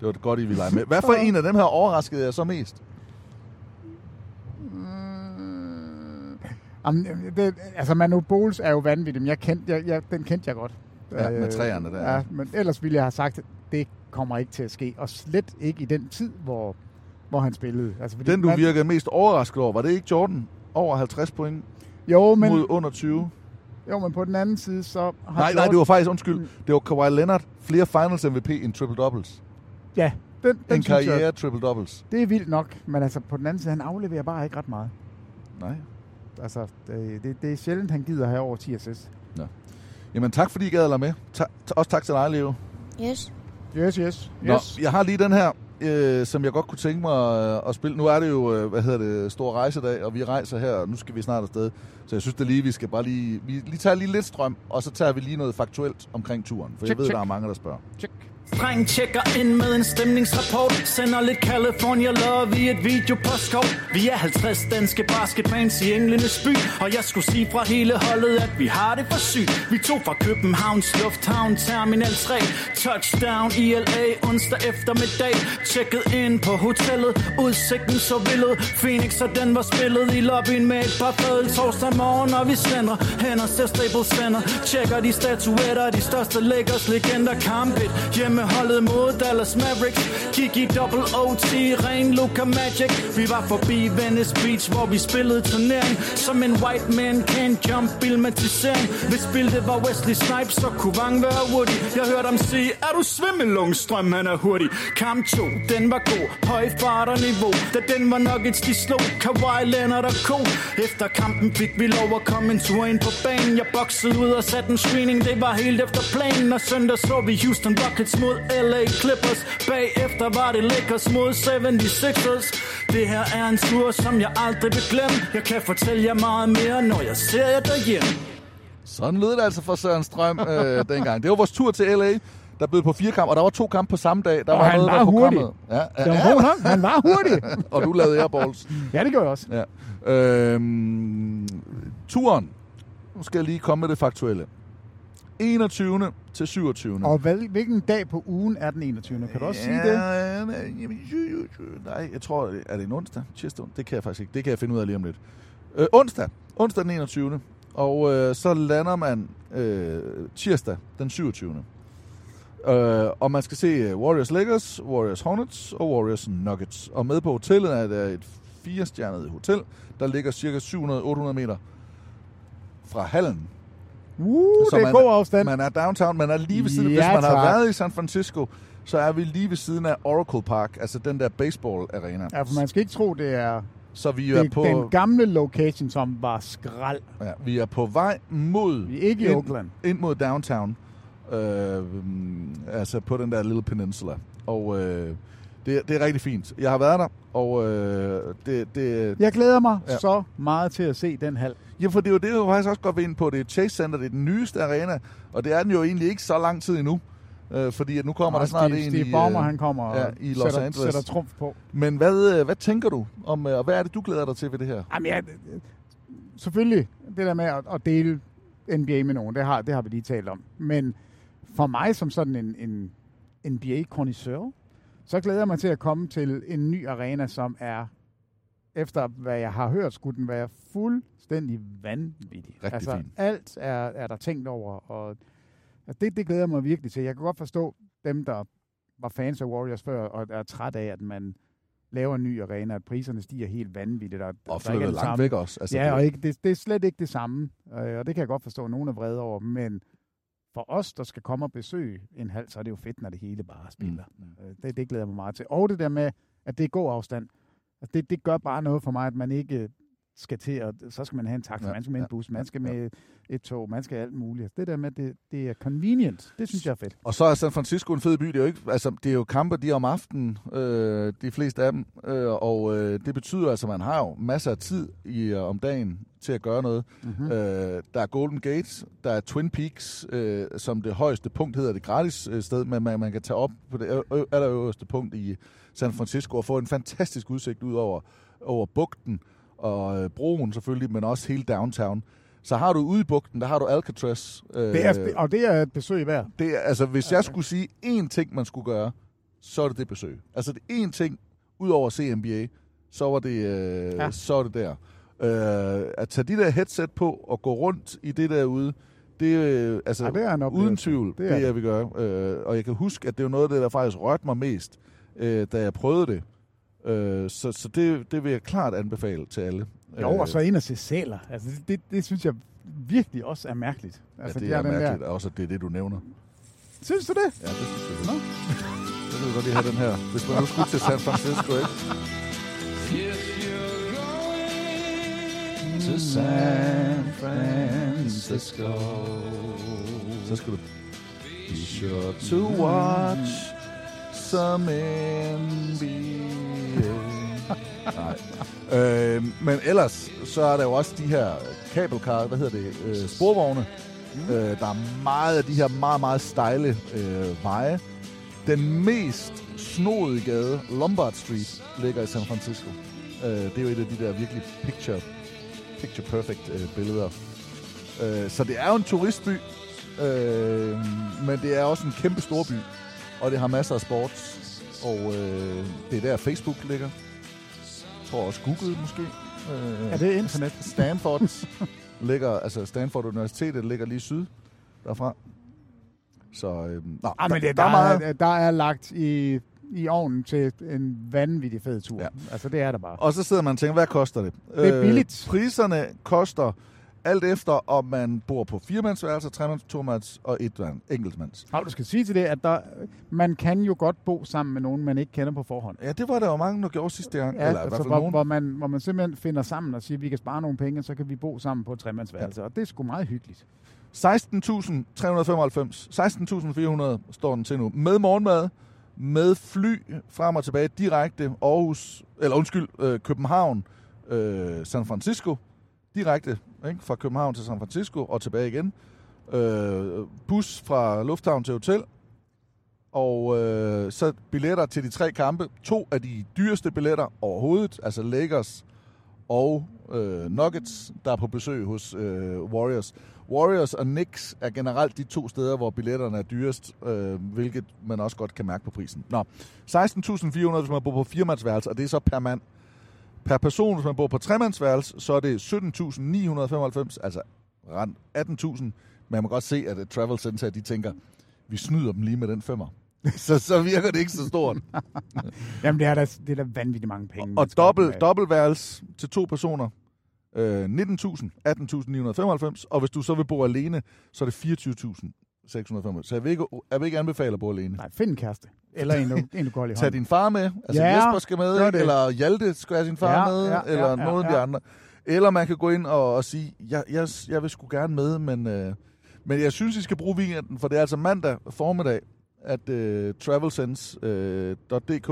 Speaker 8: Det var et godt, I ville lege med. Hvad for en af dem her overraskede jer så mest?
Speaker 9: Jamen, det, altså Manu Bowles er jo vanvittig, men jeg kendte, jeg, jeg, den kendte jeg godt. Øh,
Speaker 8: Ja, med træerne der.
Speaker 9: Ja, men ellers ville jeg have sagt, at det kommer ikke til at ske. Og slet ikke i den tid, hvor, hvor han spillede. Altså, fordi
Speaker 8: Den, du
Speaker 9: man-
Speaker 8: virkede mest overrasket over, var det ikke Jordan? Over 50 point
Speaker 9: Jo, men,
Speaker 8: mod under 20?
Speaker 9: jo, men på den anden side, så... Har
Speaker 8: Nej, nej,
Speaker 9: Jordan- Mm.
Speaker 8: det var faktisk, undskyld, det var Kawhi Leonard. Flere finals MVP end triple-doubles.
Speaker 9: Ja, den, den
Speaker 8: En
Speaker 9: synes jeg-
Speaker 8: karriere triple-doubles.
Speaker 9: Det er vildt nok, men altså på den anden side, han afleverer bare ikke ret meget.
Speaker 8: Nej.
Speaker 9: Altså, det, det, det er sjældent, han gider have over 10 assists.
Speaker 8: Nå. Jamen tak, fordi I gad at lade med. Ta- ta- også tak til dig, Leo.
Speaker 10: Yes.
Speaker 9: Yes, yes,
Speaker 8: Nå,
Speaker 9: yes.
Speaker 8: jeg har lige den her, øh, som jeg godt kunne tænke mig øh, at spille. Nu er det jo, øh, hvad hedder det, stor rejsedag, og vi rejser her, og nu skal vi snart afsted. Så jeg synes det lige, vi skal bare lige, vi lige tager lige lidt strøm, og så tager vi lige noget faktuelt omkring turen. For
Speaker 7: Check,
Speaker 8: jeg ved,
Speaker 7: check.
Speaker 8: der er mange, der spørger.
Speaker 7: Drengen tjekker ind med en stemningsrapport Sender lidt California love i et videopåskov Vi er 50 danske basketfans i Englenes by Og jeg skulle sige fra hele holdet, at vi har det for sygt Vi tog fra Københavns Lufthavn Terminal 3 Touchdown i LA onsdag eftermiddag Tjekket ind på hotellet, udsigten så villet Phoenix og den var spillet i lobbyen med et par fadøl Torsdag morgen, og vi sender hænder til Staples Center Tjekker de statuetter, de største Lakers legender Kamp et hjemmeholdet mod Dallas Mavericks Gik i double OT, ren Luka Magic Vi var forbi Venice Beach, hvor vi spillede turnering Som en white man can jump filmatisering Hvis billedet var Wesley Snipes, så kunne Vang være Woody Jeg hørte ham sige, er du svimmel, Lundstrøm, han er hurtig Kamp 2, den var god, høj fart og niveau Da den var Nuggets, de slog Kawhi Leonard og Co Efter kampen fik vi lov at komme en tur ind på banen Jeg boxede ud og satte en screening, det var helt efter planen Og søndag så vi Houston Rockets mod LA Clippers Bagefter var det Lakers mod 76ers Det her er en tur, som jeg aldrig vil glemme Jeg kan fortælle jer meget mere, når jeg ser jer derhjemme
Speaker 8: Sådan lød det altså fra Søren Strøm øh, dengang. Det var vores tur til L.A., der blev på fire kampe, og der var to kampe på samme dag. Der
Speaker 9: Og
Speaker 8: var
Speaker 9: han
Speaker 8: noget,
Speaker 9: var
Speaker 8: der
Speaker 9: hurtig.
Speaker 8: Ja,
Speaker 9: Det var god nok. Han var hurtig.
Speaker 8: og du lavede airballs.
Speaker 9: Ja, det gjorde jeg også.
Speaker 8: Ja. Øhm, turen. Nu skal jeg lige komme med det faktuelle. 21. til 27.
Speaker 9: Og hvad, hvilken dag på ugen er den 21. Kan du også sige det?
Speaker 8: Ja, nej, jamen, ju, ju, ju. nej, jeg tror, det- er det en onsdag? Tirsdag? Det kan jeg faktisk ikke. Det kan jeg finde ud af lige om lidt. Øh, onsdag. Onsdag den 21. Og øh, så lander man øh, tirsdag den 27. Øh, og man skal se øh, Warriors Lakers, Warriors Hornets og Warriors Nuggets. Og med på hotellet er der et firestjernet hotel, der ligger cirka 700-800 meter fra hallen.
Speaker 9: Uh, det er god afstand.
Speaker 8: Man er downtown, man er lige ved siden. Ja,
Speaker 9: Ja,
Speaker 8: Hvis man tak. har
Speaker 9: tak.
Speaker 8: været i San Francisco, så er vi lige ved siden af Oracle Park, altså den der baseball-arena.
Speaker 9: Ja, for man skal ikke tro, det er,
Speaker 8: Så vi
Speaker 9: det
Speaker 8: er
Speaker 9: er
Speaker 8: på...
Speaker 9: den gamle location, som var skrald.
Speaker 8: Ja, vi er på vej mod... Vi er
Speaker 9: ikke i Oakland.
Speaker 8: Ind mod downtown. Øh, mm, altså på den der lille peninsula. Og øh, det, er- det er rigtig fint. Jeg har været der, og øh, det, det...
Speaker 9: Jeg glæder mig
Speaker 8: Ja.
Speaker 9: ja. så meget til at se den hal.
Speaker 8: Ja, for det er jo det, jeg faktisk også godt vil ind på. Det er Chase Center, det er den nyeste arena, og det er den jo egentlig ikke så lang tid endnu. Øh, fordi at nu kommer
Speaker 9: Og
Speaker 8: der snart
Speaker 9: Steve-
Speaker 8: en
Speaker 9: Steve
Speaker 8: i,
Speaker 9: Ballmer,
Speaker 8: øh,
Speaker 9: han kommer og
Speaker 8: ja, i Los
Speaker 9: sætter-
Speaker 8: Angeles.
Speaker 9: sætter trumf på.
Speaker 8: Men hvad, øh, hvad tænker du om, øh, og hvad er det, du glæder dig til ved det her?
Speaker 9: Jamen, jeg, selvfølgelig, det der med at, at dele NBA med nogen, det har, det har vi lige talt om. Men for mig som sådan en, en nba konnoisseur så glæder jeg mig til at komme til en ny arena, som er efter hvad jeg har hørt, skulle den være fuldstændig vanvittig.
Speaker 8: Rigtig
Speaker 9: altså,
Speaker 8: fin.
Speaker 9: alt er, er der tænkt over, og altså, det, det glæder jeg mig virkelig til. Jeg kan godt forstå dem, der var fans af Warriors før, og er træt af, at man laver en ny arena, at priserne stiger helt vanvittigt. Og, der
Speaker 8: Og
Speaker 9: ikke er det
Speaker 8: flyttet langt
Speaker 9: samme.
Speaker 8: væk også. Altså,
Speaker 9: ja,
Speaker 8: det-
Speaker 9: og ikke, det, det er slet ikke det samme, øh, og det kan jeg godt forstå, at nogen er vrede over, men for os, der skal komme og besøge en halv, så er det jo fedt, når det hele bare spiller. Mm. Øh, det, det glæder jeg mig meget til. Og det der med, at det er god afstand, altså det, det gør bare noget for mig, at man ikke skal til, at, så skal man have en taxa, ja, man skal med ja, en bus, man skal med et tog, man skal alt muligt. Altså, det der med, det, det er convenient, det synes jeg er fedt.
Speaker 8: Og så er San Francisco en fed by. Det er jo, ikke, altså, det er jo kampe, de er om aftenen, øh, de fleste af dem. Øh, og øh, det betyder altså, at man har jo masser af tid i, øh, om dagen til at gøre noget.
Speaker 9: Mhm.
Speaker 8: Mm-hmm. Øh, der er Golden Gate, der er Twin Peaks, øh, som det højeste punkt hedder det gratis øh, sted, men man, man kan tage op på det ø- ø- allerøverste punkt i San Francisco og få en fantastisk udsigt ud over, over bugten og øh, broen selvfølgelig, men også hele downtown. Så har du ude i bugten, der har du Alcatraz. Øh,
Speaker 9: Det er, og det er et besøg værd.
Speaker 8: det er, altså, hvis jeg skulle sige én ting, man skulle gøre, så er det det besøg. Altså, det én ting, udover at se NBA, så var det, øh,
Speaker 9: Ja.
Speaker 8: ja. så er det der. Øh, at tage de der headset på og gå rundt i det derude, det, øh, altså,
Speaker 9: Ja, det er en oplevelse.
Speaker 8: uden tvivl,
Speaker 9: Det
Speaker 8: det
Speaker 9: er
Speaker 8: er det,
Speaker 9: det.
Speaker 8: jeg vil gøre. Øh, og jeg kan huske, at det var noget af det, der faktisk rørte mig mest, øh, da jeg prøvede det. Øh, så så det, det vil jeg klart anbefale til alle.
Speaker 9: Jo, og
Speaker 8: Øh,
Speaker 9: så ind og se sæler. Altså, det, det, det synes jeg virkelig også er mærkeligt. Altså,
Speaker 8: altså, ja,
Speaker 9: de
Speaker 8: det
Speaker 9: har
Speaker 8: er
Speaker 9: den der-
Speaker 8: mærkeligt, der... også at det er det, du nævner.
Speaker 9: Synes du det?
Speaker 8: Ja, det synes jeg. Nå. Jeg vil godt lige have den her. Hvis man nu skulle til San Francisco, ikke?
Speaker 3: To San Francisco.
Speaker 8: Så skal du... Be sure to watch some NBA. Nej. Øh, men ellers, så er der jo også de her kabelkar, hvad hedder det, øh, sporvogne. Mm. Øh, der er meget af de her meget, meget stejle øh, veje. Den mest snodige gade, Lombard Street, ligger i San Francisco. Øh, det er jo et af de der virkelig picture, picture perfect øh, billeder. Øh, så det er jo en turistby, øh, men det er også en kæmpe stor by, og det har masser af sport. Og øh, det er der Facebook ligger. Jeg tror også Google måske. Øh,
Speaker 9: Ja, det er internet.
Speaker 8: Stanford ligger, altså Stanford Universitetet ligger lige syd derfra. Så øh, nå,
Speaker 9: Ah, men det, der, er, der er lagt i, i ovnen til en vanvittig fed tur. Ja. Altså, det er der bare.
Speaker 8: Og så sidder man og tænker, hvad koster det?
Speaker 9: Det er billigt.
Speaker 8: Øh, priserne koster alt efter, om man bor på firemandsværelser, tremands, tomands og etmand, enkeltmands.
Speaker 9: Og du skal sige til det, at der, man kan jo godt bo sammen med nogen, man ikke kender på forhånd.
Speaker 8: Ja, det var der jo mange, der gjorde sidste gang.
Speaker 9: Ja,
Speaker 8: Eller i hvert
Speaker 9: altså,
Speaker 8: fald
Speaker 9: hvor,
Speaker 8: nogen.
Speaker 9: hvor, man, hvor man simpelthen finder sammen og siger, at vi kan spare nogle penge, så kan vi bo sammen på et tremandsværelse. Ja. Og det er sgu meget hyggeligt.
Speaker 8: 16.395, 16.400 står den til nu. Med morgenmad, med fly frem og tilbage direkte Aarhus, eller undskyld, øh, København, øh, San Francisco, direkte ikke? fra København til San Francisco og tilbage igen. Øh, bus fra lufthavn til hotel, og øh, så billetter til de tre kampe. To af de dyreste billetter overhovedet, altså Lakers og øh, Nuggets, der er på besøg hos øh, Warriors. Warriors og Knicks er generelt de to steder, hvor billetterne er dyrest, øh, hvilket man også godt kan mærke på prisen. Nå, 16.400, hvis man bor på firemandsværelse, og det er så per mand. Per person, hvis man bor på tremandsværelse, så er det 17.995, altså rent 18.000. Men man må godt se, at øh, Travel Center, de tænker, vi snyder dem lige med den femmer. så, så virker det ikke så stort.
Speaker 9: Jamen, det er da, det er da vanvittigt mange penge. man
Speaker 8: Og
Speaker 9: skal
Speaker 8: dobbelt,
Speaker 9: have.
Speaker 8: dobbeltværelse til to personer. Øh, 19.000, 18.995, og hvis du så vil bo alene, så er det 24.695. Så jeg vil, ikke, jeg vil ikke anbefale at bo alene.
Speaker 9: Nej, find en kæreste. Eller en, du- en du går i
Speaker 8: Tag
Speaker 9: hånden.
Speaker 8: din far med, altså
Speaker 9: Ja,
Speaker 8: ja, Jesper skal
Speaker 9: gør
Speaker 8: med,
Speaker 9: det.
Speaker 8: ikke? eller Hjalte skal have sin far
Speaker 9: Ja,
Speaker 8: ja, med,
Speaker 9: ja,
Speaker 8: ja,
Speaker 9: ja,
Speaker 8: eller ja,
Speaker 9: ja,
Speaker 8: nogen af
Speaker 9: ja.
Speaker 8: de andre. Eller man kan gå ind og, og sige, jeg, jeg, jeg vil sgu gerne med, men, øh, men jeg synes, I skal bruge weekenden, for det er altså mandag formiddag, at øh, travelsense.dk, øh, .dk,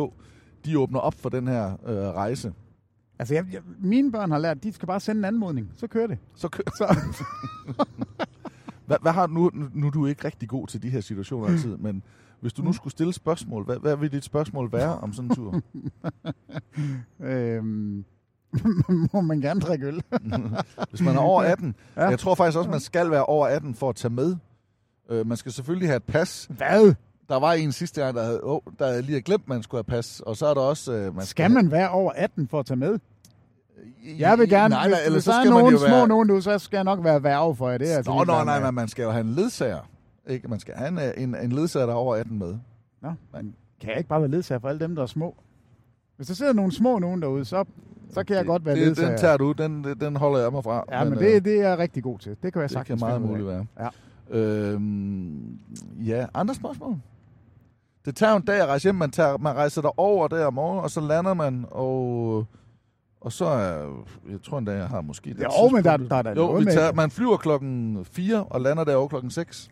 Speaker 8: de åbner op for den her øh, rejse.
Speaker 9: Altså, jeg, jeg, mine børn har lært, at de skal bare sende en anmodning. Så kører det.
Speaker 8: Så kører så. Hvad, hvad har du nu, nu- nu er du ikke rigtig god til de her situationer altid, men hvis du nu skulle stille spørgsmål, hvad, hvad vil dit spørgsmål være om sådan en tur?
Speaker 9: øhm, må man gerne drikke øl.
Speaker 8: Hvis man er over 18. Ja. Jeg tror faktisk også, man skal være over 18 for at tage med. Øh, man skal selvfølgelig have et pas.
Speaker 9: Hvad?
Speaker 8: Der var en sidste gang, der havde, oh, der havde lige glemt, man skulle have pas. Og så er der også... Øh, man
Speaker 9: Skal man være over 18 for at tage med? Jeg vil gerne, nej,
Speaker 8: Nej,
Speaker 9: nej,
Speaker 8: nej,
Speaker 9: hvis,
Speaker 8: ellers
Speaker 9: hvis
Speaker 8: så
Speaker 9: der er
Speaker 8: skal man
Speaker 9: nogle
Speaker 8: jo
Speaker 9: små
Speaker 8: være-
Speaker 9: nogen nu, så skal jeg nok være værve for jer. Det er altså
Speaker 8: Nå,
Speaker 9: ligeglad
Speaker 8: nå, nej,
Speaker 9: med.
Speaker 8: men man skal jo have en ledsager. Ikke? Man skal have en, øh, en, en ledsager, der er over 18 med.
Speaker 9: Nå, men kan jeg ikke bare være ledsager for alle dem, der er små? Hvis der sidder nogle små nogen derude, så, så kan jeg godt være
Speaker 8: Det,
Speaker 9: ledsager.
Speaker 8: den tager du, den, den holder jeg mig fra.
Speaker 9: Ja, men
Speaker 8: øh,
Speaker 9: det, det er jeg rigtig god til. Det kan jeg
Speaker 8: det kan
Speaker 9: sagtens
Speaker 8: meget
Speaker 9: finde ud af.
Speaker 8: muligt være. Ja. Øhm, ja, andre spørgsmål? Det tager jo en dag at rejse hjem. Man, tager, man rejser derover der om morgenen, og så lander man, og, og så er... Jeg tror endda, jeg har måske...
Speaker 9: Jo,
Speaker 8: det tidspunkt.
Speaker 9: men der- der er da
Speaker 8: Jo,
Speaker 9: noget
Speaker 8: vi
Speaker 9: med-
Speaker 8: tager, man flyver klokken 4 og lander derovre klokken 6.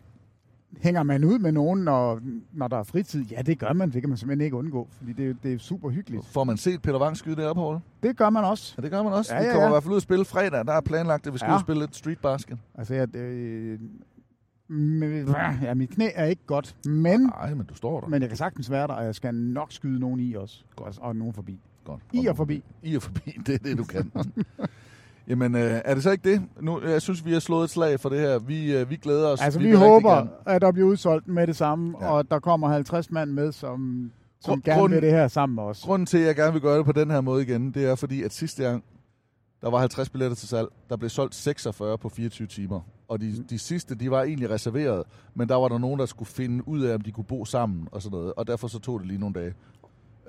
Speaker 9: Hænger man ud med nogen, når, når der er fritid? Ja, det gør man. Det kan man simpelthen ikke undgå, fordi det, det er super hyggeligt.
Speaker 8: Får man set Peter Wang skyde deroppe, Poul?
Speaker 9: Det gør man også.
Speaker 8: Ja, det gør man også.
Speaker 9: Ja,
Speaker 8: Vi
Speaker 9: ja,
Speaker 8: kommer i
Speaker 9: ja.
Speaker 8: hvert fald ud og spille fredag. Der er planlagt, at vi skal
Speaker 9: Ja.
Speaker 8: ud og spille lidt street basket.
Speaker 9: Altså, jeg, øh, men- ja, mit knæ er ikke godt, men...
Speaker 8: Nej, men du står der.
Speaker 9: Men jeg kan sagtens være der, og jeg skal nok skyde nogen i også. Godt. Og nogen forbi.
Speaker 8: Godt.
Speaker 9: I og forbi.
Speaker 8: I er forbi, det er det, du kan. Jamen, øh, er det så ikke det? Nu, jeg synes, vi har slået et slag for det her. Vi, øh, vi glæder os.
Speaker 9: Altså, vi,
Speaker 8: vil
Speaker 9: vi
Speaker 8: rigtig
Speaker 9: håber,
Speaker 8: gerne-
Speaker 9: at der bliver udsolgt med det samme, ja. og der kommer 50 mand med, som, som
Speaker 8: Grund-
Speaker 9: gerne
Speaker 8: grunden-
Speaker 9: vil det her sammen med os.
Speaker 8: Grunden til, at jeg gerne vil gøre det på den her måde igen, det er fordi, at sidste gang, der var 50 billetter til salg. Der blev solgt 46 på 24 timer. Og de, de sidste, de var egentlig reserveret, men der var der nogen, der skulle finde ud af, om de kunne bo sammen og sådan noget. Og derfor så tog det lige nogle dage.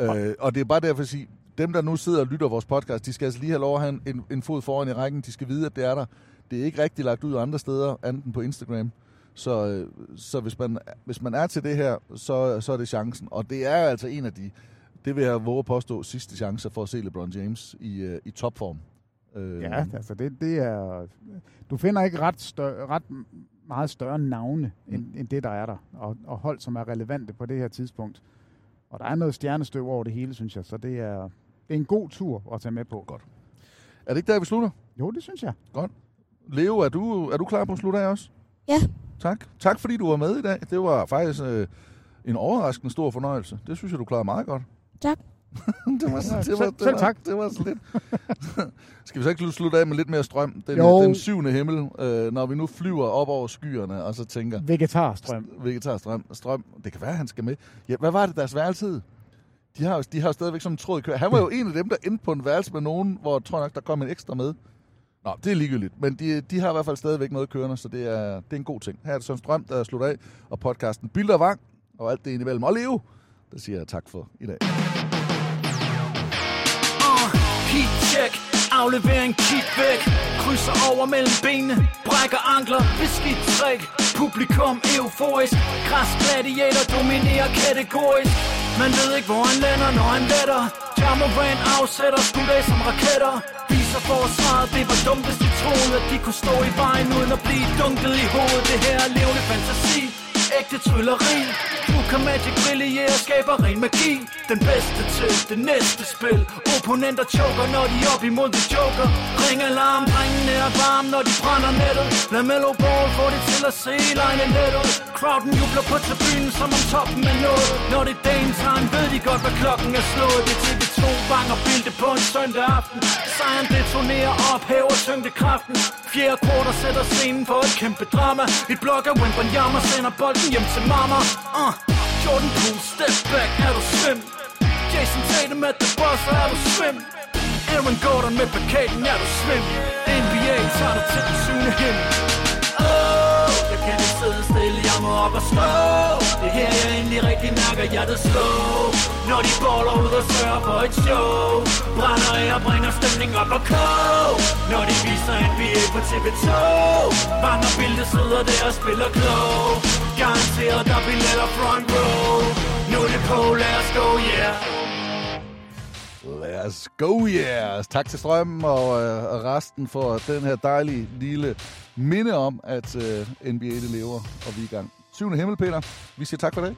Speaker 8: Øh, og det er bare derfor at sige, dem der nu sidder og lytter vores podcast, de skal altså lige have lov at have en- en, en fod foran i rækken. De skal vide, at det er der. Det er ikke rigtig lagt ud andre steder, andet end på Instagram. Så, øh, så hvis, man, hvis man er til det her, så, så er det chancen. Og det er altså en af de, det vil jeg våge at påstå, sidste chance for at se LeBron James i, øh, i topform. Øh,
Speaker 9: Ja, altså, det, det er... Du finder ikke ret, større, ret meget større navne, end, end det, der er der, og, og hold, som er relevante på det her tidspunkt. Og der er noget stjernestøv over det hele, synes jeg, så det er, det er en god tur at tage med på.
Speaker 8: Godt. Er det ikke der, vi slutter?
Speaker 9: Jo, det synes jeg.
Speaker 8: Godt. Leo, er du, er du klar på at slutte af også?
Speaker 10: Ja.
Speaker 8: Tak. Tak, fordi du var med i dag. Det var faktisk øh, en overraskende stor fornøjelse. Det synes jeg, du klarede meget godt.
Speaker 10: Tak.
Speaker 8: det var, så- det var,
Speaker 9: Selv-
Speaker 8: det
Speaker 9: selv
Speaker 8: var,
Speaker 9: tak.
Speaker 8: Det var så lidt. Skal vi så ikke slutte af med lidt mere strøm? Den,
Speaker 9: Jo.
Speaker 8: den syvende himmel, øh, når vi nu flyver op over skyerne, og så tænker...
Speaker 9: Vegetarstrøm.
Speaker 8: Vegetarstrøm. Strøm. Det kan være, han skal med. Ja, hvad var det, deres værelse hed? De har, jo, de har jo stadigvæk sådan en tråd i kø. Han var jo en af dem, der endte på en værelse med nogen, hvor jeg tror nok, der kom en ekstra med. Nå, det er ligegyldigt. Men de, de har i hvert fald stadigvæk noget kørende, så det er, det er en god ting. Her er det Søren Strøm, der slutter af, og podcasten Bilder Vang, og alt det indimellem. Og Leo, der siger jeg tak for i dag.
Speaker 7: Uh, heat check, aflevering, kig væk Krydser over mellem benene, brækker ankler, beskidt træk Publikum euforisk, græs gladiator dominerer kategorisk Man ved ikke hvor han lander, når han letter Jamoran afsætter skud af som raketter Viser forsvaret, det var dumt hvis de troede At de kunne stå i vejen uden at blive dunket i hovedet Det her er levende fantasi ægte trylleri Du kan magic brillere, skaber ren magi Den bedste til det næste spil Opponenter choker, når de er op imod de joker Ring alarm, drengene er varme, når de brænder nettet Lad Mellow Ball få det til at se lejne let ud Crowden jubler på tribunen, som om toppen er nået Når det er dagens time, ved de godt, hvad klokken er slået Det er TV2 banger bilde på en søndag aften Sejren detonerer og ophæver tyngdekraften Fjerde quarter sætter scenen for et kæmpe drama Et blok af Wembanyama sender bolden hjem til mamma uh. Jordan Poole, step back, er du svim? Jason Tatum at the buzzer, er du svim? Aaron Gordon med plakaten, er du svim? NBA tager dig til den syvende himmel Åh, jeg kan ikke sidde stille, jeg må op og slå Det er her jeg endelig rigtig mærker hjertet slå Når de baller ud og sørger for et show Brænder af og bringer stemning op og kog Når de viser NBA på TV2 Mange billeder sidder der og spiller klog Garanteret der er billetter front row Nu er det på, lad os go, yeah
Speaker 8: Lad os go, yes! Tak til Strømmen og, øh, og resten for den her dejlige lille minde om, at øh, NBA det lever, og vi er i gang. Syvende himmel, Peter. Vi siger tak for det.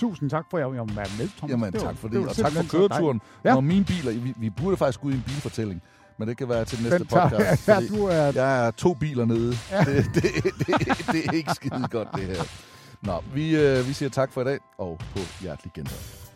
Speaker 9: Tusind tak for, at jeg var med, Thomas.
Speaker 8: Jamen,
Speaker 9: Det var-
Speaker 8: tak for
Speaker 9: det
Speaker 8: det,
Speaker 9: var
Speaker 8: og tak for
Speaker 9: simpelthen så
Speaker 8: køreturen. Ja.
Speaker 9: dejligt.
Speaker 8: Når mine biler, vi, vi burde faktisk ud i en bilfortælling, men det kan være til den næste
Speaker 9: Den tager-
Speaker 8: podcast.
Speaker 9: Ja,
Speaker 8: fordi
Speaker 9: du er-
Speaker 8: Jeg er to biler nede.
Speaker 9: Ja.
Speaker 8: Ja. Det, det, det, det er ikke skide godt, det her. Nå, vi, øh, vi siger tak for i dag, og på hjertelig genhør.